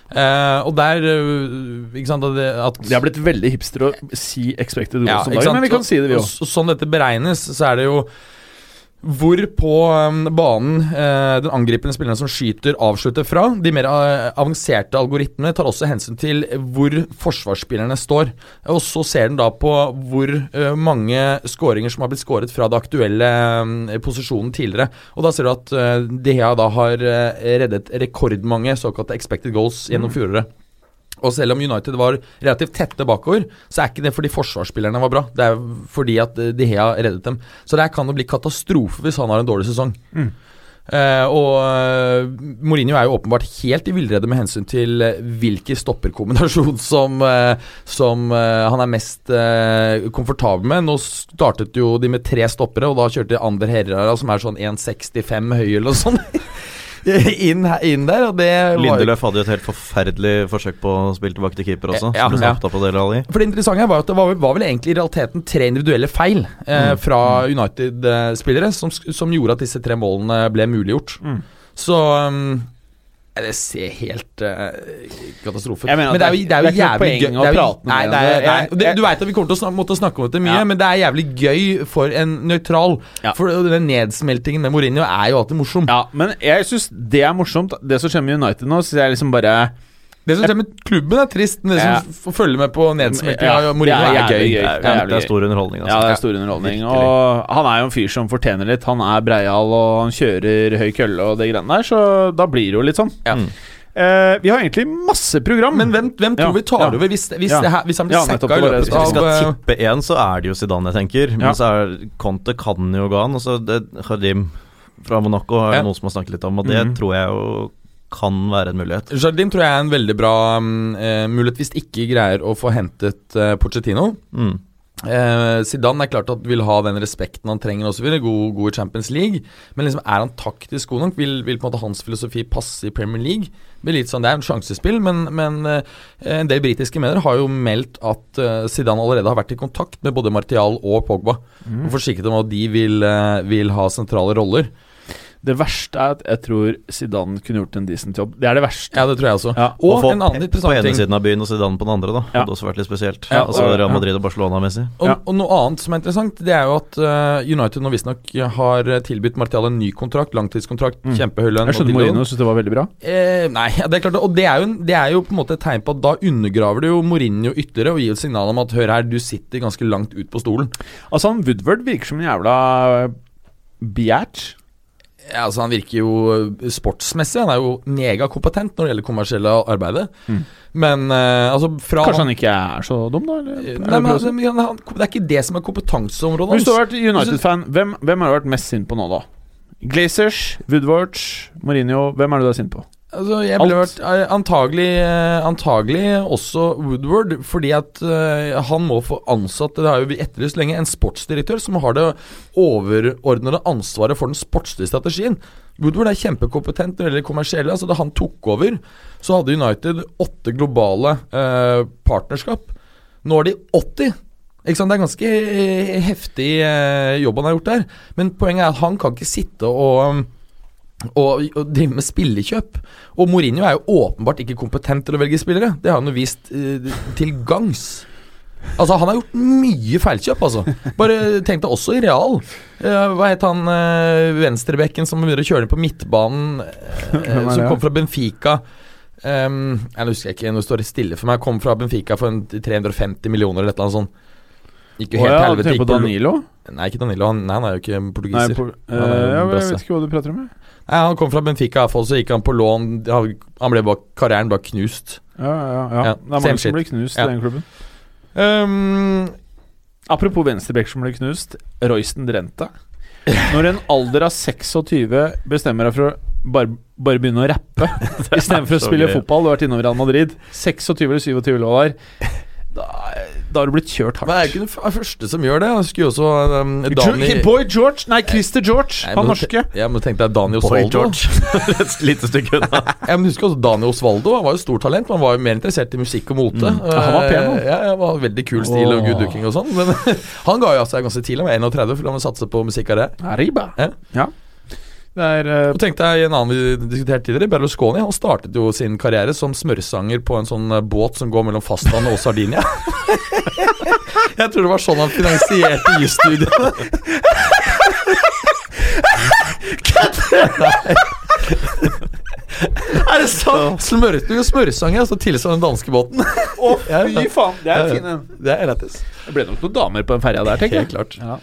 [SPEAKER 4] Eh, og der eh, Ikke sant at, det- at
[SPEAKER 3] Det har blitt veldig hipster å si expected
[SPEAKER 4] Ja,
[SPEAKER 3] goals om
[SPEAKER 4] ikke
[SPEAKER 3] dagen,
[SPEAKER 4] sant?
[SPEAKER 3] men vi kan si det, vi
[SPEAKER 4] Og
[SPEAKER 3] òg.
[SPEAKER 4] s- Sånn dette beregnes, så er det jo hvor på eh, banen eh, den angripende spilleren som skyter, avslutter fra. De mer eh, avanserte algoritmene tar også hensyn til hvor forsvarsspillerne står. Og så ser den da på hvor eh, mange skåringer som har blitt skåret fra det aktuelle eh, posisjonen tidligere. Og da ser du at eh, De Gea da har eh, reddet rekordmange såkalte expected goals
[SPEAKER 3] Mm.
[SPEAKER 4] gjennom fjoråret. Og selv om United var relativt tette bakover, så er ikke det fordi forsvarsspillerne var bra. Det er fordi at eh, De Gea reddet dem. Så det her kan jo bli katastrofe hvis han har en dårlig sesong. Eh, og eh, Mourinho er jo åpenbart helt i villrede med hensyn til eh, hvilken stopperkombinasjon <laughs> som, eh, som eh, han er mest eh, komfortabel med. Nå startet jo de med tre stoppere, og da kjørte Ander Herrera, som er sånn 1,65 høy eller noe sånt, <laughs> inn, her- inn der. Og det var jo
[SPEAKER 5] Lindeløf hadde jo et helt forferdelig forsøk på å spille tilbake til keeper også.
[SPEAKER 4] Ja,
[SPEAKER 5] som ble
[SPEAKER 4] ja.
[SPEAKER 5] snappet opp av dere alle i.
[SPEAKER 4] For det interessante her var jo at det var, var vel egentlig i realiteten tre individuelle feil eh,
[SPEAKER 3] Mm.
[SPEAKER 4] fra United-spillere som, sk- som gjorde at disse tre målene ble muliggjort.
[SPEAKER 3] Mm.
[SPEAKER 4] Så um, ja, Det ser helt eh, katastrofe ut.
[SPEAKER 3] Jeg mener at
[SPEAKER 4] Men det er jo,
[SPEAKER 3] det
[SPEAKER 4] det
[SPEAKER 3] er-
[SPEAKER 4] er jo
[SPEAKER 3] det er ikke noe
[SPEAKER 4] jævlig
[SPEAKER 3] poeng
[SPEAKER 4] gøy.
[SPEAKER 3] å
[SPEAKER 4] det er jo-
[SPEAKER 3] prate
[SPEAKER 4] nei,
[SPEAKER 3] mer om
[SPEAKER 4] det er,
[SPEAKER 3] det. Jeg-
[SPEAKER 4] nei, det,
[SPEAKER 3] jeg-
[SPEAKER 4] du veit at vi kommer til å snak, måtte snakke om dette mye,
[SPEAKER 3] Ja.
[SPEAKER 4] men det er jævlig gøy for en nøytral.
[SPEAKER 3] Ja.
[SPEAKER 4] For den nedsmeltingen med Mourinho er jo alltid morsom.
[SPEAKER 3] Ja, men jeg syns det er morsomt. Det som skjer med United nå, syns jeg liksom bare
[SPEAKER 4] Det som skjer med klubben, er trist, men det
[SPEAKER 3] Ja.
[SPEAKER 4] som f- følger med på nedsmeltingen
[SPEAKER 3] Ja,
[SPEAKER 4] av Mourinho,
[SPEAKER 3] det er
[SPEAKER 4] er,
[SPEAKER 3] jævlig
[SPEAKER 4] gøy.
[SPEAKER 5] Det
[SPEAKER 3] Ja,
[SPEAKER 5] er,
[SPEAKER 3] det er
[SPEAKER 5] det
[SPEAKER 3] gøy.
[SPEAKER 5] er stor underholdning,
[SPEAKER 3] Ja,
[SPEAKER 5] altså.
[SPEAKER 3] det er stor underholdning.
[SPEAKER 5] Virkelig.
[SPEAKER 3] Og han er jo en fyr som fortjener litt. Han er breial, og han kjører høy kølle og det greiene der, så da blir det jo litt sånn.
[SPEAKER 4] Ja.
[SPEAKER 5] Mm.
[SPEAKER 3] Eh, vi har egentlig masse program.
[SPEAKER 4] Men hvem, hvem tror
[SPEAKER 3] Ja,
[SPEAKER 4] vi tar
[SPEAKER 3] ja.
[SPEAKER 4] over hvis, hvis,
[SPEAKER 3] Ja.
[SPEAKER 4] det her, hvis han blir
[SPEAKER 3] Ja, nettopp,
[SPEAKER 4] sekka
[SPEAKER 3] det var
[SPEAKER 4] i
[SPEAKER 3] det
[SPEAKER 4] løpet
[SPEAKER 3] jeg
[SPEAKER 5] Hvis vi
[SPEAKER 4] av
[SPEAKER 5] skal
[SPEAKER 4] eh,
[SPEAKER 5] tippe én, så er det jo Zidane jeg tenker.
[SPEAKER 3] Ja.
[SPEAKER 5] Men så er Conte kan jo gå an. Og så det, Hadim fra Monaco er
[SPEAKER 4] Ja.
[SPEAKER 5] det noen som har snakket litt om, og det
[SPEAKER 3] Mhm.
[SPEAKER 5] tror jeg jo kan være en mulighet.
[SPEAKER 4] Jardim tror jeg er en veldig bra mm, eh, mulighet hvis ikke greier å få hentet eh, Pochettino.
[SPEAKER 5] Mm.
[SPEAKER 4] Eh, Zidane er klart at vil ha den respekten han trenger osv. God, god i Champions League. Men liksom er han taktisk god nok? Vil, vil på en måte hans filosofi passe i Premier League? Det blir litt sånn, Det er en sjansespill, men, men eh, en del britiske medier har jo meldt at eh, Zidane allerede har vært i kontakt med både Martial og Pogba.
[SPEAKER 3] Mm.
[SPEAKER 4] Og forsikret om at de vil, eh, vil ha sentrale roller.
[SPEAKER 3] Det verste er at jeg tror Zidane kunne gjort en decent jobb. Det er det verste.
[SPEAKER 4] Ja, det tror jeg også.
[SPEAKER 3] Ja,
[SPEAKER 5] Og,
[SPEAKER 4] Og,
[SPEAKER 5] få
[SPEAKER 4] en annen
[SPEAKER 5] Pep på
[SPEAKER 4] interessant
[SPEAKER 5] ene
[SPEAKER 4] ting.
[SPEAKER 5] siden av byen og Zidane på den andre, da.
[SPEAKER 3] Ja.
[SPEAKER 5] Hadde også vært litt spesielt.
[SPEAKER 3] Ja,
[SPEAKER 5] altså
[SPEAKER 3] og-
[SPEAKER 5] Real Madrid og Barcelona-messig.
[SPEAKER 4] Og,
[SPEAKER 3] Ja.
[SPEAKER 4] og noe annet som er interessant, det er jo at eh, United nå visstnok har eh, tilbudt Martial en ny kontrakt, langtidskontrakt,
[SPEAKER 3] Mm.
[SPEAKER 4] kjempehøy lønn.
[SPEAKER 3] Jeg
[SPEAKER 4] og
[SPEAKER 3] skjønner
[SPEAKER 4] dildo.
[SPEAKER 3] Mourinho syns det var veldig bra.
[SPEAKER 4] Eh, nei, ja, det er klart det. Og det er, jo, en- det er jo på en måte et tegn på at da undergraver du jo Mourinho ytterligere og gir et signal om at hør her, du sitter ganske langt ut på stolen.
[SPEAKER 3] Altså, han Woodward virker som en jævla eh, biatch.
[SPEAKER 4] Ja, altså Han virker jo eh, sportsmessig, han er jo megakompetent når det gjelder kommersielle arbeidet.
[SPEAKER 3] Mm.
[SPEAKER 4] Men eh, altså fra
[SPEAKER 3] Kanskje han ikke er så dum, da? Eller?
[SPEAKER 4] Eh,
[SPEAKER 3] Er det
[SPEAKER 4] Nei, men
[SPEAKER 3] bra å
[SPEAKER 4] altså, men han, Det er ikke det som er kompetanseområdet
[SPEAKER 3] Hvis du har vært United-fan, hvem, hvem har du vært mest sint på nå, da? Glazers, Woodward, Mourinho Hvem er det du er sint på?
[SPEAKER 4] Altså, jeg
[SPEAKER 3] Alt.
[SPEAKER 4] ble vært eh, antagelig, eh, antagelig også Woodward, fordi at eh, han må få ansatt Det har jo vi etterlyst lenge. En sportsdirektør som har det overordnede ansvaret for den sportslige strategien. Woodward er kjempekompetent når det gjelder kommersielle. Altså, da han tok over, så hadde United åtte globale eh, partnerskap. Nå er de 80. Ikke sant? Det er ganske eh, heftig eh, jobb han har gjort der. Men poenget er at han kan ikke sitte og um, og, og drive med spillekjøp. Og Mourinho er jo åpenbart ikke kompetent til å velge spillere. Det har han jo vist eh, til gangs. Altså, han har gjort mye feilkjøp, altså. Bare tenk deg også i real. Eh, hva het han eh, venstrebekken som begynner å kjøre inn på midtbanen, eh,
[SPEAKER 3] <laughs> Hvem er
[SPEAKER 4] som
[SPEAKER 3] det?
[SPEAKER 4] kom fra Benfica? Um, jeg husker ikke, nå står det stille for meg. Kom fra Benfica for en 350 millioner eller et eller annet sånt. Gikk jo
[SPEAKER 3] Å,
[SPEAKER 4] helt
[SPEAKER 3] ja,
[SPEAKER 4] helvete.
[SPEAKER 3] tenker
[SPEAKER 4] Gikk
[SPEAKER 3] på Danilo?
[SPEAKER 4] Nei, ikke Danilo. Han, nei, han er jo ikke
[SPEAKER 3] Nei,
[SPEAKER 4] portugiser.
[SPEAKER 3] på, Eh,
[SPEAKER 4] Han er
[SPEAKER 3] ja,
[SPEAKER 4] jo
[SPEAKER 3] men jeg
[SPEAKER 4] brasse.
[SPEAKER 3] vet ikke hva du prater om. jeg.
[SPEAKER 4] Nei, han kom fra Benfica, i hvert fall, så gikk han på lån. Han han ble bare, karrieren ble knust.
[SPEAKER 3] Ja, ja, ja.
[SPEAKER 4] Ja,
[SPEAKER 3] Det er
[SPEAKER 4] same
[SPEAKER 3] mange
[SPEAKER 4] shit.
[SPEAKER 3] som blir knust
[SPEAKER 4] Ja.
[SPEAKER 3] i den klubben.
[SPEAKER 4] Um, <laughs>
[SPEAKER 3] Apropos venstreback som ble knust. Royston Drente. Når en alder av 26 bestemmer deg for å bare, bare begynne å
[SPEAKER 4] <laughs>
[SPEAKER 3] rappe istedenfor å
[SPEAKER 5] så
[SPEAKER 3] spille
[SPEAKER 5] gøy.
[SPEAKER 3] fotball, du har vært innom Real Madrid 26 eller 27 år, da, da har du blitt kjørt
[SPEAKER 4] Men jeg er jo
[SPEAKER 3] hardt.
[SPEAKER 4] ikke den f- første som gjør det. Jeg husker jo også um, Dani Eh,
[SPEAKER 3] Ge- Boy George, nei, Christer George,
[SPEAKER 4] Nei,
[SPEAKER 3] han
[SPEAKER 4] men-
[SPEAKER 3] norske.
[SPEAKER 4] Ja, men tenk deg Dani
[SPEAKER 5] Boy
[SPEAKER 4] Osvaldo.
[SPEAKER 5] George. Et lite stykke unna.
[SPEAKER 4] <laughs> Ja, men husker også Dani Osvaldo. Han var jo stort talent, men han var jo mer interessert i musikk og mote.
[SPEAKER 3] Mm. Ja, han var pen, han.
[SPEAKER 4] Eh, Ja, ja, var veldig kul stil og
[SPEAKER 3] Åh.
[SPEAKER 4] good looking og sånn. Men <laughs> han ga jo av seg ganske tidlig, han var 31, for han ville satse på musikk og det.
[SPEAKER 3] Arriba.
[SPEAKER 4] Ja.
[SPEAKER 3] Ja. Det er eh,
[SPEAKER 4] Og tenk deg en annen vi diskuterte tidligere, Berlusconi. Han startet jo sin karriere som smørsanger på en sånn eh, båt som går mellom fastlandet og Sardinia. <laughs> Jeg tror det var sånn han finansierte jusstudiene. Er det sant? Smørte jo smørsanger, altså, og så tilsa den danske båten.
[SPEAKER 3] Å,
[SPEAKER 4] fy
[SPEAKER 3] faen! Det
[SPEAKER 4] er fin Det er lættis.
[SPEAKER 3] Eh, Det ble nok noen damer på den ferja der, tenker jeg.
[SPEAKER 4] Helt klart.
[SPEAKER 3] Ja.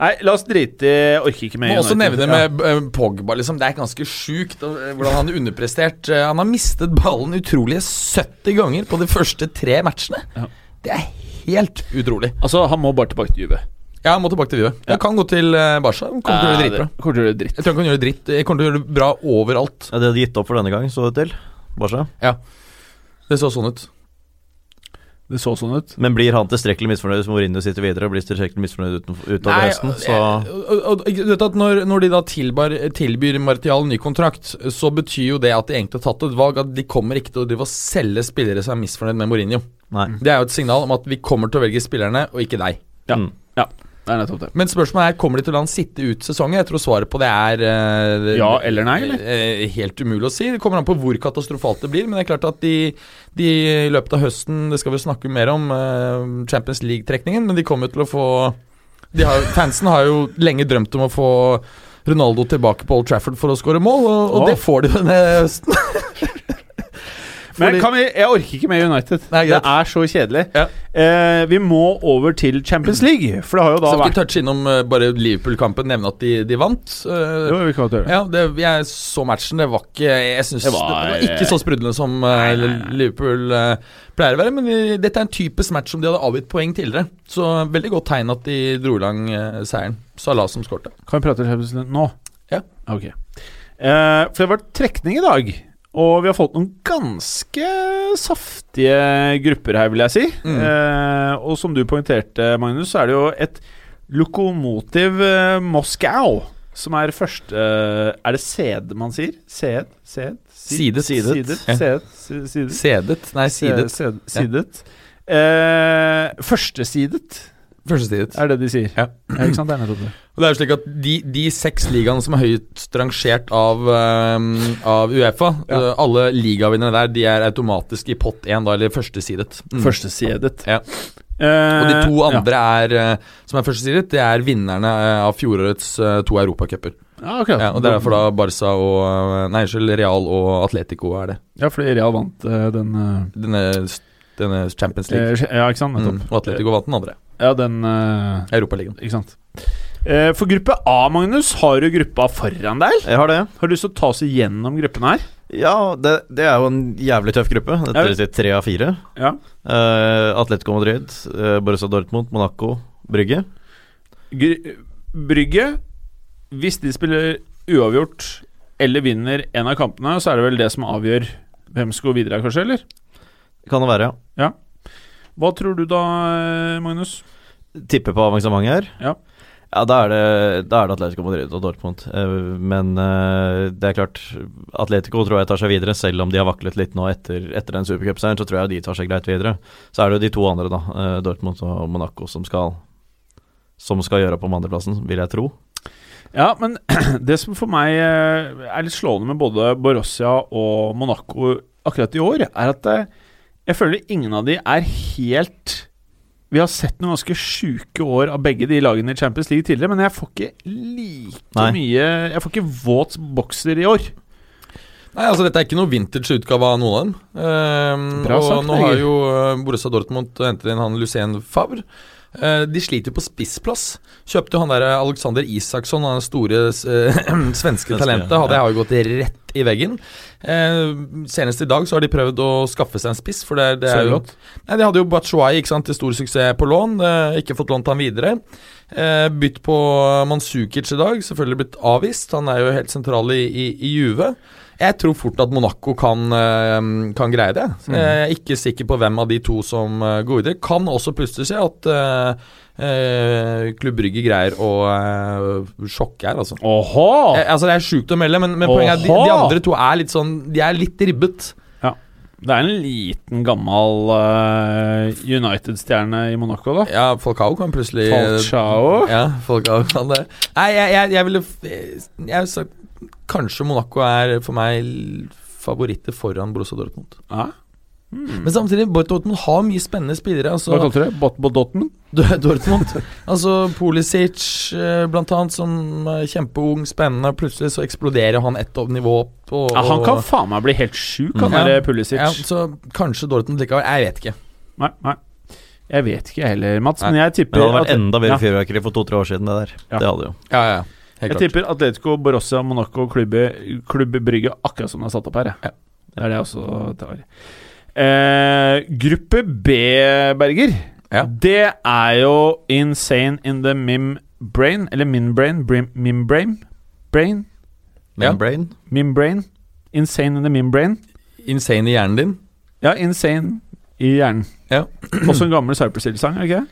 [SPEAKER 3] Nei, la oss drite i Orker ikke mer.
[SPEAKER 4] Må også
[SPEAKER 3] United.
[SPEAKER 4] nevne med eh, Pogba, liksom. Det er ganske sjukt eh, hvordan han er underprestert. Eh, Han har mistet ballen utrolige 70 ganger på de første tre matchene.
[SPEAKER 3] Ja.
[SPEAKER 4] Det er helt utrolig.
[SPEAKER 3] Altså, han må bare tilbake til Juve.
[SPEAKER 4] Ja, jeg må tilbake til Juve. Jeg kan gå til eh, Barca. Han Kommer til å gjøre det dritbra.
[SPEAKER 3] Kommer til å gjøre det dritt.
[SPEAKER 4] Jeg tror han kan gjøre det dritt. Jeg kommer til å gjøre det bra overalt.
[SPEAKER 5] Ja, de hadde gitt opp for denne gang, så det til. Barca.
[SPEAKER 4] Det så sånn ut.
[SPEAKER 3] Det så sånn ut.
[SPEAKER 5] Men blir han tilstrekkelig misfornøyd hvis Mourinho sitter videre og blir tilstrekkelig misfornøyd uten, utover høsten, så
[SPEAKER 4] eh, og- og- og- du vet at når, når de da tilbar, tilbyr Martial ny kontrakt, så betyr jo det at de egentlig har tatt et valg. At de kommer ikke til å drive og selge spillere som er misfornøyd med Mourinho.
[SPEAKER 5] Nei.
[SPEAKER 4] Det er jo et signal om at vi kommer til å velge spillerne, og ikke deg.
[SPEAKER 3] Ja.
[SPEAKER 5] Mm.
[SPEAKER 3] Det er nettopp det.
[SPEAKER 4] Men spørsmålet er, kommer de til å la han sitte ut sesongen? Jeg tror svaret på det er eh,
[SPEAKER 3] Ja eller nei, eller?
[SPEAKER 4] eh, Helt umulig å si. Det kommer an på hvor katastrofalt det blir. Men det er klart at de, de i løpet av høsten, det skal vi snakke mer om, eh, Champions League-trekningen, men de kommer jo til å få de har, jo- Fansen har jo lenge drømt om å få Ronaldo tilbake på Old Trafford for å skåre mål, og, og
[SPEAKER 3] Åh.
[SPEAKER 4] det får de jo denne høsten.
[SPEAKER 3] Men
[SPEAKER 4] Fordi-
[SPEAKER 3] kan vi, jeg orker ikke mer United.
[SPEAKER 4] Nei,
[SPEAKER 3] det
[SPEAKER 4] greit.
[SPEAKER 3] er så kjedelig.
[SPEAKER 4] Ja.
[SPEAKER 3] Eh, vi må over til Champions League, for det har jo da
[SPEAKER 4] Skal vi
[SPEAKER 3] vært
[SPEAKER 4] touche innom eh, bare Liverpool-kampen, nevne at de, de vant? Eh,
[SPEAKER 3] Jo, vi kan godt gjøre det.
[SPEAKER 4] Ja, det, jeg så matchen. Det var ikke Jeg synes
[SPEAKER 3] Det
[SPEAKER 4] det,
[SPEAKER 3] var-
[SPEAKER 4] var, ikke så sprudlende som eh, Liverpool eh, pleier å være. Men eh, dette er en typisk match som de hadde avgitt poeng tidligere. Så veldig godt tegn at de dro i lang eh, seieren. Salah som skårte.
[SPEAKER 3] Kan vi prate om Champions League nå?
[SPEAKER 4] Ja.
[SPEAKER 3] Ok. Eh, for det har vært trekning i dag, og vi har fått noen ganske saftige grupper her, vil jeg si.
[SPEAKER 4] Mm.
[SPEAKER 3] Eh, og som du poengterte, Magnus, så er det jo et lokomotiv eh, Moskau som er første eh, Er det sed man sier? Sed? Sed?
[SPEAKER 4] Sidet.
[SPEAKER 3] Sidet?
[SPEAKER 4] Ja.
[SPEAKER 3] Sed? si- Sidet?
[SPEAKER 4] Sedet? Nei, sidet.
[SPEAKER 3] Sed, sidet. Eh, førstesidet,
[SPEAKER 4] Førstesidet.
[SPEAKER 3] er det de sier.
[SPEAKER 4] Ja.
[SPEAKER 3] ikke sant? Det er nettopp det.
[SPEAKER 4] Og det er jo slik at De, de seks ligaene som er høyest rangert av, eh, av Uefa,
[SPEAKER 3] Ja.
[SPEAKER 4] eh, alle ligavinnerne der, de er automatisk i pott én, da, eller førstesidet. Mm.
[SPEAKER 3] Førstesidet.
[SPEAKER 4] Ja.
[SPEAKER 3] Eh,
[SPEAKER 4] Og de to
[SPEAKER 3] ja.
[SPEAKER 4] andre er, eh, som er førstesidet, det er vinnerne eh, av fjorårets eh, to europacuper.
[SPEAKER 3] Ja, akkurat.
[SPEAKER 4] Ja, og det er derfor da Barca og eh, Nei, unnskyld, Real og Atletico er det.
[SPEAKER 3] Ja, fordi Real vant eh, den eh,
[SPEAKER 4] Denne, denne Champions League.
[SPEAKER 3] eh, Ja, ikke sant?
[SPEAKER 4] Mm,
[SPEAKER 3] Nettopp.
[SPEAKER 4] og Atletico vant den andre.
[SPEAKER 3] Ja, den eh,
[SPEAKER 4] Europaligaen.
[SPEAKER 3] Ikke sant. Eh, For gruppe A, Magnus, har du gruppa foran deg? eller?
[SPEAKER 5] Jeg har det.
[SPEAKER 3] Har du lyst til å ta oss igjennom gruppen her?
[SPEAKER 5] Ja, det, det er jo en jævlig tøff gruppe.
[SPEAKER 3] Ja,
[SPEAKER 5] Dette er tre av fire.
[SPEAKER 3] Ja.
[SPEAKER 5] Eh, Atletico Madrid, eh, Borussia Dortmund, Monaco, Brygge.
[SPEAKER 3] Gr Brygge, hvis de spiller uavgjort eller vinner en av kampene, så er det vel det som avgjør hvem som går videre, kanskje? eller?
[SPEAKER 5] Kan det være, ja.
[SPEAKER 3] Hva tror du da, eh, Magnus?
[SPEAKER 5] Tipper på avansement her.
[SPEAKER 3] Ja.
[SPEAKER 5] Ja, da er, det, da er det Atletico Madrid og Dortmund. Eh, Men eh, det er klart, Atletico tror jeg tar seg videre, selv om de har vaklet litt nå etter, etter den supercupseieren. Så tror jeg de tar seg greit videre. Så er det jo de to andre, da, eh, Dortmund og Monaco, som skal, som skal gjøre opp om andreplassen, vil jeg tro.
[SPEAKER 3] Ja, men <clears throat> det som for meg eh, er litt slående med både Borussia og Monaco akkurat i år, er at eh, jeg føler ingen av de er helt Vi har sett noen ganske sjuke år av begge de lagene i Champions League tidligere, men jeg får ikke like
[SPEAKER 5] Nei.
[SPEAKER 3] mye Jeg får ikke våt bokser i år.
[SPEAKER 4] Nei, altså Dette er ikke noe vintage-utgave av noen av dem. Ehm,
[SPEAKER 3] Bra
[SPEAKER 4] og
[SPEAKER 3] sagt,
[SPEAKER 4] nå
[SPEAKER 3] Egil.
[SPEAKER 4] har jo eh, Borussia Dortmund hentet inn han Lucien Favre. Eh, de sliter jo på spissplass. Kjøpte jo han der eh, Alexander Isaksson, han store eh, <clears throat> svenske
[SPEAKER 5] Svenske,
[SPEAKER 4] talentet.
[SPEAKER 5] ja.
[SPEAKER 4] Hadde jeg har jo gått rett i veggen. Eh, senest i dag så har de prøvd å skaffe seg en spiss, for det, det er jo
[SPEAKER 6] Sørloth?
[SPEAKER 4] Nei, De hadde jo Batshuayi ikke sant, til stor suksess på lån. Eh, ikke fått lånt han videre. Eh, bytt på Mansukic i dag. Selvfølgelig blitt avvist. Han er jo helt sentral i, i, i Juve. Jeg tror fort at Monaco kan, eh, kan greie det. Så Jeg er ikke sikker på hvem av de to som eh, går videre. Kan også plutselig skje at eh, eh, Klubb Brygge greier å eh, sjokke her, altså.
[SPEAKER 3] Åhå!
[SPEAKER 4] Eh, altså Det er sjukt å melde, men, men poenget er at de,
[SPEAKER 3] Oha!
[SPEAKER 4] de andre to er litt sånn De er litt ribbet.
[SPEAKER 3] Det er en liten, gammel eh, United-stjerne i Monaco, da.
[SPEAKER 4] Ja, Falcao kan plutselig
[SPEAKER 3] Falcao.
[SPEAKER 4] Ja, Falcao kan det. Nei, jeg, jeg, jeg ville f- eh, Jeg ville sagt Kanskje Monaco er for meg l- favoritter foran Borussia Dortmund.
[SPEAKER 3] Ja.
[SPEAKER 4] Men samtidig, Borussia Dortmund har mye spennende spillere.
[SPEAKER 3] Hva
[SPEAKER 4] Altså,
[SPEAKER 3] kalte du det? Bot Bot Dortmund?
[SPEAKER 4] Dortmund Altså Pulisic, eh, blant annet, som eh, kjempeung, spennende. Plutselig så eksploderer han ett opp- nivå opp. Og,
[SPEAKER 3] Ja, han kan
[SPEAKER 4] og-
[SPEAKER 3] faen meg bli helt sjuk, han
[SPEAKER 4] Mm.
[SPEAKER 3] der eh, Pulisic.
[SPEAKER 4] ja, Så kanskje Dortmund likevel. Jeg vet ikke.
[SPEAKER 3] Nei, nei. Jeg vet ikke jeg heller, Mats, men jeg
[SPEAKER 5] Men
[SPEAKER 3] tipper
[SPEAKER 5] det hadde vært
[SPEAKER 3] at-
[SPEAKER 5] enda
[SPEAKER 3] Ja.
[SPEAKER 5] mer fyrverkeri for to-tre år siden, det der.
[SPEAKER 3] Ja.
[SPEAKER 5] Det hadde jo.
[SPEAKER 4] Ja, ja, ja. Helt
[SPEAKER 3] Jeg
[SPEAKER 4] klart.
[SPEAKER 3] tipper Atletico, Borussia, Monaco, klubbe, klubb Brygge akkurat som det er satt opp her. jeg.
[SPEAKER 4] Ja.
[SPEAKER 3] Det er det jeg også tar. Eh, gruppe B, Berger,
[SPEAKER 4] Ja.
[SPEAKER 3] det er jo insane in the mim brain, eller min brain, brim, mim brain, brain,
[SPEAKER 4] Ja.
[SPEAKER 5] Membrane.
[SPEAKER 3] mim brain, insane in the mim brain.
[SPEAKER 4] Insane i hjernen din.
[SPEAKER 3] Ja, insane i hjernen.
[SPEAKER 4] Ja.
[SPEAKER 3] også en gammel Cypress Hill-sang, er det ikke? det?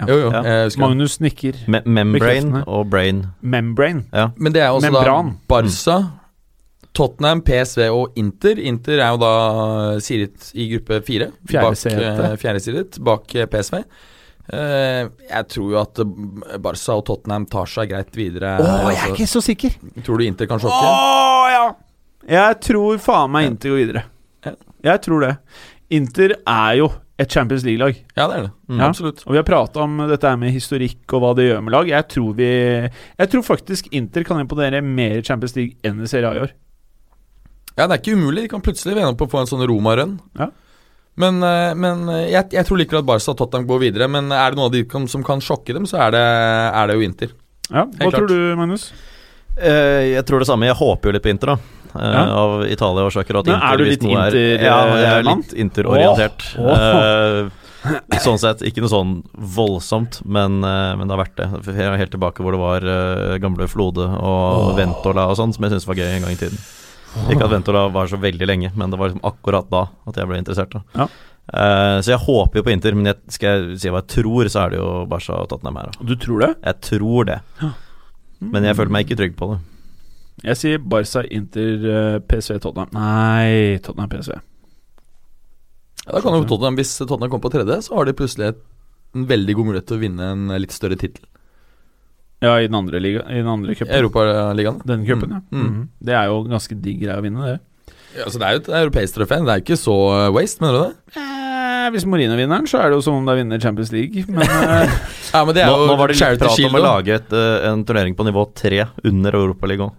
[SPEAKER 3] Ja.
[SPEAKER 4] Jo, jo.
[SPEAKER 5] Ja.
[SPEAKER 4] Jeg husker det.
[SPEAKER 3] Magnus nikker.
[SPEAKER 5] Me membrane
[SPEAKER 3] Bekreftende.
[SPEAKER 5] og brain.
[SPEAKER 3] Membrane.
[SPEAKER 4] Men det er også
[SPEAKER 3] Membran.
[SPEAKER 4] da Barca, Tottenham, PSV og Inter. Inter er jo da sidet i gruppe fire.
[SPEAKER 3] Fjerde
[SPEAKER 4] bak,
[SPEAKER 3] setet.
[SPEAKER 4] eh, Fjerde sidet bak eh, PSV. Eh, jeg tror jo at eh, Barca og Tottenham tar seg greit videre.
[SPEAKER 3] Å,
[SPEAKER 4] her,
[SPEAKER 3] jeg er
[SPEAKER 4] altså.
[SPEAKER 3] ikke så sikker!
[SPEAKER 4] Tror du Inter kan
[SPEAKER 3] Å
[SPEAKER 4] sjokke?
[SPEAKER 3] ja! Jeg tror faen meg Inter går videre.
[SPEAKER 4] Ja.
[SPEAKER 3] Jeg tror det. Inter er jo et Champions League-lag.
[SPEAKER 4] Ja, det er det.
[SPEAKER 5] Mm.
[SPEAKER 3] Ja.
[SPEAKER 4] Absolutt.
[SPEAKER 3] Og vi har prata om dette her med historikk og hva det gjør med lag. Jeg tror, vi, jeg tror faktisk Inter kan imponere mer i Champions League enn i Serie A i år.
[SPEAKER 4] Ja, det er ikke umulig. De kan plutselig vende opp og få en sånn Roma-rønn.
[SPEAKER 3] Ja.
[SPEAKER 4] Men, eh, men eh, jeg, jeg tror likevel at Barca og Tottenham går videre. Men er det noen av de kan, som kan sjokke dem, så er det, er det jo Inter.
[SPEAKER 3] Ja, Hva
[SPEAKER 4] klart.
[SPEAKER 3] tror du, Magnus?
[SPEAKER 5] Eh, jeg tror det samme. Jeg håper jo litt på Inter, da. Eh,
[SPEAKER 3] Ja.
[SPEAKER 5] Av Italia-årsaker. at
[SPEAKER 3] Men
[SPEAKER 5] Inter,
[SPEAKER 3] er du
[SPEAKER 5] hvis
[SPEAKER 3] litt
[SPEAKER 5] noe
[SPEAKER 3] Inter, eh,
[SPEAKER 5] Ja, jeg er
[SPEAKER 3] mann?
[SPEAKER 5] litt Inter-orientert.
[SPEAKER 3] Åh, åh.
[SPEAKER 5] Eh, sånn sett, ikke noe sånn voldsomt, men, eh, men det har vært det. For Jeg er helt tilbake hvor det var eh, gamle Flode og Ventola og sånn, som jeg syntes var gøy en gang i tiden. Ikke at Ventola var så veldig lenge, men det var liksom akkurat da at jeg ble interessert. Da.
[SPEAKER 3] Ja.
[SPEAKER 5] Eh, så jeg håper jo på Inter, men jeg, skal jeg si hva jeg tror, så er det jo Barca og Tottenham her. da.
[SPEAKER 3] Du tror det?
[SPEAKER 5] Jeg tror det, men jeg føler meg ikke trygg på det.
[SPEAKER 3] Mm. Jeg sier Barca, Inter, eh, PSV, Tottenham. Nei, Tottenham, PSV.
[SPEAKER 4] Ja, da kan jo Tottenham, Hvis Tottenham kommer på tredje, så har de plutselig et- en veldig god mulighet til å vinne en eh, litt større tittel.
[SPEAKER 3] Ja, i den andre liga I den andre
[SPEAKER 4] I
[SPEAKER 3] cupen.
[SPEAKER 4] Europaligaen.
[SPEAKER 3] Denne cupen, ja.
[SPEAKER 4] Mm.
[SPEAKER 3] Mhm. Det er jo ganske digg greie å vinne, det.
[SPEAKER 4] Ja, så det er jo et europeisk trofé. Det er jo ikke så eh, waste, mener du det?
[SPEAKER 3] Eh, hvis Mourinho vinner den, så er det jo som om det er vinner Champions League.
[SPEAKER 4] <laughs>
[SPEAKER 3] Men eh,
[SPEAKER 4] Ja, men det er
[SPEAKER 5] Nå,
[SPEAKER 4] jo
[SPEAKER 5] nå var det litt
[SPEAKER 4] Charity
[SPEAKER 5] prat
[SPEAKER 4] Shield,
[SPEAKER 5] om å
[SPEAKER 4] da.
[SPEAKER 5] lage et, eh, en turnering på nivå tre under Europaligaen.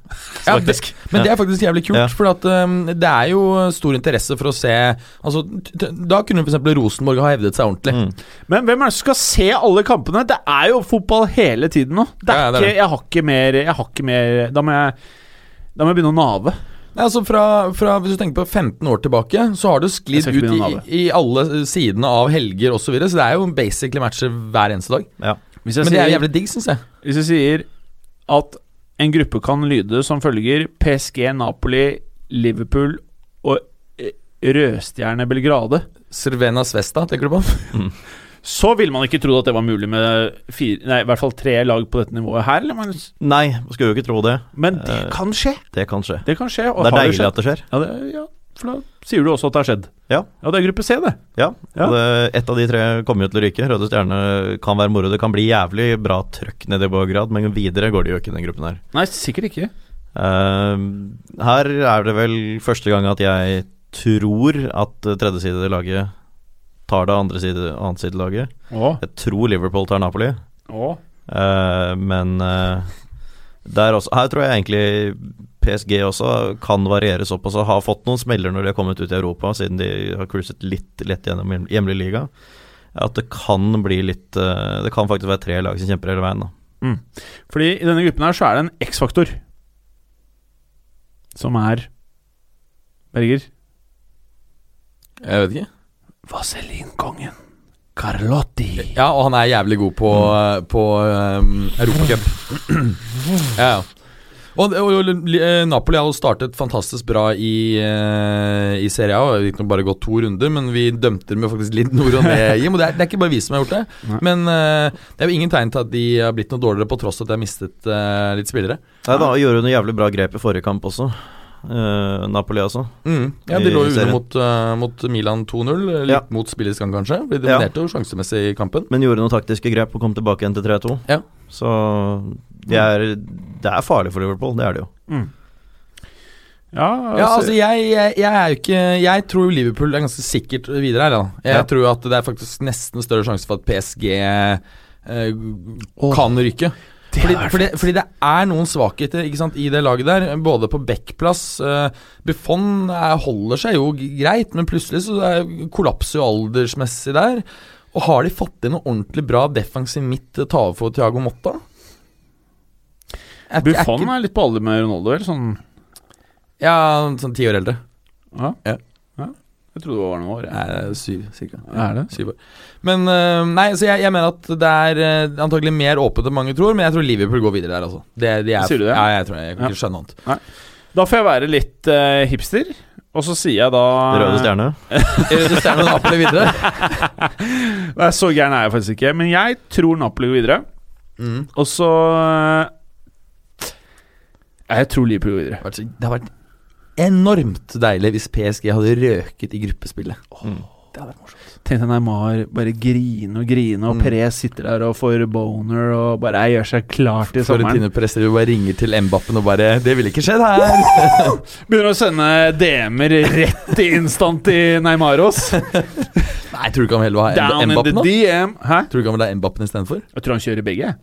[SPEAKER 4] Ja, det,
[SPEAKER 5] faktisk.
[SPEAKER 4] men det er faktisk jævlig kult,
[SPEAKER 5] Ja.
[SPEAKER 4] for at, um, det er jo stor interesse for å se Altså, t- t- Da kunne f.eks. Rosenborg ha hevdet seg ordentlig.
[SPEAKER 5] Mm.
[SPEAKER 3] Men hvem er det som skal se alle kampene? Det er jo fotball hele tiden nå. Det er
[SPEAKER 4] Ja, det er
[SPEAKER 3] ikke,
[SPEAKER 4] det.
[SPEAKER 3] jeg har ikke mer, jeg har ikke mer da, må jeg, da må jeg begynne å nave.
[SPEAKER 4] Nei, altså fra, fra, Hvis du tenker på 15 år tilbake, så har det jo
[SPEAKER 3] Jeg
[SPEAKER 4] sklidd
[SPEAKER 3] skal ikke
[SPEAKER 4] ut i,
[SPEAKER 3] begynne å nave.
[SPEAKER 4] i alle sidene av helger osv., så, videre, så det er jo basically matcher hver eneste dag.
[SPEAKER 3] Hvis jeg,
[SPEAKER 4] Men det er jo
[SPEAKER 3] sier,
[SPEAKER 4] jævlig digg, syns jeg.
[SPEAKER 3] hvis jeg sier at en gruppe kan lyde som følger PSG, Napoli, Liverpool og eh, Rødstjerne Belgrade,
[SPEAKER 4] Servena Svesta, tenker du på?
[SPEAKER 3] så ville man ikke trodd at det var mulig med fire, nei, i hvert fall tre lag på dette nivået her. eller, Magnus?
[SPEAKER 5] Nei, man skulle jo ikke tro det.
[SPEAKER 3] Men det
[SPEAKER 5] Eh,
[SPEAKER 3] kan skje.
[SPEAKER 5] Det kan skje.
[SPEAKER 3] Det kan skje. Og
[SPEAKER 5] Det
[SPEAKER 3] har
[SPEAKER 5] er
[SPEAKER 3] jo
[SPEAKER 5] deilig
[SPEAKER 3] skjedd.
[SPEAKER 5] at det skjer.
[SPEAKER 3] Ja, det, ja, for da sier du også at det har skjedd.
[SPEAKER 5] Ja.
[SPEAKER 3] det er gruppe C, det.
[SPEAKER 5] Ja,
[SPEAKER 3] Ja.
[SPEAKER 5] og Det, Ett av de tre kommer jo til å ryke. Røde Stjerne kan være moro. Det kan bli jævlig bra trøkk nede i Beograd, men videre går det jo ikke i den gruppen her.
[SPEAKER 3] Nei, sikkert ikke.
[SPEAKER 5] Eh, her er det vel første gang at jeg tror at tredjesidelaget tar det andre side, annet sidelaget.
[SPEAKER 3] Å,
[SPEAKER 5] Jeg tror Liverpool tar Napoli.
[SPEAKER 3] å.
[SPEAKER 5] Eh, men eh, der også Her tror jeg egentlig PSG også kan variere såpass og har fått noen smeller når de har kommet ut i Europa, siden de har cruiset litt lett gjennom hjem- hjemlig liga. at det kan bli litt eh, Det kan faktisk være tre lag som kjemper hele veien, da.
[SPEAKER 3] Fordi i denne gruppen her så er det en X-faktor. Som er Berger.
[SPEAKER 4] Jeg vet ikke.
[SPEAKER 3] Vaselinkongen. Carlotti.
[SPEAKER 4] Ja, og han er jævlig god på, på um, Europacup. <clears throat> ja, ja. Og, og, og li- eh, Napoli har jo startet fantastisk bra i, eh, i Serie A. Det gikk nok bare gått to runder, men vi dømte dem jo faktisk litt nord og ned, Jim. Og det er, det er ikke bare vi som har gjort det.
[SPEAKER 3] Nei.
[SPEAKER 4] Men eh, det er jo ingen tegn til at de har blitt noe dårligere, på tross av at de har mistet eh, litt spillere.
[SPEAKER 5] Nei da, gjorde noen jævlig bra grep i forrige kamp også. Eh, Napoli, altså.
[SPEAKER 4] Mm. Ja, De
[SPEAKER 5] I
[SPEAKER 4] lå jo under
[SPEAKER 5] serien.
[SPEAKER 4] mot, eh, mot Milan 2-0. Litt
[SPEAKER 5] Ja.
[SPEAKER 4] mot spillets gang, kanskje. De
[SPEAKER 5] Ja.
[SPEAKER 4] dominerte jo sjansemessig i kampen.
[SPEAKER 5] Men gjorde noen taktiske grep og kom tilbake igjen til 3-2.
[SPEAKER 4] Ja.
[SPEAKER 5] Så de er, det er farlig for Liverpool, det er det jo.
[SPEAKER 3] Ja,
[SPEAKER 4] Ja,
[SPEAKER 3] altså-
[SPEAKER 4] altså jeg, jeg, jeg er jo ikke Jeg tror Liverpool er ganske sikkert videre her. Da. Jeg
[SPEAKER 5] Ja.
[SPEAKER 4] tror at det er faktisk nesten større sjanse for at PSG eh, kan rykke. Fordi, fordi, fordi det er noen svakheter ikke sant, i det laget der, både på backplass eh, Buffon eh, holder seg jo g- greit, men plutselig så er, kollapser jo aldersmessig der. Og har de fått inn noe ordentlig bra defensiv midt til å ta over for Thiago Motta? Er- er
[SPEAKER 3] Buffon
[SPEAKER 4] ikke-
[SPEAKER 3] er litt på alder med Ronaldo, eller sånn
[SPEAKER 4] Ja, sånn ti år eldre.
[SPEAKER 3] Ja.
[SPEAKER 4] Ja.
[SPEAKER 3] Ja. Jeg trodde det var noen år. jeg.
[SPEAKER 4] Nei, eh, syv, cirka.
[SPEAKER 3] Er det?
[SPEAKER 4] Syv år. Men eh, Nei, så jeg, jeg mener at det er eh, antagelig mer åpent enn mange tror, men jeg tror Liverpool går videre der, altså. Det, de er,
[SPEAKER 3] Sier du det?
[SPEAKER 4] Ja, jeg tror jeg, jeg kan ikke skjønne annet.
[SPEAKER 3] Da får jeg være litt eh, hipster, og så sier jeg da
[SPEAKER 5] Røde stjerne.
[SPEAKER 4] Røde Stjerne og Napoli videre.
[SPEAKER 3] Nei, så gæren er jeg faktisk ikke. Men jeg tror Napoli går videre.
[SPEAKER 4] Mm.
[SPEAKER 3] Og så Ja, Jeg tror Liverpool går videre.
[SPEAKER 4] Det har vært så- Det har vært enormt deilig hvis PSG hadde røket i gruppespillet.
[SPEAKER 5] Mm.
[SPEAKER 4] Det hadde vært morsomt.
[SPEAKER 3] Tenk deg Neymar bare grine og grine, og
[SPEAKER 4] Mm.
[SPEAKER 3] Perez sitter der og får boner og bare gjør seg klar til sommeren.
[SPEAKER 4] Florentino Perez driver og bare ringer til Mbappen og bare 'Det ville ikke skjedd her'.
[SPEAKER 3] Begynner å sende DM-er rett i instant i Neymaros.
[SPEAKER 4] <laughs> Nei, tror du ikke han heller vil ha
[SPEAKER 3] Down in the
[SPEAKER 4] Mbappen, da?
[SPEAKER 3] DM. Hæ?
[SPEAKER 4] Tror du ikke han vil ha Mbappen istedenfor?
[SPEAKER 3] Jeg tror han kjører begge.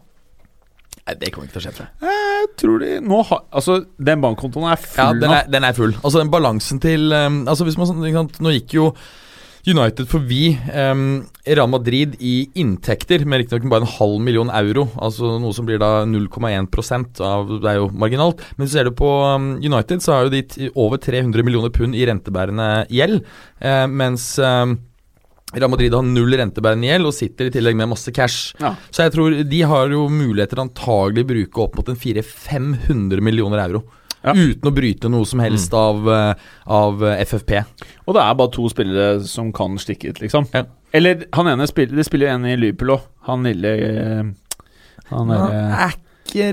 [SPEAKER 4] Nei, det kommer ikke til å skje, tror jeg.
[SPEAKER 3] Jeg tror de nå har Altså, den bankkontoen er
[SPEAKER 4] Ja,
[SPEAKER 3] full
[SPEAKER 4] den
[SPEAKER 3] nå.
[SPEAKER 4] er, den er full. Altså den balansen til um, Altså hvis man sånn, ikke sant, Nå gikk jo United forbi um, Real Madrid i inntekter, med riktignok bare en halv million euro. Altså noe som blir da 0,1 av Det er jo marginalt. Men hvis du ser det på um, United, så har jo de t over 300 millioner pund i rentebærende gjeld. eh, mens um, Real Madrid har null rentebærende gjeld og sitter i tillegg med masse cash.
[SPEAKER 3] Ja.
[SPEAKER 4] Så jeg tror de har jo muligheter til antagelig å bruke opp mot en 400-500 millioner euro.
[SPEAKER 3] Ja. Mm.
[SPEAKER 4] Uten å bryte noe som helst av, eh, av eh, FFP.
[SPEAKER 3] Og det er bare to spillere som kan stikke ut, liksom.
[SPEAKER 4] Ja.
[SPEAKER 3] Eller han ene spiller Det spiller jo en i Liverpool òg. Han lille eh, Han
[SPEAKER 4] Han
[SPEAKER 3] derre
[SPEAKER 4] er eh, ikke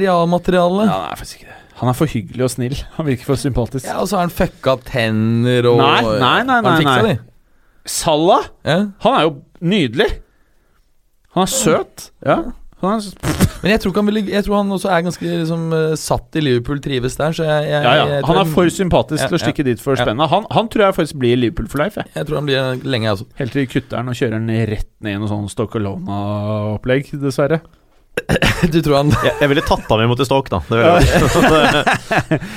[SPEAKER 3] ja,
[SPEAKER 4] realmateriale. Ja.
[SPEAKER 3] han er faktisk ikke det. Han er for hyggelig og snill. Han virker for sympatisk.
[SPEAKER 4] og så har han fucka tenner og
[SPEAKER 3] Nei, nei, nei,
[SPEAKER 4] Har han
[SPEAKER 3] nei,
[SPEAKER 4] fiksa
[SPEAKER 3] nei.
[SPEAKER 4] de?
[SPEAKER 3] Salah!
[SPEAKER 4] Ja.
[SPEAKER 3] Han er jo nydelig. Han er søt. Ja. Han er,
[SPEAKER 4] Men jeg tror, ikke han ville, jeg tror han også er ganske liksom, eh, satt i Liverpool, trives der, så jeg, jeg,
[SPEAKER 3] ja, ja.
[SPEAKER 4] jeg, tror
[SPEAKER 3] han er for sympatisk
[SPEAKER 4] Ja,
[SPEAKER 3] til å stikke dit for
[SPEAKER 4] ja.
[SPEAKER 3] spennet. Han, han tror jeg faktisk blir Liverpool for life. Jeg.
[SPEAKER 4] jeg tror han blir lenge, altså. <laughs>
[SPEAKER 3] Helt til de kutter han og kjører han rett ned i noe sånn Stoccolona-opplegg, dessverre.
[SPEAKER 4] Du tror han
[SPEAKER 5] Jeg, jeg ville tatt ham imot i stokk, da. Det ville jeg gjort.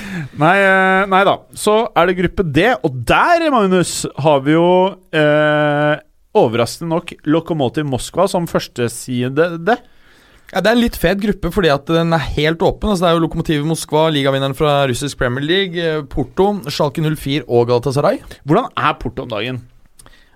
[SPEAKER 3] Nei, eh, nei da. Så er det gruppe D, og der, Magnus, har vi jo eh, overraskende nok Lokomotiv Moskva som førstesidede.
[SPEAKER 4] Ja, Det er en litt fet gruppe fordi at den er helt åpen. Altså, det er jo Lokomotivet Moskva, ligavinneren fra russisk Premier League, eh, Porto, Schalke 04 og Galatasaray.
[SPEAKER 3] Hvordan er Porto om dagen?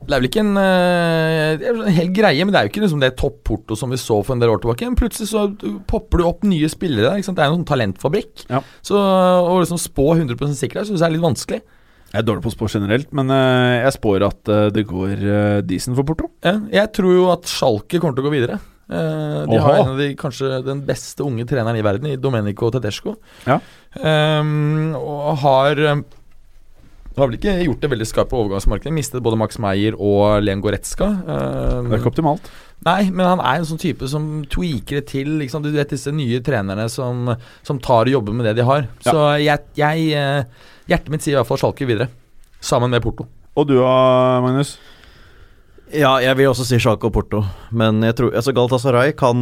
[SPEAKER 4] Det er vel ikke en, eh, det er vel en hel greie, men det er jo ikke liksom det topp-Porto som vi så for en del år tilbake. Men plutselig så popper det opp nye spillere. der, Ikke sant? Det er en sånn talentfabrikk.
[SPEAKER 3] Ja.
[SPEAKER 4] Så Å liksom spå 100 sikkerhet syns jeg er litt vanskelig.
[SPEAKER 3] Jeg er dårlig på å spå generelt, men eh, jeg spår at eh, det går eh, decent for Porto.
[SPEAKER 4] Ja, jeg tror jo at Schalke kommer til å gå videre. Eh, de
[SPEAKER 3] Oha.
[SPEAKER 4] har en av de kanskje den beste unge treneren i verden, i Domenico Tedesco.
[SPEAKER 3] Ja.
[SPEAKER 4] Ehm, og har eh, har vel ikke gjort det veldig skarpt på overgangsmarkedet. Mistet både Max Meyer og Len Goretzka. Ehm,
[SPEAKER 3] Det er ikke optimalt.
[SPEAKER 4] nei, men han er en sånn type som tweaker det til. Liksom, du vet disse nye trenerne som, som tar og jobber med det de har.
[SPEAKER 3] Ja.
[SPEAKER 4] Så jeg, jeg eh, Hjertet mitt sier i hvert fall Schalke videre. Sammen med Porto.
[SPEAKER 3] Og du da, Magnus?
[SPEAKER 5] ja, jeg vil også si Sjako og Porto, men jeg tror altså Galatasaray kan,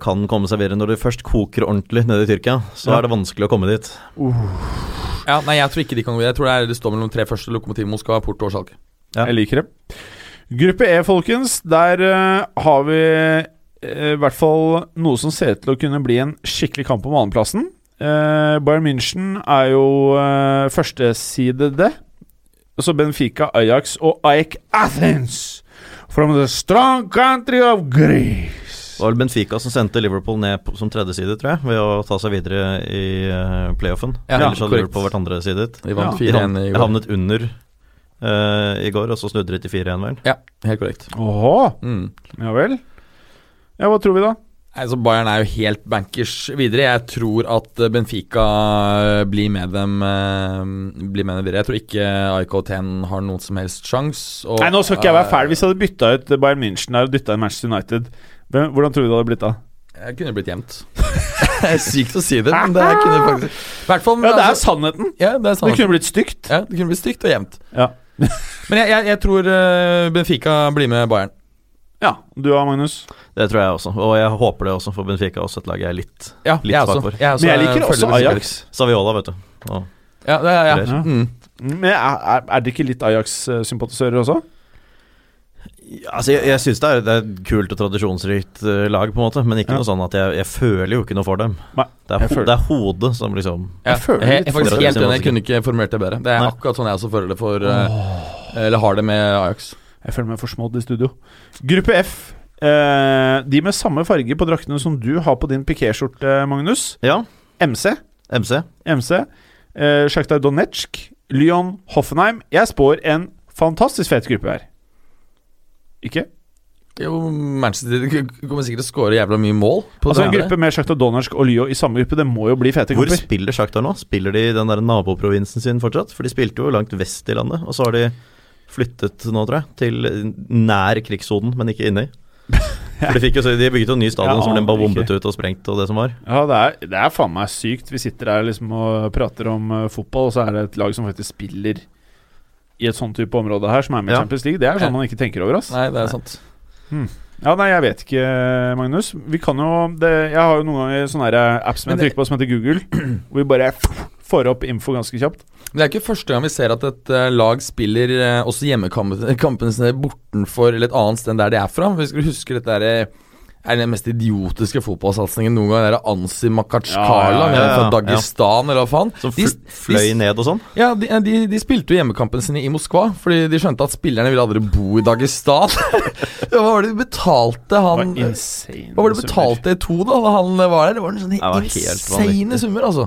[SPEAKER 5] kan komme seg videre. Når det først koker ordentlig nede i Tyrkia, så
[SPEAKER 3] Ja.
[SPEAKER 5] er det vanskelig å komme dit.
[SPEAKER 4] Ja, nei, jeg tror ikke de kan gå videre. Jeg tror det, er, det står mellom tre første lokomotiv Moskva, Porto og Schalke.
[SPEAKER 5] Ja.
[SPEAKER 3] Jeg liker det. Gruppe E, folkens, der eh, har vi eh, i hvert fall noe som ser ut til å kunne bli en skikkelig kamp om annenplassen. Eh, Bayern München er jo eh, førstesidede. Og så Benfica, Ajax og AEK Athens from the strong country of Greece.
[SPEAKER 5] Det var vel Benfica som sendte Liverpool ned på, som tredje side, tror jeg, ved å ta seg videre i eh, playoffen.
[SPEAKER 4] Ja,
[SPEAKER 5] Ellers hadde
[SPEAKER 4] korrekt.
[SPEAKER 5] Liverpool vært andre sidet.
[SPEAKER 4] De vant
[SPEAKER 5] De
[SPEAKER 4] 4-1
[SPEAKER 5] havnet,
[SPEAKER 4] i går.
[SPEAKER 5] havnet under eh, i går, og så snudde de til 4-1, vel.
[SPEAKER 4] Ja, helt korrekt.
[SPEAKER 3] Åhå,
[SPEAKER 4] Mm.
[SPEAKER 3] ja vel. Ja, hva tror vi da?
[SPEAKER 4] Altså Bayern er jo helt bankers videre. Jeg tror at eh, Benfica eh, blir med dem, eh, blir med dem videre. Jeg tror ikke IK10 har noen som helst sjanse. og-
[SPEAKER 3] Nei, nå skal ikke jeg være
[SPEAKER 4] eh,
[SPEAKER 3] fæl. Hvis jeg hadde bytta ut Bayern München der og dytta inn Manchester United, hvem, hvordan tror du det hadde blitt da?
[SPEAKER 4] Eh, Jeg kunne blitt gjemt. <laughs> det er sykt å si det, men det kunne faktisk I hvert fall
[SPEAKER 3] Ja, det er
[SPEAKER 4] altså,
[SPEAKER 3] sannheten.
[SPEAKER 4] ja, det er
[SPEAKER 3] Det
[SPEAKER 4] sant.
[SPEAKER 3] kunne blitt stygt.
[SPEAKER 4] Ja, det kunne blitt stygt og jevnt.
[SPEAKER 3] Ja.
[SPEAKER 4] Men jeg, jeg, jeg tror eh, Benfica blir med Bayern.
[SPEAKER 3] Ja, du da, Magnus?
[SPEAKER 5] Det tror jeg også, og jeg håper det også, for Benfica er også et lag jeg er litt
[SPEAKER 4] Ja,
[SPEAKER 5] Litt
[SPEAKER 4] jeg
[SPEAKER 5] svak
[SPEAKER 4] også.
[SPEAKER 5] for.
[SPEAKER 4] Jeg også
[SPEAKER 3] Men jeg
[SPEAKER 4] eh,
[SPEAKER 3] liker
[SPEAKER 4] følger
[SPEAKER 3] også
[SPEAKER 4] det sikkert.
[SPEAKER 3] Ajax.
[SPEAKER 5] Saviola, vet du. Og,
[SPEAKER 4] Ja, det er, ja.
[SPEAKER 3] Ja.
[SPEAKER 4] Mm.
[SPEAKER 3] Men er, er- er det ikke litt Ajax-sympatisører også?
[SPEAKER 5] Ja, altså, jeg jeg syns det, er- det er et kult og tradisjonsrikt eh, lag, på en måte, men ikke
[SPEAKER 3] Ja.
[SPEAKER 5] noe sånn at jeg, jeg føler jo ikke noe for dem.
[SPEAKER 3] Nei,
[SPEAKER 5] det, er
[SPEAKER 3] jeg
[SPEAKER 5] ho
[SPEAKER 3] føler-
[SPEAKER 5] det er hodet som liksom
[SPEAKER 4] Ja.
[SPEAKER 3] Jeg føler
[SPEAKER 4] Jeg
[SPEAKER 3] litt
[SPEAKER 4] er faktisk
[SPEAKER 5] for-
[SPEAKER 4] helt enig, jeg kunne ikke formulert det bedre. Det er
[SPEAKER 5] Nei.
[SPEAKER 4] akkurat sånn jeg også føler det for eh, Eller har det med Ajax.
[SPEAKER 3] Jeg føler meg forsmådd i studio. Gruppe F. Eh, de med samme farge på draktene som du har på din pikéskjorte, Magnus.
[SPEAKER 5] Ja,
[SPEAKER 3] MC.
[SPEAKER 5] MC.
[SPEAKER 3] MC. Eh, Shakhtar Donetsk. Lyon Hoffenheim. Jeg spår en fantastisk fet gruppe her. Ikke?
[SPEAKER 4] Jo, Manchester City k- kommer sikkert til å skåre jævla mye mål. På
[SPEAKER 3] Altså En
[SPEAKER 4] det her.
[SPEAKER 3] gruppe med Shakhtar Donetsk og Lyon i samme gruppe, det må jo bli fete
[SPEAKER 5] Hvor
[SPEAKER 3] kamper.
[SPEAKER 5] spiller Shakhtar nå? Spiller de i den der naboprovinsen sin fortsatt? For de spilte jo langt vest i landet, og så har de flyttet nå, tror jeg, til nær krigssonen, men ikke inni.
[SPEAKER 3] <laughs>
[SPEAKER 5] For de, fikk jo, så- de bygget jo en ny stadion
[SPEAKER 3] Jeg
[SPEAKER 5] som ble
[SPEAKER 3] aner
[SPEAKER 5] bare
[SPEAKER 3] ikke.
[SPEAKER 5] bombet ut og sprengt og det som var.
[SPEAKER 3] Ja, det er, det er faen meg sykt. Vi sitter her liksom og prater om eh, fotball, og så er det et lag som faktisk spiller i et sånn type område her, som er med i
[SPEAKER 5] Ja.
[SPEAKER 3] Champions League. Det er
[SPEAKER 4] Ja.
[SPEAKER 3] sånn man ikke tenker over, ass.
[SPEAKER 4] Nei, det er sant.
[SPEAKER 3] Ja, nei, jeg vet ikke, Magnus. Vi kan jo det, Jeg har jo noen ganger sånne her app som
[SPEAKER 4] Men
[SPEAKER 3] jeg
[SPEAKER 4] det-
[SPEAKER 3] trykker på, som heter Google, hvor vi bare får opp info ganske kjapt.
[SPEAKER 4] Men det er ikke første gang vi ser at et eh, lag spiller eh, også <laughs> hjemmekampene sine bortenfor eller et annet sted enn der de er fra. Vi skal huske dette er, er den mest idiotiske fotballsatsingen noen gang. Det er Ansi Makachkala
[SPEAKER 5] Ja, ja, ja, ja.
[SPEAKER 4] fra Dagestan, eller hva faen.
[SPEAKER 5] Som
[SPEAKER 4] De-
[SPEAKER 5] fl fløy
[SPEAKER 4] de-
[SPEAKER 5] ned og sånn.
[SPEAKER 4] Ja, de, de, de spilte jo hjemmekampene sine i Moskva, fordi de skjønte at spillerne ville aldri bo i Dagestan. <laughs> Ja, Hva var det de betalte
[SPEAKER 3] Det var
[SPEAKER 4] han
[SPEAKER 3] insane.
[SPEAKER 4] Hva var det
[SPEAKER 3] summer.
[SPEAKER 4] betalte E2 da da han var der? Det var en sånn
[SPEAKER 5] var helt
[SPEAKER 4] insane summer, altså.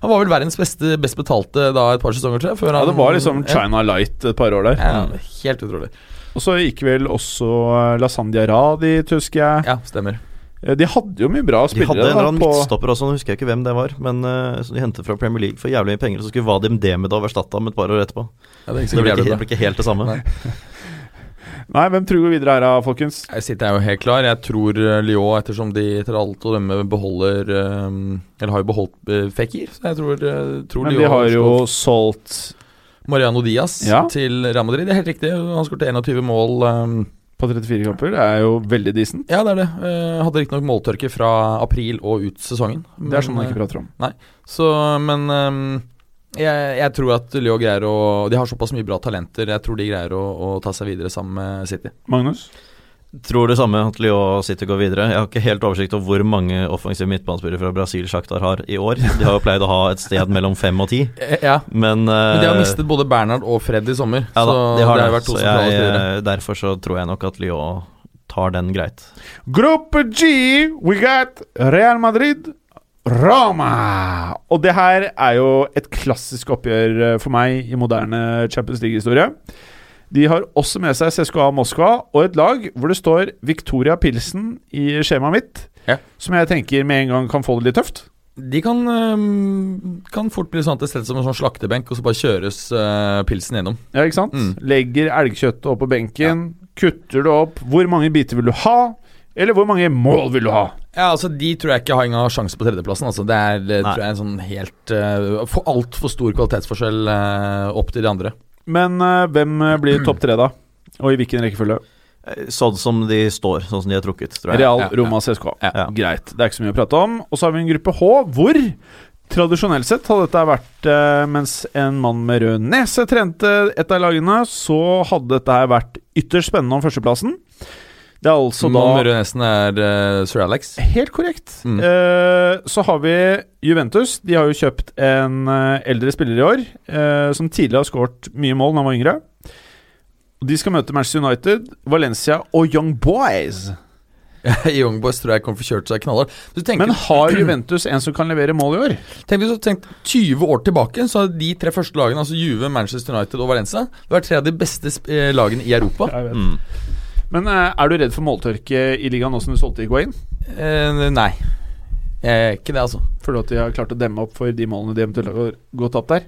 [SPEAKER 4] Han var vel verdens beste, best betalte da et par sesonger, tror jeg. Før
[SPEAKER 3] Ja,
[SPEAKER 4] han,
[SPEAKER 3] det var liksom
[SPEAKER 4] ja.
[SPEAKER 3] China Light et par år der.
[SPEAKER 4] Ja, helt utrolig.
[SPEAKER 3] Og så gikk vel også eh, Lasandia Radi, husker jeg.
[SPEAKER 4] Ja, stemmer.
[SPEAKER 3] Eh, De hadde jo mye bra
[SPEAKER 5] De hadde
[SPEAKER 3] spillere.
[SPEAKER 5] en eller
[SPEAKER 3] da,
[SPEAKER 5] annen
[SPEAKER 3] på-
[SPEAKER 5] midtstopper også, nå husker jeg ikke hvem det var, men eh, som de hentet fra Premier League for jævlig mye penger, og så skulle Vadim Demidov erstatte ham et par år etterpå.
[SPEAKER 4] Ja, det gikk sikkert
[SPEAKER 5] Så det ble ikke,
[SPEAKER 4] jævlig
[SPEAKER 5] det
[SPEAKER 4] bra.
[SPEAKER 5] ble ikke helt det samme.
[SPEAKER 4] Nei.
[SPEAKER 3] Nei, hvem tror vi videre her, da, folkens?
[SPEAKER 4] Jeg sitter jo helt klar. Jeg tror eh, Lyon, ettersom de etter alt å dømme beholder eh, Eller har jo beholdt eh, Fekir, så jeg tror, eh, tror
[SPEAKER 3] Men
[SPEAKER 4] Lyon
[SPEAKER 3] de har
[SPEAKER 4] slår
[SPEAKER 3] jo solgt
[SPEAKER 4] Mariano Diaz
[SPEAKER 3] Ja.
[SPEAKER 4] til Real Madrid. Det er helt riktig. Han skåret 21 mål. ehm,
[SPEAKER 3] på 34 kamper. Det er jo veldig decent.
[SPEAKER 4] Ja, det er det. Eh, hadde riktignok måltørke fra april og ut sesongen.
[SPEAKER 3] Det er sånn man
[SPEAKER 4] eh,
[SPEAKER 3] ikke prater om.
[SPEAKER 4] Så, men ehm, jeg, jeg tror at Leo greier å De har såpass mye bra talenter. Jeg tror de greier å, å ta seg videre sammen med City.
[SPEAKER 3] Magnus?
[SPEAKER 5] Tror det samme at Lyon City går videre. Jeg har ikke helt oversikt over hvor mange offensive midtbanespillere fra Brasil Shakhtar har i år. De har jo pleid å ha et sted mellom fem og ti,
[SPEAKER 4] Eh, ja.
[SPEAKER 5] men
[SPEAKER 4] Men de har mistet både Bernhard og Fred i sommer.
[SPEAKER 5] Eh, ja, da,
[SPEAKER 4] så
[SPEAKER 5] de
[SPEAKER 4] det
[SPEAKER 5] har det.
[SPEAKER 4] har vært to
[SPEAKER 5] så
[SPEAKER 4] sentrale
[SPEAKER 5] jeg,
[SPEAKER 4] spillere.
[SPEAKER 5] eh, derfor så tror jeg nok at Lyon tar den greit.
[SPEAKER 3] Gruppe G, we got Real Madrid, Roma. Og det her er jo et klassisk oppgjør eh, for meg i moderne Champions League-historie. De har også med seg CSKA Moskva og et lag hvor det står Victoria Pilsen i skjemaet mitt,
[SPEAKER 4] Ja.
[SPEAKER 3] som jeg tenker med en gang kan få det litt tøft.
[SPEAKER 4] De kan, ehm, kan fort bli sånn at det settes som en sånn slaktebenk, og så bare kjøres eh, pilsen gjennom.
[SPEAKER 3] Ja, ikke sant?
[SPEAKER 4] Mm.
[SPEAKER 3] Legger elgkjøttet opp på benken, kutter det opp. Hvor mange biter vil du ha? Eller hvor mange mål vil du ha?
[SPEAKER 4] Ja, altså De tror jeg ikke har ingen sjanse på tredjeplassen. Altså. Det er det
[SPEAKER 5] Nei.
[SPEAKER 4] tror jeg, en sånn helt uh, for altfor stor kvalitetsforskjell eh, opp til de andre.
[SPEAKER 3] Men eh, hvem eh, blir topp tre, da? Og i hvilken rekkefølge?
[SPEAKER 5] Eh, Sånn som de står, sånn som de er trukket, tror jeg.
[SPEAKER 3] Real,
[SPEAKER 4] Ja, ja.
[SPEAKER 3] Roma, CSKA.
[SPEAKER 5] Ja.
[SPEAKER 3] Greit. Det er ikke så mye å prate om. Og så har vi en gruppe H hvor Tradisjonelt sett hadde dette vært eh, mens en mann med rød nese trente et av lagene, så hadde dette her vært ytterst spennende om førsteplassen. Det er altså
[SPEAKER 4] Så
[SPEAKER 3] da
[SPEAKER 4] da Rødnesen er eh, Sir Alex. <laughs>
[SPEAKER 3] Helt korrekt.
[SPEAKER 4] Mm.
[SPEAKER 3] Eh, så har vi Juventus. De har jo kjøpt en eh, eldre spiller i år, eh, som tidligere har skåret mye mål da han var yngre. Og De skal møte Manchester United, Valencia og Young Boys.
[SPEAKER 4] Young Boys tror jeg kommer til å kjørt seg knallhardt. Du tenker-
[SPEAKER 3] Men har Juventus en som kan levere mål i år?
[SPEAKER 4] Tenk hvis du hadde tenkt 20 år tilbake, så hadde de tre første lagene, altså Juve, Manchester United og Valencia, det var tre av de beste sp- eh, lagene i Europa.
[SPEAKER 5] Mm.
[SPEAKER 3] Men eh, er du redd for måltørke i ligaen nå som du solgte Higuain?
[SPEAKER 4] Eh, nei. Eh, ikke det, altså.
[SPEAKER 3] Føler du at de har klart å demme opp for de målene de eventuelt har gått opp
[SPEAKER 4] <laughs>
[SPEAKER 3] der?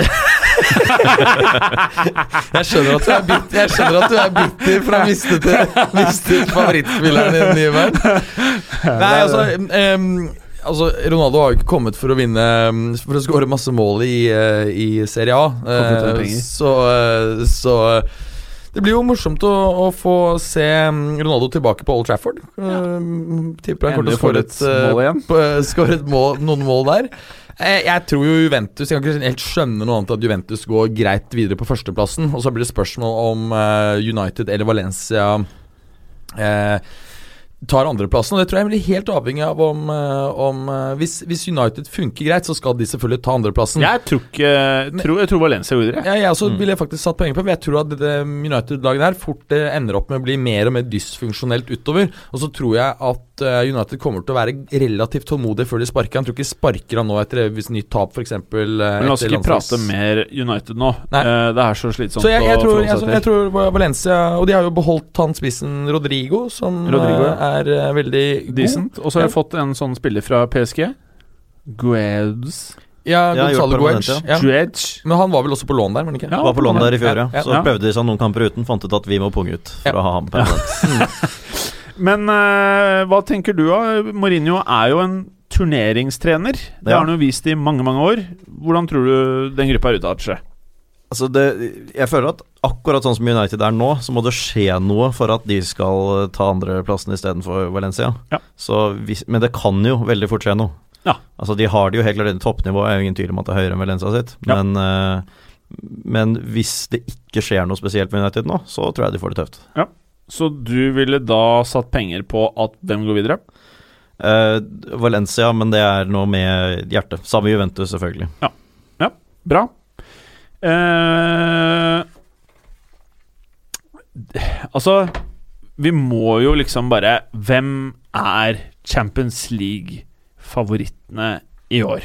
[SPEAKER 4] Jeg skjønner at du er bitter, jeg skjønner at du er bitter for å ha mistet, det- mistet favorittspilleren din i verden. Nei, altså, em, altså Ronaldo har jo ikke kommet for å vinne em, For å skåre masse mål i, eh, i Serie A.
[SPEAKER 3] for å tjene
[SPEAKER 4] Eh,
[SPEAKER 3] penger.
[SPEAKER 4] så, eh, så eh, det blir jo morsomt å, å få se em, Ronaldo tilbake på Old Trafford. Em, Tipper han kommer til
[SPEAKER 3] Endelig
[SPEAKER 4] å
[SPEAKER 3] får
[SPEAKER 4] skåre
[SPEAKER 3] et
[SPEAKER 4] et, eh,
[SPEAKER 3] mål igjen.
[SPEAKER 4] på- skåre et mål, noen mål der. Eh, Jeg tror jo Juventus Jeg kan ikke helt skjønne noe annet enn at Juventus går greit videre på førsteplassen. Og så blir det spørsmål om eh, United eller Valencia eh, tar andreplassen. Og det tror jeg blir helt avhengig av om, eh, om eh, hvis, hvis United funker greit, så skal de selvfølgelig ta andreplassen.
[SPEAKER 3] Jeg tror, ikke, tror, jeg tror Valencia gjorde det.
[SPEAKER 4] Ja, jeg også ville faktisk satt penger på, for jeg tror at dette United-laget her fort eh, ender opp med å bli mer og mer dysfunksjonelt utover. Og så tror jeg at eh, United kommer til å være relativt tålmodige før de sparker. Han tror ikke de sparker han nå etter hvis nytt tap, eh, f.eks.
[SPEAKER 3] Men la oss ikke prate mer United nå.
[SPEAKER 4] Nei.
[SPEAKER 3] Eh, Det er så slitsomt
[SPEAKER 4] Så jeg,
[SPEAKER 3] å
[SPEAKER 4] jeg, tror,
[SPEAKER 3] forholde
[SPEAKER 4] jeg,
[SPEAKER 3] seg
[SPEAKER 4] jeg tror Valencia Og de har jo beholdt han spissen Rodrigo, som eh,
[SPEAKER 3] Rodrigo, ja.
[SPEAKER 4] er eh, veldig god.
[SPEAKER 3] Decent. Og så har jeg fått en sånn spiller fra PSG. Guedes.
[SPEAKER 4] Ja,
[SPEAKER 5] Ja, gjort
[SPEAKER 4] Gonzalo
[SPEAKER 5] permanent,
[SPEAKER 4] Guedes.
[SPEAKER 3] Ja.
[SPEAKER 4] Ja. Men han var vel også på lån der, var han ikke?
[SPEAKER 3] Ja.
[SPEAKER 5] Var på lån der i fjor, ja.
[SPEAKER 4] Ja, ja,
[SPEAKER 5] Så
[SPEAKER 3] ja.
[SPEAKER 5] prøvde de seg noen kamper uten, fant ut at vi må punge ut for
[SPEAKER 4] Ja.
[SPEAKER 5] å ha ham permanent.
[SPEAKER 3] Men eh, hva tenker du da? Mourinho er jo en turneringstrener. Det
[SPEAKER 5] Ja.
[SPEAKER 3] har han jo vist i mange, mange år. Hvordan tror du den gruppa utarter seg?
[SPEAKER 5] Altså det, jeg føler at akkurat sånn som United er nå, så må det skje noe for at de skal ta andreplassen istedenfor Valencia.
[SPEAKER 3] Ja.
[SPEAKER 5] Så hvis, men det kan jo veldig fort skje noe.
[SPEAKER 3] Ja.
[SPEAKER 5] Altså De har det jo helt klart i toppnivået, er jo ingen tvil om at det er høyere enn Valencia sitt.
[SPEAKER 3] Ja.
[SPEAKER 5] Men, eh, men hvis det ikke skjer noe spesielt med United nå, så tror jeg de får det tøft.
[SPEAKER 3] Så du ville da satt penger på at hvem går videre?
[SPEAKER 5] Eh, Valencia, men det er noe med hjertet. Samme Juventus, selvfølgelig.
[SPEAKER 3] Bra. Eh, altså Vi må jo liksom bare Hvem er Champions League-favorittene i år?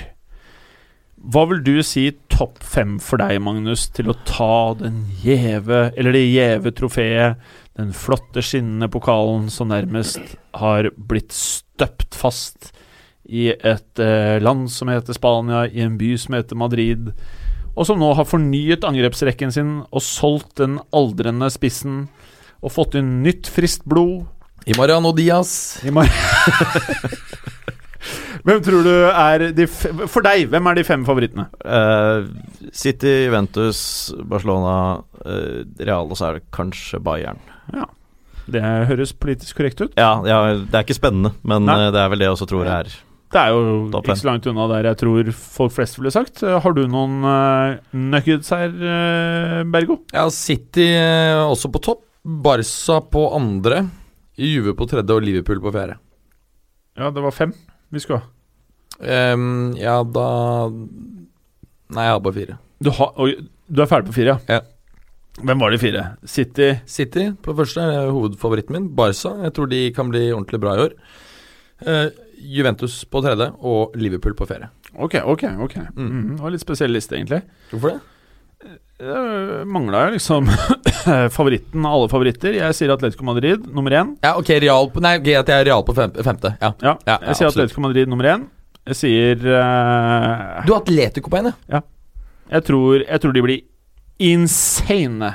[SPEAKER 3] Hva vil du si topp fem for deg, Magnus, til å ta den gjeve Eller det gjeve trofeet, den flotte, skinnende pokalen som nærmest har blitt støpt fast i et eh, land som heter Spania, i en by som heter Madrid, og som nå har fornyet angrepsrekken sin og solgt den aldrende spissen og fått inn nytt friskt blod
[SPEAKER 4] I Mariano Diaz.
[SPEAKER 3] i mar... <laughs> Hvem tror du er de f For deg, hvem er de fem favorittene?
[SPEAKER 5] Eh, City, Juventus, Barcelona, eh, Real, og så er det kanskje Bayern.
[SPEAKER 3] Det høres politisk korrekt ut.
[SPEAKER 5] Ja, ja det er ikke spennende, men
[SPEAKER 3] Nei.
[SPEAKER 5] eh, det er vel det jeg også tror er
[SPEAKER 3] Det er jo
[SPEAKER 5] Topp
[SPEAKER 3] ikke
[SPEAKER 5] fem.
[SPEAKER 3] så langt unna der jeg tror folk flest ville sagt. Eh, Har du noen eh, nuggets her, eh, Bergo?
[SPEAKER 4] Ja, City eh, også på topp. Barca på andre. Juve på tredje og Liverpool på fjerde.
[SPEAKER 3] Ja, det var fem vi skulle ha.
[SPEAKER 4] Ehm, ja, da Nei, jeg har bare fire.
[SPEAKER 3] Du, har, oi, du er ferdig på fire,
[SPEAKER 4] Ja.
[SPEAKER 3] Hvem var de fire? City,
[SPEAKER 4] City på første er hovedfavoritten min. Barca. Jeg tror de kan bli ordentlig bra i år. Eh, Juventus på tredje og Liverpool på fjerde.
[SPEAKER 3] Ok, ok, ok. Mm. Det var litt spesiell liste, egentlig.
[SPEAKER 4] Hvorfor det?
[SPEAKER 3] Uh, Mangla jo liksom <laughs> favoritten av alle favoritter. Jeg sier Atletico Madrid nummer én.
[SPEAKER 4] Ja, ok, Real på Nei, ok, at jeg er Real på fem, femte. Ja.
[SPEAKER 3] Ja,
[SPEAKER 4] Ja, ja,
[SPEAKER 3] jeg sier
[SPEAKER 4] absolutt.
[SPEAKER 3] Atletico Madrid nummer én. Jeg sier eh,
[SPEAKER 4] Du har Atletico på en, ja.
[SPEAKER 3] jeg, tror, jeg tror de blir insane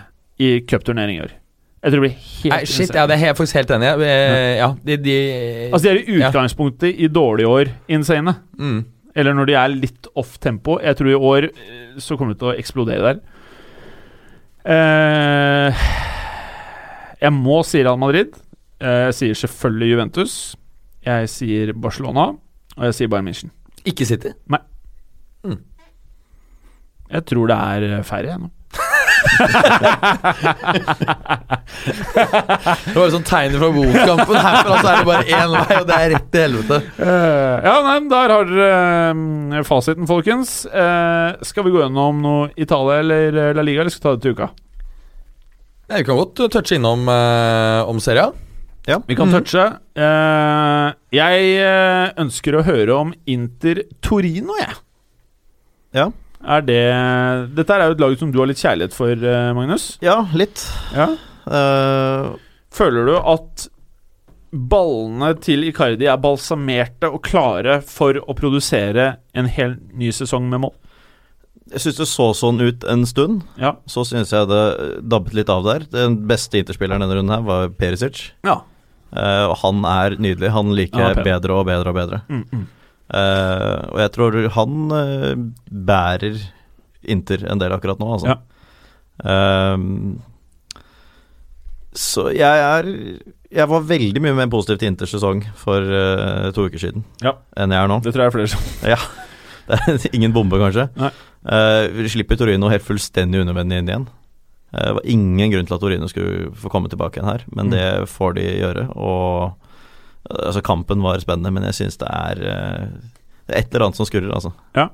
[SPEAKER 3] i cupturnering i år. Jeg tror de blir helt
[SPEAKER 4] Nei, shit,
[SPEAKER 3] insane.
[SPEAKER 4] ja, det er jeg faktisk helt enig i. Eh, ja, de, de
[SPEAKER 3] Altså, de er i utgangspunktet i dårlige år insane.
[SPEAKER 4] mm.
[SPEAKER 3] Eller når de er litt off tempo. Jeg tror i år eh, så kommer det til å eksplodere der. Eh, jeg må si Real Madrid. Eh, Jeg sier selvfølgelig Juventus. Jeg sier Barcelona. Og jeg sier Bayern München.
[SPEAKER 4] Ikke City?
[SPEAKER 3] Nei.
[SPEAKER 4] Mm.
[SPEAKER 3] Jeg tror det er færre, jeg nå.
[SPEAKER 4] Det var jo sånn tegner fra Wolf-kampen. Herfra så altså er det bare én vei, og det er rett til helvete.
[SPEAKER 3] Eh, ja, nei, men der har dere eh, fasiten, folkens. Eh, skal vi gå gjennom noe Italia eller eh, La Liga, eller skal vi ta det til uka?
[SPEAKER 4] Nei, vi kan godt eh, touche innom eh, om serien. Mm.
[SPEAKER 3] Vi kan touche. Eh, jeg eh, ønsker å høre om Inter Torino, jeg.
[SPEAKER 5] Ja.
[SPEAKER 3] Er det Dette er jo et lag som du har litt kjærlighet for, eh, Magnus.
[SPEAKER 5] Ja, litt.
[SPEAKER 3] Ja.
[SPEAKER 5] Eh,
[SPEAKER 3] Føler du at ballene til Icardi er balsamerte og klare for å produsere en hel ny sesong med mål?
[SPEAKER 5] jeg syns det så sånn ut en stund.
[SPEAKER 3] Ja.
[SPEAKER 5] Så syns jeg det eh, dabbet litt av der. Den beste interspilleren denne runden her var Perisic.
[SPEAKER 3] Ja.
[SPEAKER 5] Eh, og han er nydelig. Han liker
[SPEAKER 3] Ja,
[SPEAKER 5] jeg
[SPEAKER 3] pen.
[SPEAKER 5] bedre og bedre og bedre.
[SPEAKER 3] Mm -mm.
[SPEAKER 5] Eh, og jeg tror han eh, bærer Inter en del akkurat nå, altså.
[SPEAKER 3] Ja.
[SPEAKER 5] Ehm, så jeg er Jeg var veldig mye mer positiv til Inters sesong for eh, to uker siden
[SPEAKER 3] Ja.
[SPEAKER 5] enn jeg er nå.
[SPEAKER 3] Det tror jeg er flere som
[SPEAKER 5] <laughs> Det er ingen bombe, kanskje.
[SPEAKER 3] Nei.
[SPEAKER 5] Eh, vi slipper Torino helt fullstendig unødvendig inn igjen. Eh, det var ingen grunn til at Torino skulle få komme tilbake igjen her, men
[SPEAKER 3] Mm.
[SPEAKER 5] det får de gjøre. Og eh, altså, kampen var spennende, men jeg syns det er eh, det er et eller annet som skurrer, altså.
[SPEAKER 3] Hva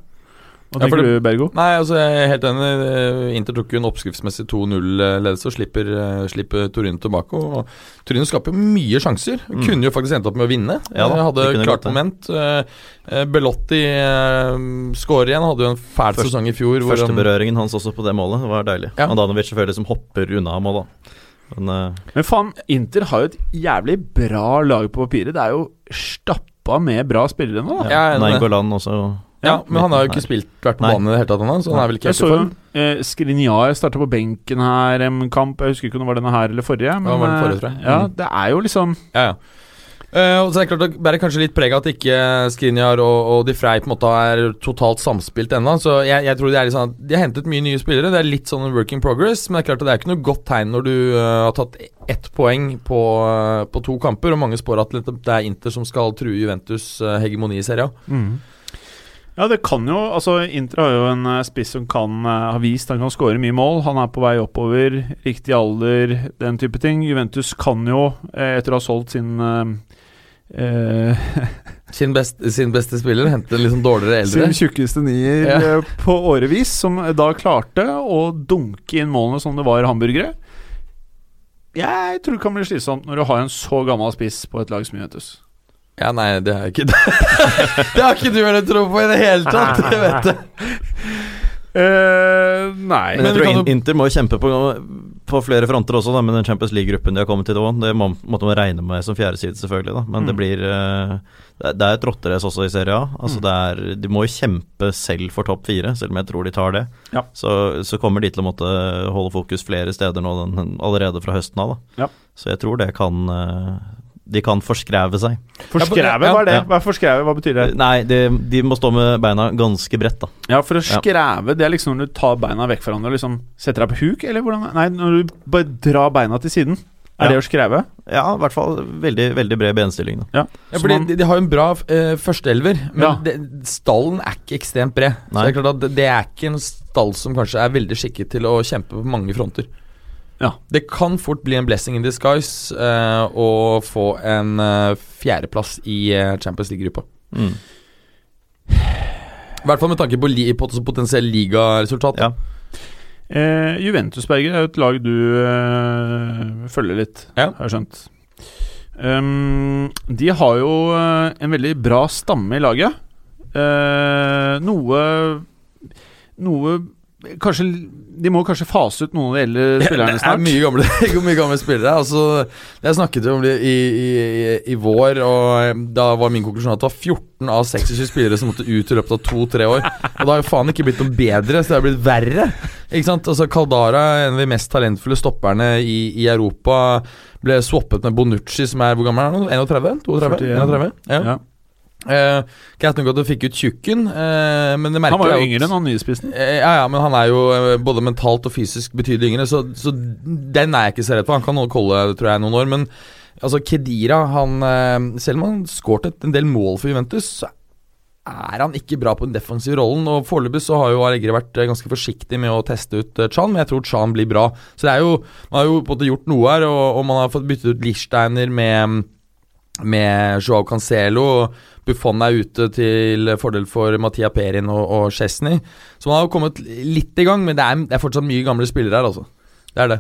[SPEAKER 4] Ja, for
[SPEAKER 3] tenker
[SPEAKER 4] det-
[SPEAKER 3] du, Bergo?
[SPEAKER 4] Nei, altså, jeg er helt enig. Eh, Inter tok jo en oppskriftsmessig 2-0-ledelse og slipper, eh, slipper Torino tilbake. Og Torino skaper jo mye sjanser.
[SPEAKER 5] Mm.
[SPEAKER 4] Kunne jo faktisk endt opp med å vinne.
[SPEAKER 5] Ja da,
[SPEAKER 4] Eh, hadde
[SPEAKER 5] de kunne gått
[SPEAKER 4] klart
[SPEAKER 5] det.
[SPEAKER 4] moment. Eh, eh, Belotti eh, skårer igjen. Hadde jo en fæl
[SPEAKER 5] Først-
[SPEAKER 4] sesong i fjor. hvor han-
[SPEAKER 5] Førsteberøringen hans også på det målet var deilig.
[SPEAKER 4] Ja.
[SPEAKER 5] Andanovic selvfølgelig som hopper unna mål, da. Men eh,
[SPEAKER 3] Men faen, Inter har jo et jævlig bra lag på papiret. Det er jo stappa med bra spillere nå, da.
[SPEAKER 5] ja,
[SPEAKER 4] jeg er enig.
[SPEAKER 5] Nangolan også
[SPEAKER 4] Ja, men han har jo
[SPEAKER 5] Nei.
[SPEAKER 4] ikke spilt, vært på
[SPEAKER 5] Nei.
[SPEAKER 4] banen i det hele tatt ennå, så han er vel ikke
[SPEAKER 3] Jeg så
[SPEAKER 4] helt i
[SPEAKER 3] jo
[SPEAKER 4] form.
[SPEAKER 3] eh, Skriniar starta på benken her en kamp. Jeg husker ikke om det var denne her eller forrige. Men,
[SPEAKER 4] var den forrige, tror jeg. Mm.
[SPEAKER 3] eh, ja, det er jo liksom
[SPEAKER 4] Ja, ja. Eh, og så er det klart Det bærer kanskje litt preg av at ikke Skriniar og, og De Frey på en måte er totalt samspilt ennå. Så jeg, jeg tror det er litt sånn at De har hentet mye nye spillere. Det er litt sånn work in progress. Men det er klart at det er ikke noe godt tegn når du eh, har tatt ett poeng på, eh, på to kamper, og mange spår at litt- det er Inter som skal true Juventus' eh, hegemoni i serien.
[SPEAKER 3] Ja, det kan jo Altså, Inter har jo en eh, spiss som kan eh, har vist han kan skåre mye mål. Han er på vei oppover, riktig alder, den type ting. Juventus kan jo, eh, etter å ha solgt sin eh, eh, <laughs>
[SPEAKER 4] Sin, best, sin beste spiller henter liksom dårligere eldre.
[SPEAKER 3] Sin tjukkeste nier
[SPEAKER 4] Ja.
[SPEAKER 3] eh, på årevis, som da klarte å dunke inn målene som det var hamburgere. Jeg tror det kan bli slitsomt når du har en så gammel spiss på et lag som Juventus.
[SPEAKER 4] Ja, nei, det er ikke <laughs> det. det har ikke du heller tro på i det hele tatt, det vet jeg.
[SPEAKER 3] Eh, nei
[SPEAKER 5] Men jeg
[SPEAKER 4] Men vi
[SPEAKER 5] tror
[SPEAKER 4] kan jo-
[SPEAKER 5] In- Inter må jo kjempe på, på flere fronter også, da, med den Champions League-gruppen de har kommet til. også. Det må, måtte man regne med som fjerde side, selvfølgelig. Da. Men det
[SPEAKER 3] Mm.
[SPEAKER 5] blir eh, det er- Det er et rotterace også i Serie A. Altså,
[SPEAKER 3] Mm.
[SPEAKER 5] det er, de må jo kjempe selv for topp fire, selv om jeg tror de tar det.
[SPEAKER 3] Ja.
[SPEAKER 5] Så, så kommer de til å måtte holde fokus flere steder nå den, allerede fra høsten av. Da.
[SPEAKER 3] Ja.
[SPEAKER 5] Så jeg tror det kan eh, De kan forskreve seg.
[SPEAKER 3] Forskrevet, hva er det?
[SPEAKER 5] Ja.
[SPEAKER 3] Hva, er forskrevet, hva betyr det?
[SPEAKER 5] Nei, de, de må stå med beina ganske bredt, da.
[SPEAKER 3] Ja, for å skreve, det er liksom når du tar beina vekk fra hverandre og liksom setter deg på huk, eller hvordan Nei, når du bare drar beina til siden. Er
[SPEAKER 5] Ja.
[SPEAKER 3] det å skreve?
[SPEAKER 5] Ja, i hvert fall veldig, veldig bred benstilling, da.
[SPEAKER 4] Ja,
[SPEAKER 3] Så
[SPEAKER 4] fordi
[SPEAKER 3] man-
[SPEAKER 4] de, de har jo en bra eh, førsteelver, men
[SPEAKER 3] Ja.
[SPEAKER 4] det, stallen er ikke ekstremt bred. Så
[SPEAKER 5] Nei.
[SPEAKER 4] Det er klart at det- det er ikke en stall som kanskje er veldig skikket til å kjempe på mange fronter.
[SPEAKER 3] Ja.
[SPEAKER 4] Det kan fort bli en blessing in disguise eh, å få en eh, fjerdeplass i eh, Champions League-gruppa.
[SPEAKER 5] Mm.
[SPEAKER 4] I hvert fall med tanke på, li, på potensiell ligaresultat.
[SPEAKER 5] Ja.
[SPEAKER 3] Eh, Juventusberger er jo et lag du eh, følger litt,
[SPEAKER 4] Ja.
[SPEAKER 3] har jeg skjønt. Ehm, de har jo eh, en veldig bra stamme i laget. Eh, noe Noe Kanskje De må kanskje fase ut noen av de
[SPEAKER 4] <laughs>
[SPEAKER 3] eldre spillerne
[SPEAKER 4] Det er
[SPEAKER 3] snart.
[SPEAKER 4] mye gamle, <laughs> det er mye gamle spillere. Altså, jeg snakket jo om det i, i, i, i vår, og eh, da var min konklusjon at det var 14 av 26 spillere som måtte ut i løpet av to-tre år. Og det har jo faen ikke blitt noe bedre, så det har blitt verre. Ikke sant? Altså, Caldara, en av de mest talentfulle stopperne i, i Europa, ble swappet med Bonucci, som er hvor gammel er han? nå? 31? 32?
[SPEAKER 3] 41.
[SPEAKER 4] 31? Ja.
[SPEAKER 3] Ja.
[SPEAKER 4] Eh, Greit nok at du fikk ut Tjukken, eh, men det merker
[SPEAKER 3] Han var jo
[SPEAKER 4] jeg
[SPEAKER 3] yngre enn han nyspissen.
[SPEAKER 4] Eh, Ja, ja, men han er jo eh, både mentalt og fysisk betydelig yngre, så, så den er jeg ikke så redd for. Han kan nok holde tror jeg, noen år, men altså, Kedira han, eh, Selv om han skåret et- en del mål for Juventus, så er han ikke bra på den defensive rollen. Og Foreløpig så har jo Allegri vært eh, ganske forsiktig med å teste ut eh, Chan, men jeg tror Chan blir bra. Så det er jo Man har jo på en måte gjort noe her, og, og man har fått byttet ut Lichsteiner med mm, med Joao Cancelo. og Buffon er ute til fordel for Mattia Perin og, og Chesney. Så man har jo kommet litt i gang, men det er, det er fortsatt mye gamle spillere her, altså. Det er det.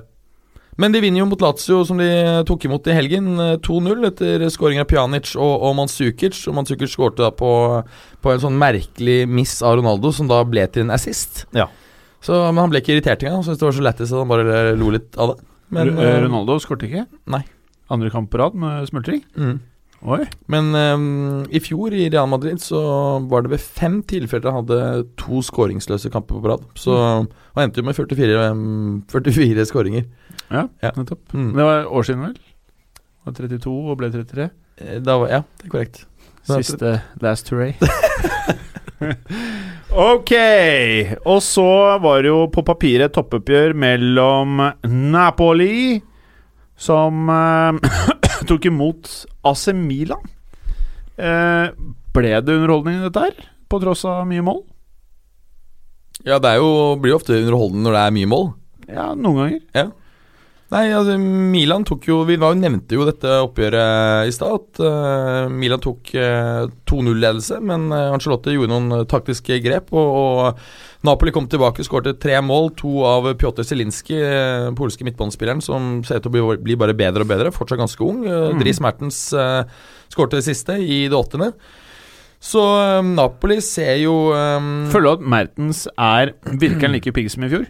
[SPEAKER 4] Men de vinner jo mot Lazio, som de tok imot i helgen. eh, 2-0 etter skåring av Pjanic og, og Manzukic. Og Manzukic skårte da på, på en sånn merkelig miss av Ronaldo, som da ble til en assist.
[SPEAKER 5] Ja.
[SPEAKER 4] Så, men han ble ikke irritert engang. Han syntes det var så lættis at han bare lo litt av det. Men,
[SPEAKER 3] Ru- eh,
[SPEAKER 4] eh,
[SPEAKER 3] Ronaldo skårte ikke?
[SPEAKER 4] Nei.
[SPEAKER 3] Andre kamp på rad med smultring?
[SPEAKER 4] mm.
[SPEAKER 3] Oi.
[SPEAKER 4] Men ehm, i fjor i Real Madrid så var det ved fem tilfeller han hadde to skåringsløse kamper på rad. Så han endte jo med 44, ehm, 44 skåringer.
[SPEAKER 3] Ja,
[SPEAKER 4] Ja.
[SPEAKER 3] nettopp.
[SPEAKER 4] Mm.
[SPEAKER 3] Det var år siden, vel? Det var 32 og ble 33.
[SPEAKER 4] Eh, Da var, ja, det er korrekt. Da-
[SPEAKER 3] Siste last touré. ok! Og så var det jo på papiret toppoppgjør mellom Napoli, som eh, <coughs> tok imot AC Milan. Eh, ble det underholdning i dette her, på tross av mye mål?
[SPEAKER 4] Ja, det er jo, blir jo ofte underholdende når det er mye mål.
[SPEAKER 3] Ja, noen ganger.
[SPEAKER 4] Nei, altså Milan tok jo Vi var jo nevnte jo dette oppgjøret i stad. At eh, Milan tok eh, 2-0-ledelse, men uh, Angelotte gjorde noen taktiske grep. Og, og Napoli kom tilbake, skårte tre mål. To av Pjotr Zelinskyj, eh, polske midtbåndspilleren, som ser ut til å bli, bli bare bedre og bedre. Fortsatt ganske ung. Uh,
[SPEAKER 3] Mm.
[SPEAKER 4] Dries Mertens eh, skårte det siste, i det åttende. Så eh, Napoli ser jo eh,
[SPEAKER 3] Føler du at Mertens er virker han like pigg som i fjor?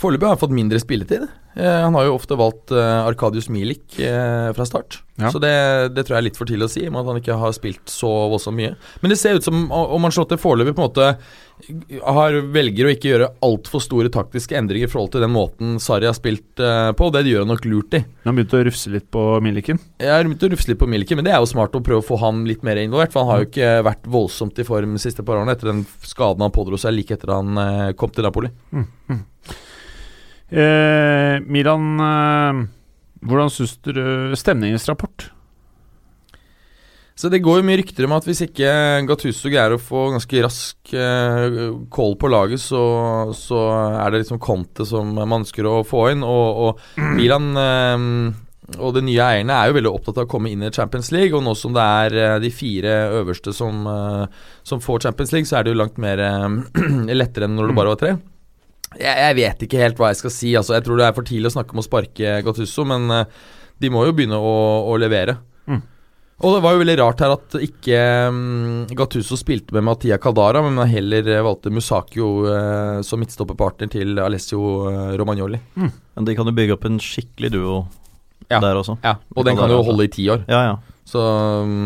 [SPEAKER 4] Foreløpig har han fått mindre spilletid. Eh, han har jo ofte valgt eh, Arkadius Milik eh, fra start,
[SPEAKER 3] Ja.
[SPEAKER 4] så det, det tror jeg er litt for tidlig å si, med at han ikke har spilt så voldsomt mye. Men det ser ut som o- om han slått det foreløpig på en måte har, velger å ikke gjøre altfor store taktiske endringer i forhold til den måten Sarri har spilt eh, på, og det gjør han nok lurt i.
[SPEAKER 3] Han begynte å rufse litt på Milliken.
[SPEAKER 4] Jeg har begynt å rufse litt på Milke, men det er jo smart å prøve å få han litt mer involvert. For han har jo ikke vært voldsomt i form de siste par årene etter den skaden han pådro seg like etter han eh, kom til Napoli.
[SPEAKER 3] Eh, Milan, eh, hvordan syns dere stemningens rapport?
[SPEAKER 4] Så det går jo mye rykter om at hvis ikke Gattuso greier å få ganske rask eh, call på laget, så, så er det liksom Conte som man ønsker å få inn. Og, og Milan eh, og de nye eierne er jo veldig opptatt av å komme inn i Champions League. Og nå som det er eh, de fire øverste som, eh, som får Champions League, så er det jo langt mer eh, <clears throat> lettere enn når det bare var tre. Jeg, jeg vet ikke helt hva jeg skal si. Altså, jeg tror det er for tidlig å snakke om å sparke Gattuso, men eh, de må jo begynne å, å levere. Og det var jo veldig rart her at ikke um, Gattuso spilte med Mattia Caldara, men man heller eh, valgte Musakio eh, som midtstopperpartner til Alessio eh, Romagnoli.
[SPEAKER 5] Men de kan jo bygge opp en skikkelig duo
[SPEAKER 4] Ja.
[SPEAKER 5] der også.
[SPEAKER 4] Ja, og den kan jo holde i ti år.
[SPEAKER 5] Ja, ja.
[SPEAKER 4] Så um,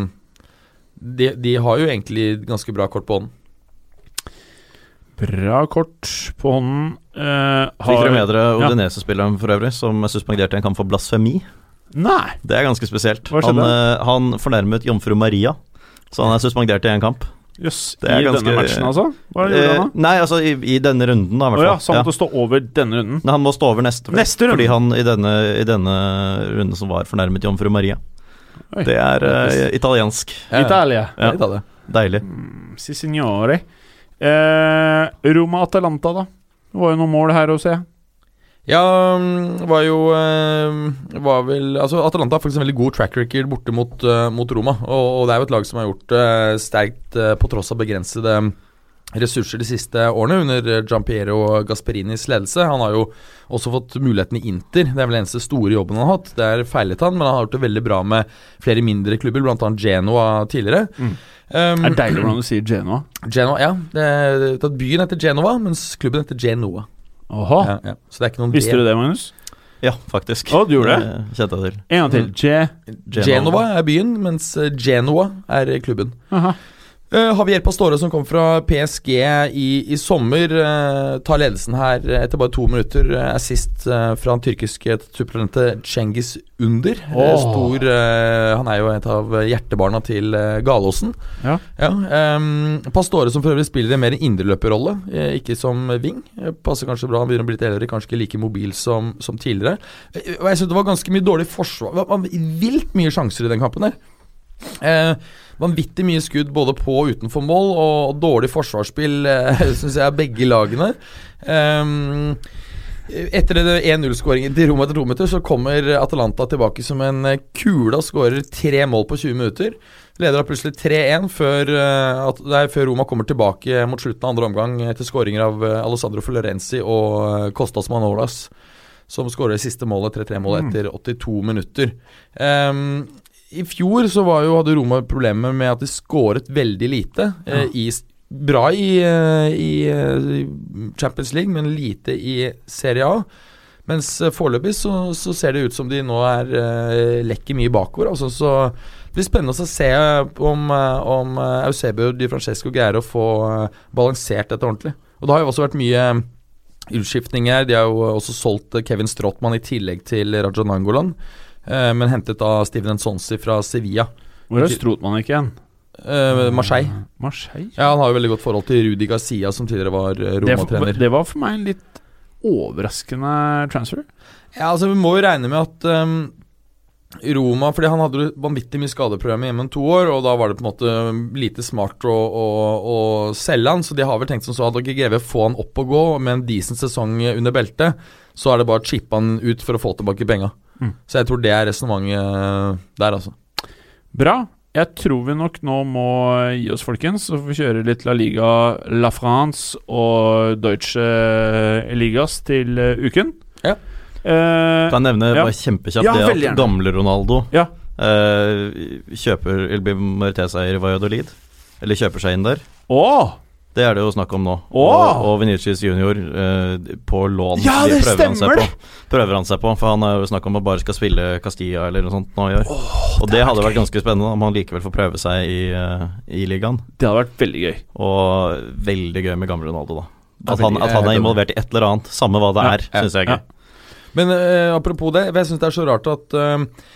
[SPEAKER 4] de, de har jo egentlig ganske bra kort på hånden.
[SPEAKER 3] Bra kort på hånden. Eh,
[SPEAKER 5] Fikk dere med dere
[SPEAKER 3] Ja.
[SPEAKER 5] Odinese-spilleren for øvrig, som er suspendert i en kamp for blasfemi?
[SPEAKER 3] Nei!
[SPEAKER 5] Det er ganske spesielt.
[SPEAKER 3] Hva
[SPEAKER 5] Han,
[SPEAKER 3] skjedde?
[SPEAKER 5] eh, han fornærmet jomfru Maria, så han er suspendert i en kamp.
[SPEAKER 3] Jøss.
[SPEAKER 5] Det er
[SPEAKER 3] I
[SPEAKER 5] ganske-
[SPEAKER 3] denne matchen, altså? Hva gjorde
[SPEAKER 5] Eh,
[SPEAKER 3] han da?
[SPEAKER 5] Nei, altså i, i denne runden, da,
[SPEAKER 3] Å
[SPEAKER 5] i hvert
[SPEAKER 3] ja, så han
[SPEAKER 5] fall. Ja.
[SPEAKER 3] måtte stå over denne runden.
[SPEAKER 5] Nei, han må stå over neste,
[SPEAKER 3] Neste runde.
[SPEAKER 5] fordi han i denne, i denne runden som var fornærmet jomfru Maria.
[SPEAKER 3] Oi.
[SPEAKER 5] Det er eh, italiensk.
[SPEAKER 3] Italia.
[SPEAKER 5] Ja.
[SPEAKER 4] Litt av det.
[SPEAKER 5] Deilig.
[SPEAKER 3] Si signore. Eh, Roma-Atalanta, da. Det var jo noen mål her å se.
[SPEAKER 4] Ja, um, var jo eh, Var vel Altså, Atalanta har faktisk en veldig god track record borte mot, eh, mot Roma. Og, og det er jo et lag som har gjort det sterkt eh, på tross av begrensede ressurser de siste årene, under Giampiero Gasperinis ledelse. Han har jo også fått muligheten i Inter. Det er vel den eneste store jobben han har hatt. Der feilet han, men han har gjort det veldig bra med flere mindre klubber, bl.a. Genoa tidligere.
[SPEAKER 3] Mm.
[SPEAKER 4] Um,
[SPEAKER 3] Det er deilig hvordan du sier Genoa.
[SPEAKER 4] Genoa, ja. Det er, det er byen heter Genova, mens klubben heter Genoa.
[SPEAKER 3] Aha.
[SPEAKER 4] Ja, ja. Så det er ikke noen
[SPEAKER 3] Visste du det, Magnus?
[SPEAKER 5] Ja, faktisk. Eh,
[SPEAKER 3] Å, du gjorde det?
[SPEAKER 5] kjente jeg til.
[SPEAKER 3] En gang til.
[SPEAKER 5] Mm.
[SPEAKER 3] Je...
[SPEAKER 5] Genova.
[SPEAKER 4] Genova er byen, mens eh, Genoa er klubben.
[SPEAKER 3] Aha.
[SPEAKER 4] Uh, Javier Pastore, som kom fra PSG i, i sommer, eh, tar ledelsen her eh, etter bare to minutter. Eh, assist eh, fra den tyrkiske supertalentet Cengiz Under. Eh,
[SPEAKER 3] Åh.
[SPEAKER 4] stor eh, Han er jo et av hjertebarna til eh, Galåsen.
[SPEAKER 3] Ja.
[SPEAKER 4] ehm, Pastore, som for øvrig spiller en mer indreløperrolle, eh, ikke som wing. Eh, passer kanskje bra, han begynner å bli litt eldre, kanskje ikke like mobil som, som eh, tidligere. Eh, og jeg synes det var ganske mye dårlig forsvar. Det var- det var Vilt mye sjanser i den kampen der. Eh, vanvittig mye skudd både på og utenfor mål, og dårlig forsvarsspill, eh, <laughs> syns jeg, begge lagene. Eh, etter den 1-0-skåringen til Roma etter to minutter, så kommer Atalanta tilbake som en eh, kule og skårer tre mål på 20 minutter. Leder da plutselig 3-1 før, eh, at- nei, før Roma kommer tilbake mot slutten av andre omgang etter skåringer av eh, Alessandro Florenzi og eh, Kostas Manolas, som skårer siste målet, 3-3-målet, etter 82 minutter. Ehm, I fjor så var jo, hadde Roma problemer med at de skåret veldig lite. eh, i, s- bra i, eh, i eh, Champions League, men lite i Serie A. Mens eh, foreløpig så, så ser det ut som de nå er eh, lekker mye bakover. Altså, så det blir spennende å se om, eh, om eh, Eusebio Di Francesco greier å få eh, balansert dette ordentlig. Og det har jo også vært mye eh, utskiftninger. De har jo også solgt eh, Kevin Strottmann i tillegg til Raja Nangolan. eh, Men hentet da Steven Ensonsi fra Sevilla.
[SPEAKER 3] Hvor er Strotmann ikke igjen?
[SPEAKER 4] Eh, Marseille.
[SPEAKER 3] Marseille?
[SPEAKER 4] Ja, Han har jo veldig godt forhold til Rudi Garcia, som tidligere var eh,
[SPEAKER 3] Det, var-
[SPEAKER 4] Roma-trener.
[SPEAKER 3] det var for meg en litt overraskende transfer.
[SPEAKER 4] Ja, altså Vi må jo regne med at ehm, Roma fordi han hadde jo vanvittig mye skadeproblemer hjemme om to år, og da var det på en måte lite smart å, å, å selge han, så de har vel tenkt som så at dere greier å få han opp og gå med en decent sesong under beltet, så er det bare å chippe han ut for å få tilbake penga.
[SPEAKER 3] Mm.
[SPEAKER 4] Så jeg tror det er resonnementet der, altså.
[SPEAKER 3] Bra. Jeg tror vi nok nå må gi oss, folkens. Så får vi kjøre litt La Liga, La France og Deutsche Ligas til eh, uken.
[SPEAKER 4] Ja.
[SPEAKER 3] Eh,
[SPEAKER 5] Kan jeg nevne
[SPEAKER 3] Ja.
[SPEAKER 5] bare kjempekjapt
[SPEAKER 3] Ja,
[SPEAKER 5] det
[SPEAKER 3] veldig gjerne.
[SPEAKER 5] at gamle Ronaldo
[SPEAKER 3] Ja.
[SPEAKER 5] eh, kjøper eller blir majoritetseier i Valladolid. Eller kjøper seg inn der.
[SPEAKER 3] å!
[SPEAKER 5] Det er det jo snakk om nå.
[SPEAKER 3] Åh!
[SPEAKER 5] Og, og Vinicius junior eh, på lån.
[SPEAKER 3] Ja,
[SPEAKER 5] De
[SPEAKER 3] det
[SPEAKER 5] prøver han seg
[SPEAKER 3] stemmer
[SPEAKER 5] på. Prøver han seg på, for han er jo snakk om at bare skal spille Castilla eller noe sånt nå i år. og det hadde vært ganske spennende om han likevel får prøve seg i, eh, i ligaen.
[SPEAKER 3] Det hadde vært veldig gøy.
[SPEAKER 5] Og veldig gøy med gamle Ronaldo, da. At han,
[SPEAKER 4] veldig-
[SPEAKER 5] at han
[SPEAKER 4] jeg er
[SPEAKER 5] er
[SPEAKER 4] helt
[SPEAKER 5] involvert i et eller annet, samme hva det
[SPEAKER 3] Ja,
[SPEAKER 5] er, syns jeg er
[SPEAKER 3] ja.
[SPEAKER 5] gøy.
[SPEAKER 4] Men eh, apropos det, for jeg syns det er så rart at uh,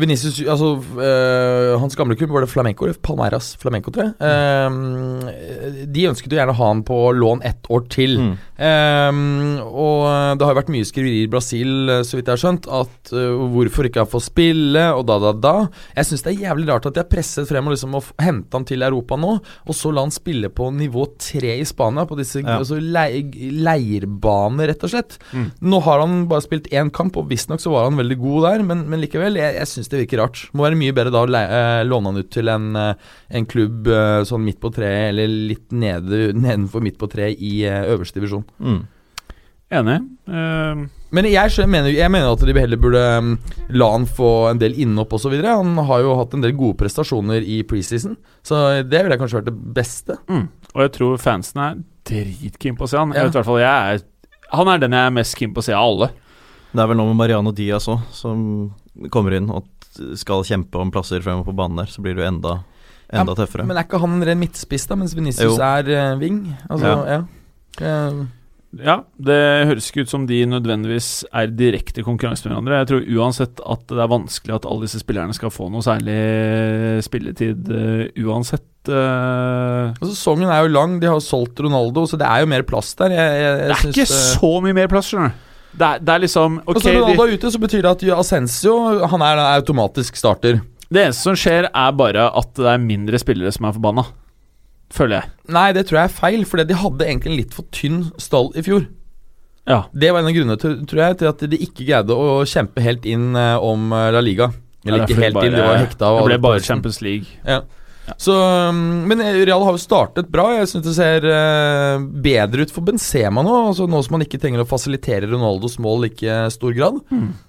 [SPEAKER 4] Vinicius, altså eh, Hans gamle klubb var det Flamenco, eller Palmeiras Flamenco, tror jeg. Eh, de ønsket jo gjerne å ha han på lån ett år til.
[SPEAKER 5] Mm.
[SPEAKER 4] Ehm, og det har jo vært mye skriverier i Brasil, eh, så vidt jeg har skjønt, at eh, hvorfor ikke han får spille, og da, da, da. Jeg syns det er jævlig rart at de har presset frem og liksom å f- hente han til Europa nå, og så la han spille på nivå tre i Spania, på disse
[SPEAKER 5] Ja.
[SPEAKER 4] altså, lei- leirbaner, rett og slett. Nå har han bare spilt én kamp, og visstnok så var han veldig god der, men, men likevel, jeg, jeg syns det virker rart. Må være mye bedre da å leie, eh, låne han ut til en, eh, en klubb eh, sånn midt på treet, eller litt nede, nedenfor midt på treet i eh, øverste divisjon.
[SPEAKER 5] Mm.
[SPEAKER 3] Enig. Eh,
[SPEAKER 4] Men jeg, skjø- mener, jeg mener at de heller burde um, la han få en del innhopp osv. Han har jo hatt en del gode prestasjoner i preseason, så det ville kanskje vært det beste.
[SPEAKER 3] Mm. Og jeg tror fansen er dritkeen på å se han.
[SPEAKER 4] Ja.
[SPEAKER 3] Jeg vet i hvert fall jeg er Han er den jeg er mest keen på å se av alle.
[SPEAKER 5] Det er vel noe med Mariano Diaz òg, som kommer inn og skal kjempe om plasser fremover på banen der. Så blir det jo enda, enda tøffere.
[SPEAKER 4] Men er ikke han en ren midtspiss, da, mens Venicius
[SPEAKER 5] Jo.
[SPEAKER 4] er eh, wing? Altså, ja. Eh,
[SPEAKER 3] Ja, Det høres ikke ut som de nødvendigvis er direkte konkurranse med hverandre. Jeg tror uansett at det er vanskelig at alle disse spillerne skal få noe særlig spilletid eh, uansett. eh.
[SPEAKER 4] og Altså, Sesongen er jo lang, de har solgt Ronaldo, så det er jo mer plass der. Jeg, jeg, jeg
[SPEAKER 3] det er
[SPEAKER 4] syns,
[SPEAKER 3] ikke
[SPEAKER 4] eh,
[SPEAKER 3] så mye mer plass, skjønner du. Det er, det er liksom
[SPEAKER 4] Og
[SPEAKER 3] Ok,
[SPEAKER 4] så Ronaldo
[SPEAKER 3] de,
[SPEAKER 4] er ute, så betyr det at Ascencio han er da automatisk starter.
[SPEAKER 3] det eneste som skjer, er bare at det er mindre spillere som er forbanna. Føler jeg.
[SPEAKER 4] Nei, det tror jeg er feil, for de hadde egentlig en litt for tynn stall i fjor.
[SPEAKER 3] Ja.
[SPEAKER 4] Det var en av grunnene til, tror jeg, til at de ikke greide å kjempe helt inn eh, om eh, La Liga.
[SPEAKER 3] Ja,
[SPEAKER 4] Eller ikke
[SPEAKER 3] derfor
[SPEAKER 4] helt
[SPEAKER 3] bare-
[SPEAKER 4] inn, de var hekta
[SPEAKER 3] Det
[SPEAKER 4] av
[SPEAKER 3] ble
[SPEAKER 4] alle
[SPEAKER 3] bare
[SPEAKER 4] poengene.
[SPEAKER 3] Champions League.
[SPEAKER 4] Ja. Så, um, men Real har jo startet bra. Jeg syns det ser eh, bedre ut for Benzema nå. Altså Nå som han ikke trenger å fasilitere Ronaldos mål i like stor grad.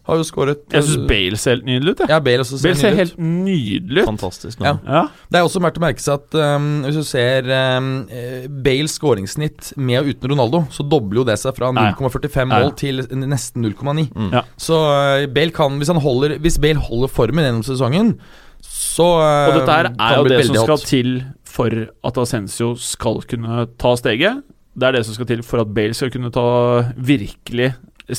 [SPEAKER 4] Har jo skåret
[SPEAKER 3] Hmm.
[SPEAKER 4] eh,
[SPEAKER 3] Jeg syns Bale ser helt nydelig ut. Jeg.
[SPEAKER 4] ja, Bale også ser
[SPEAKER 3] Bale ser
[SPEAKER 4] nydelig ut.
[SPEAKER 3] helt nydelig ut.
[SPEAKER 5] Fantastisk.
[SPEAKER 4] Ja.
[SPEAKER 5] Ja.
[SPEAKER 3] Ja.
[SPEAKER 4] Det er også verdt å merke seg at um, hvis du ser um, eh, Bales skåringssnitt med og uten Ronaldo, så dobler jo det seg fra
[SPEAKER 3] Ja, ja.
[SPEAKER 4] 0,45
[SPEAKER 3] Ja, ja.
[SPEAKER 4] mål til nesten 0,9.
[SPEAKER 5] Mm.
[SPEAKER 3] Ja.
[SPEAKER 4] Så eh, Bale kan, hvis, han holder, hvis Bale holder formen gjennom sesongen, så
[SPEAKER 3] Og dette her
[SPEAKER 4] eh, kan
[SPEAKER 3] er jo
[SPEAKER 4] bli
[SPEAKER 3] det som
[SPEAKER 4] veldig
[SPEAKER 3] skal
[SPEAKER 4] hot.
[SPEAKER 3] til for at Ascencio skal kunne ta steget. Det er det som skal til for at Bale skal kunne ta virkelig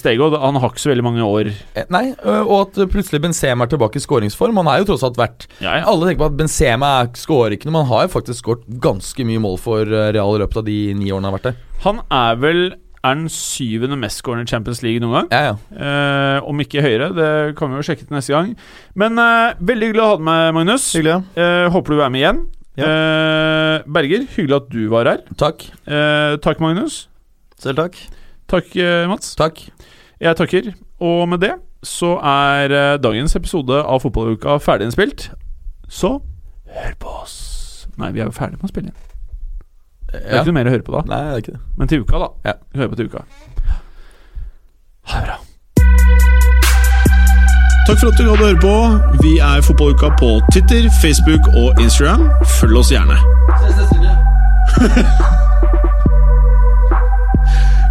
[SPEAKER 3] steget. Og han har ikke så veldig mange år.
[SPEAKER 4] Eh, Nei, ø, og at plutselig Benzema er tilbake i skåringsform. Han er jo tross alt verdt
[SPEAKER 3] Ja, ja.
[SPEAKER 4] Alle tenker på at Benzema er- skårer ikke noe, men han har jo faktisk skåret ganske mye mål for eh, Real i løpet av de ni årene han har vært der.
[SPEAKER 3] Han er vel er den syvende mestskårende i Champions League noen gang.
[SPEAKER 4] Ja, ja.
[SPEAKER 3] Eh, om ikke høyere, det kan vi jo sjekke til neste gang. Men eh, veldig hyggelig å ha deg med, Magnus.
[SPEAKER 5] Hyggelig, ja.
[SPEAKER 3] Eh, håper du er med igjen.
[SPEAKER 5] Ja.
[SPEAKER 3] Eh, Berger, hyggelig at du var her.
[SPEAKER 4] Takk.
[SPEAKER 3] Eh, takk, Magnus.
[SPEAKER 5] Selv takk.
[SPEAKER 3] Takk, eh, Mats.
[SPEAKER 4] Takk.
[SPEAKER 3] Jeg takker. Og med det så er eh, dagens episode av Fotballuka ferdig innspilt. Så hør på oss. Nei, vi er jo ferdig med å spille inn. Det er
[SPEAKER 4] Ja.
[SPEAKER 3] ikke noe mer å høre på da.
[SPEAKER 4] Nei, det er ikke det.
[SPEAKER 3] Men til uka, da.
[SPEAKER 4] Ja.
[SPEAKER 3] Vi hører på til uka. Ha det bra.
[SPEAKER 1] <laughs> Takk for at du hadde høre på. Vi er Fotballuka på Twitter, Facebook og Instagram. Følg oss gjerne. <laughs>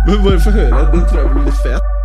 [SPEAKER 1] Men bare få høre. Den tror jeg blir litt fet.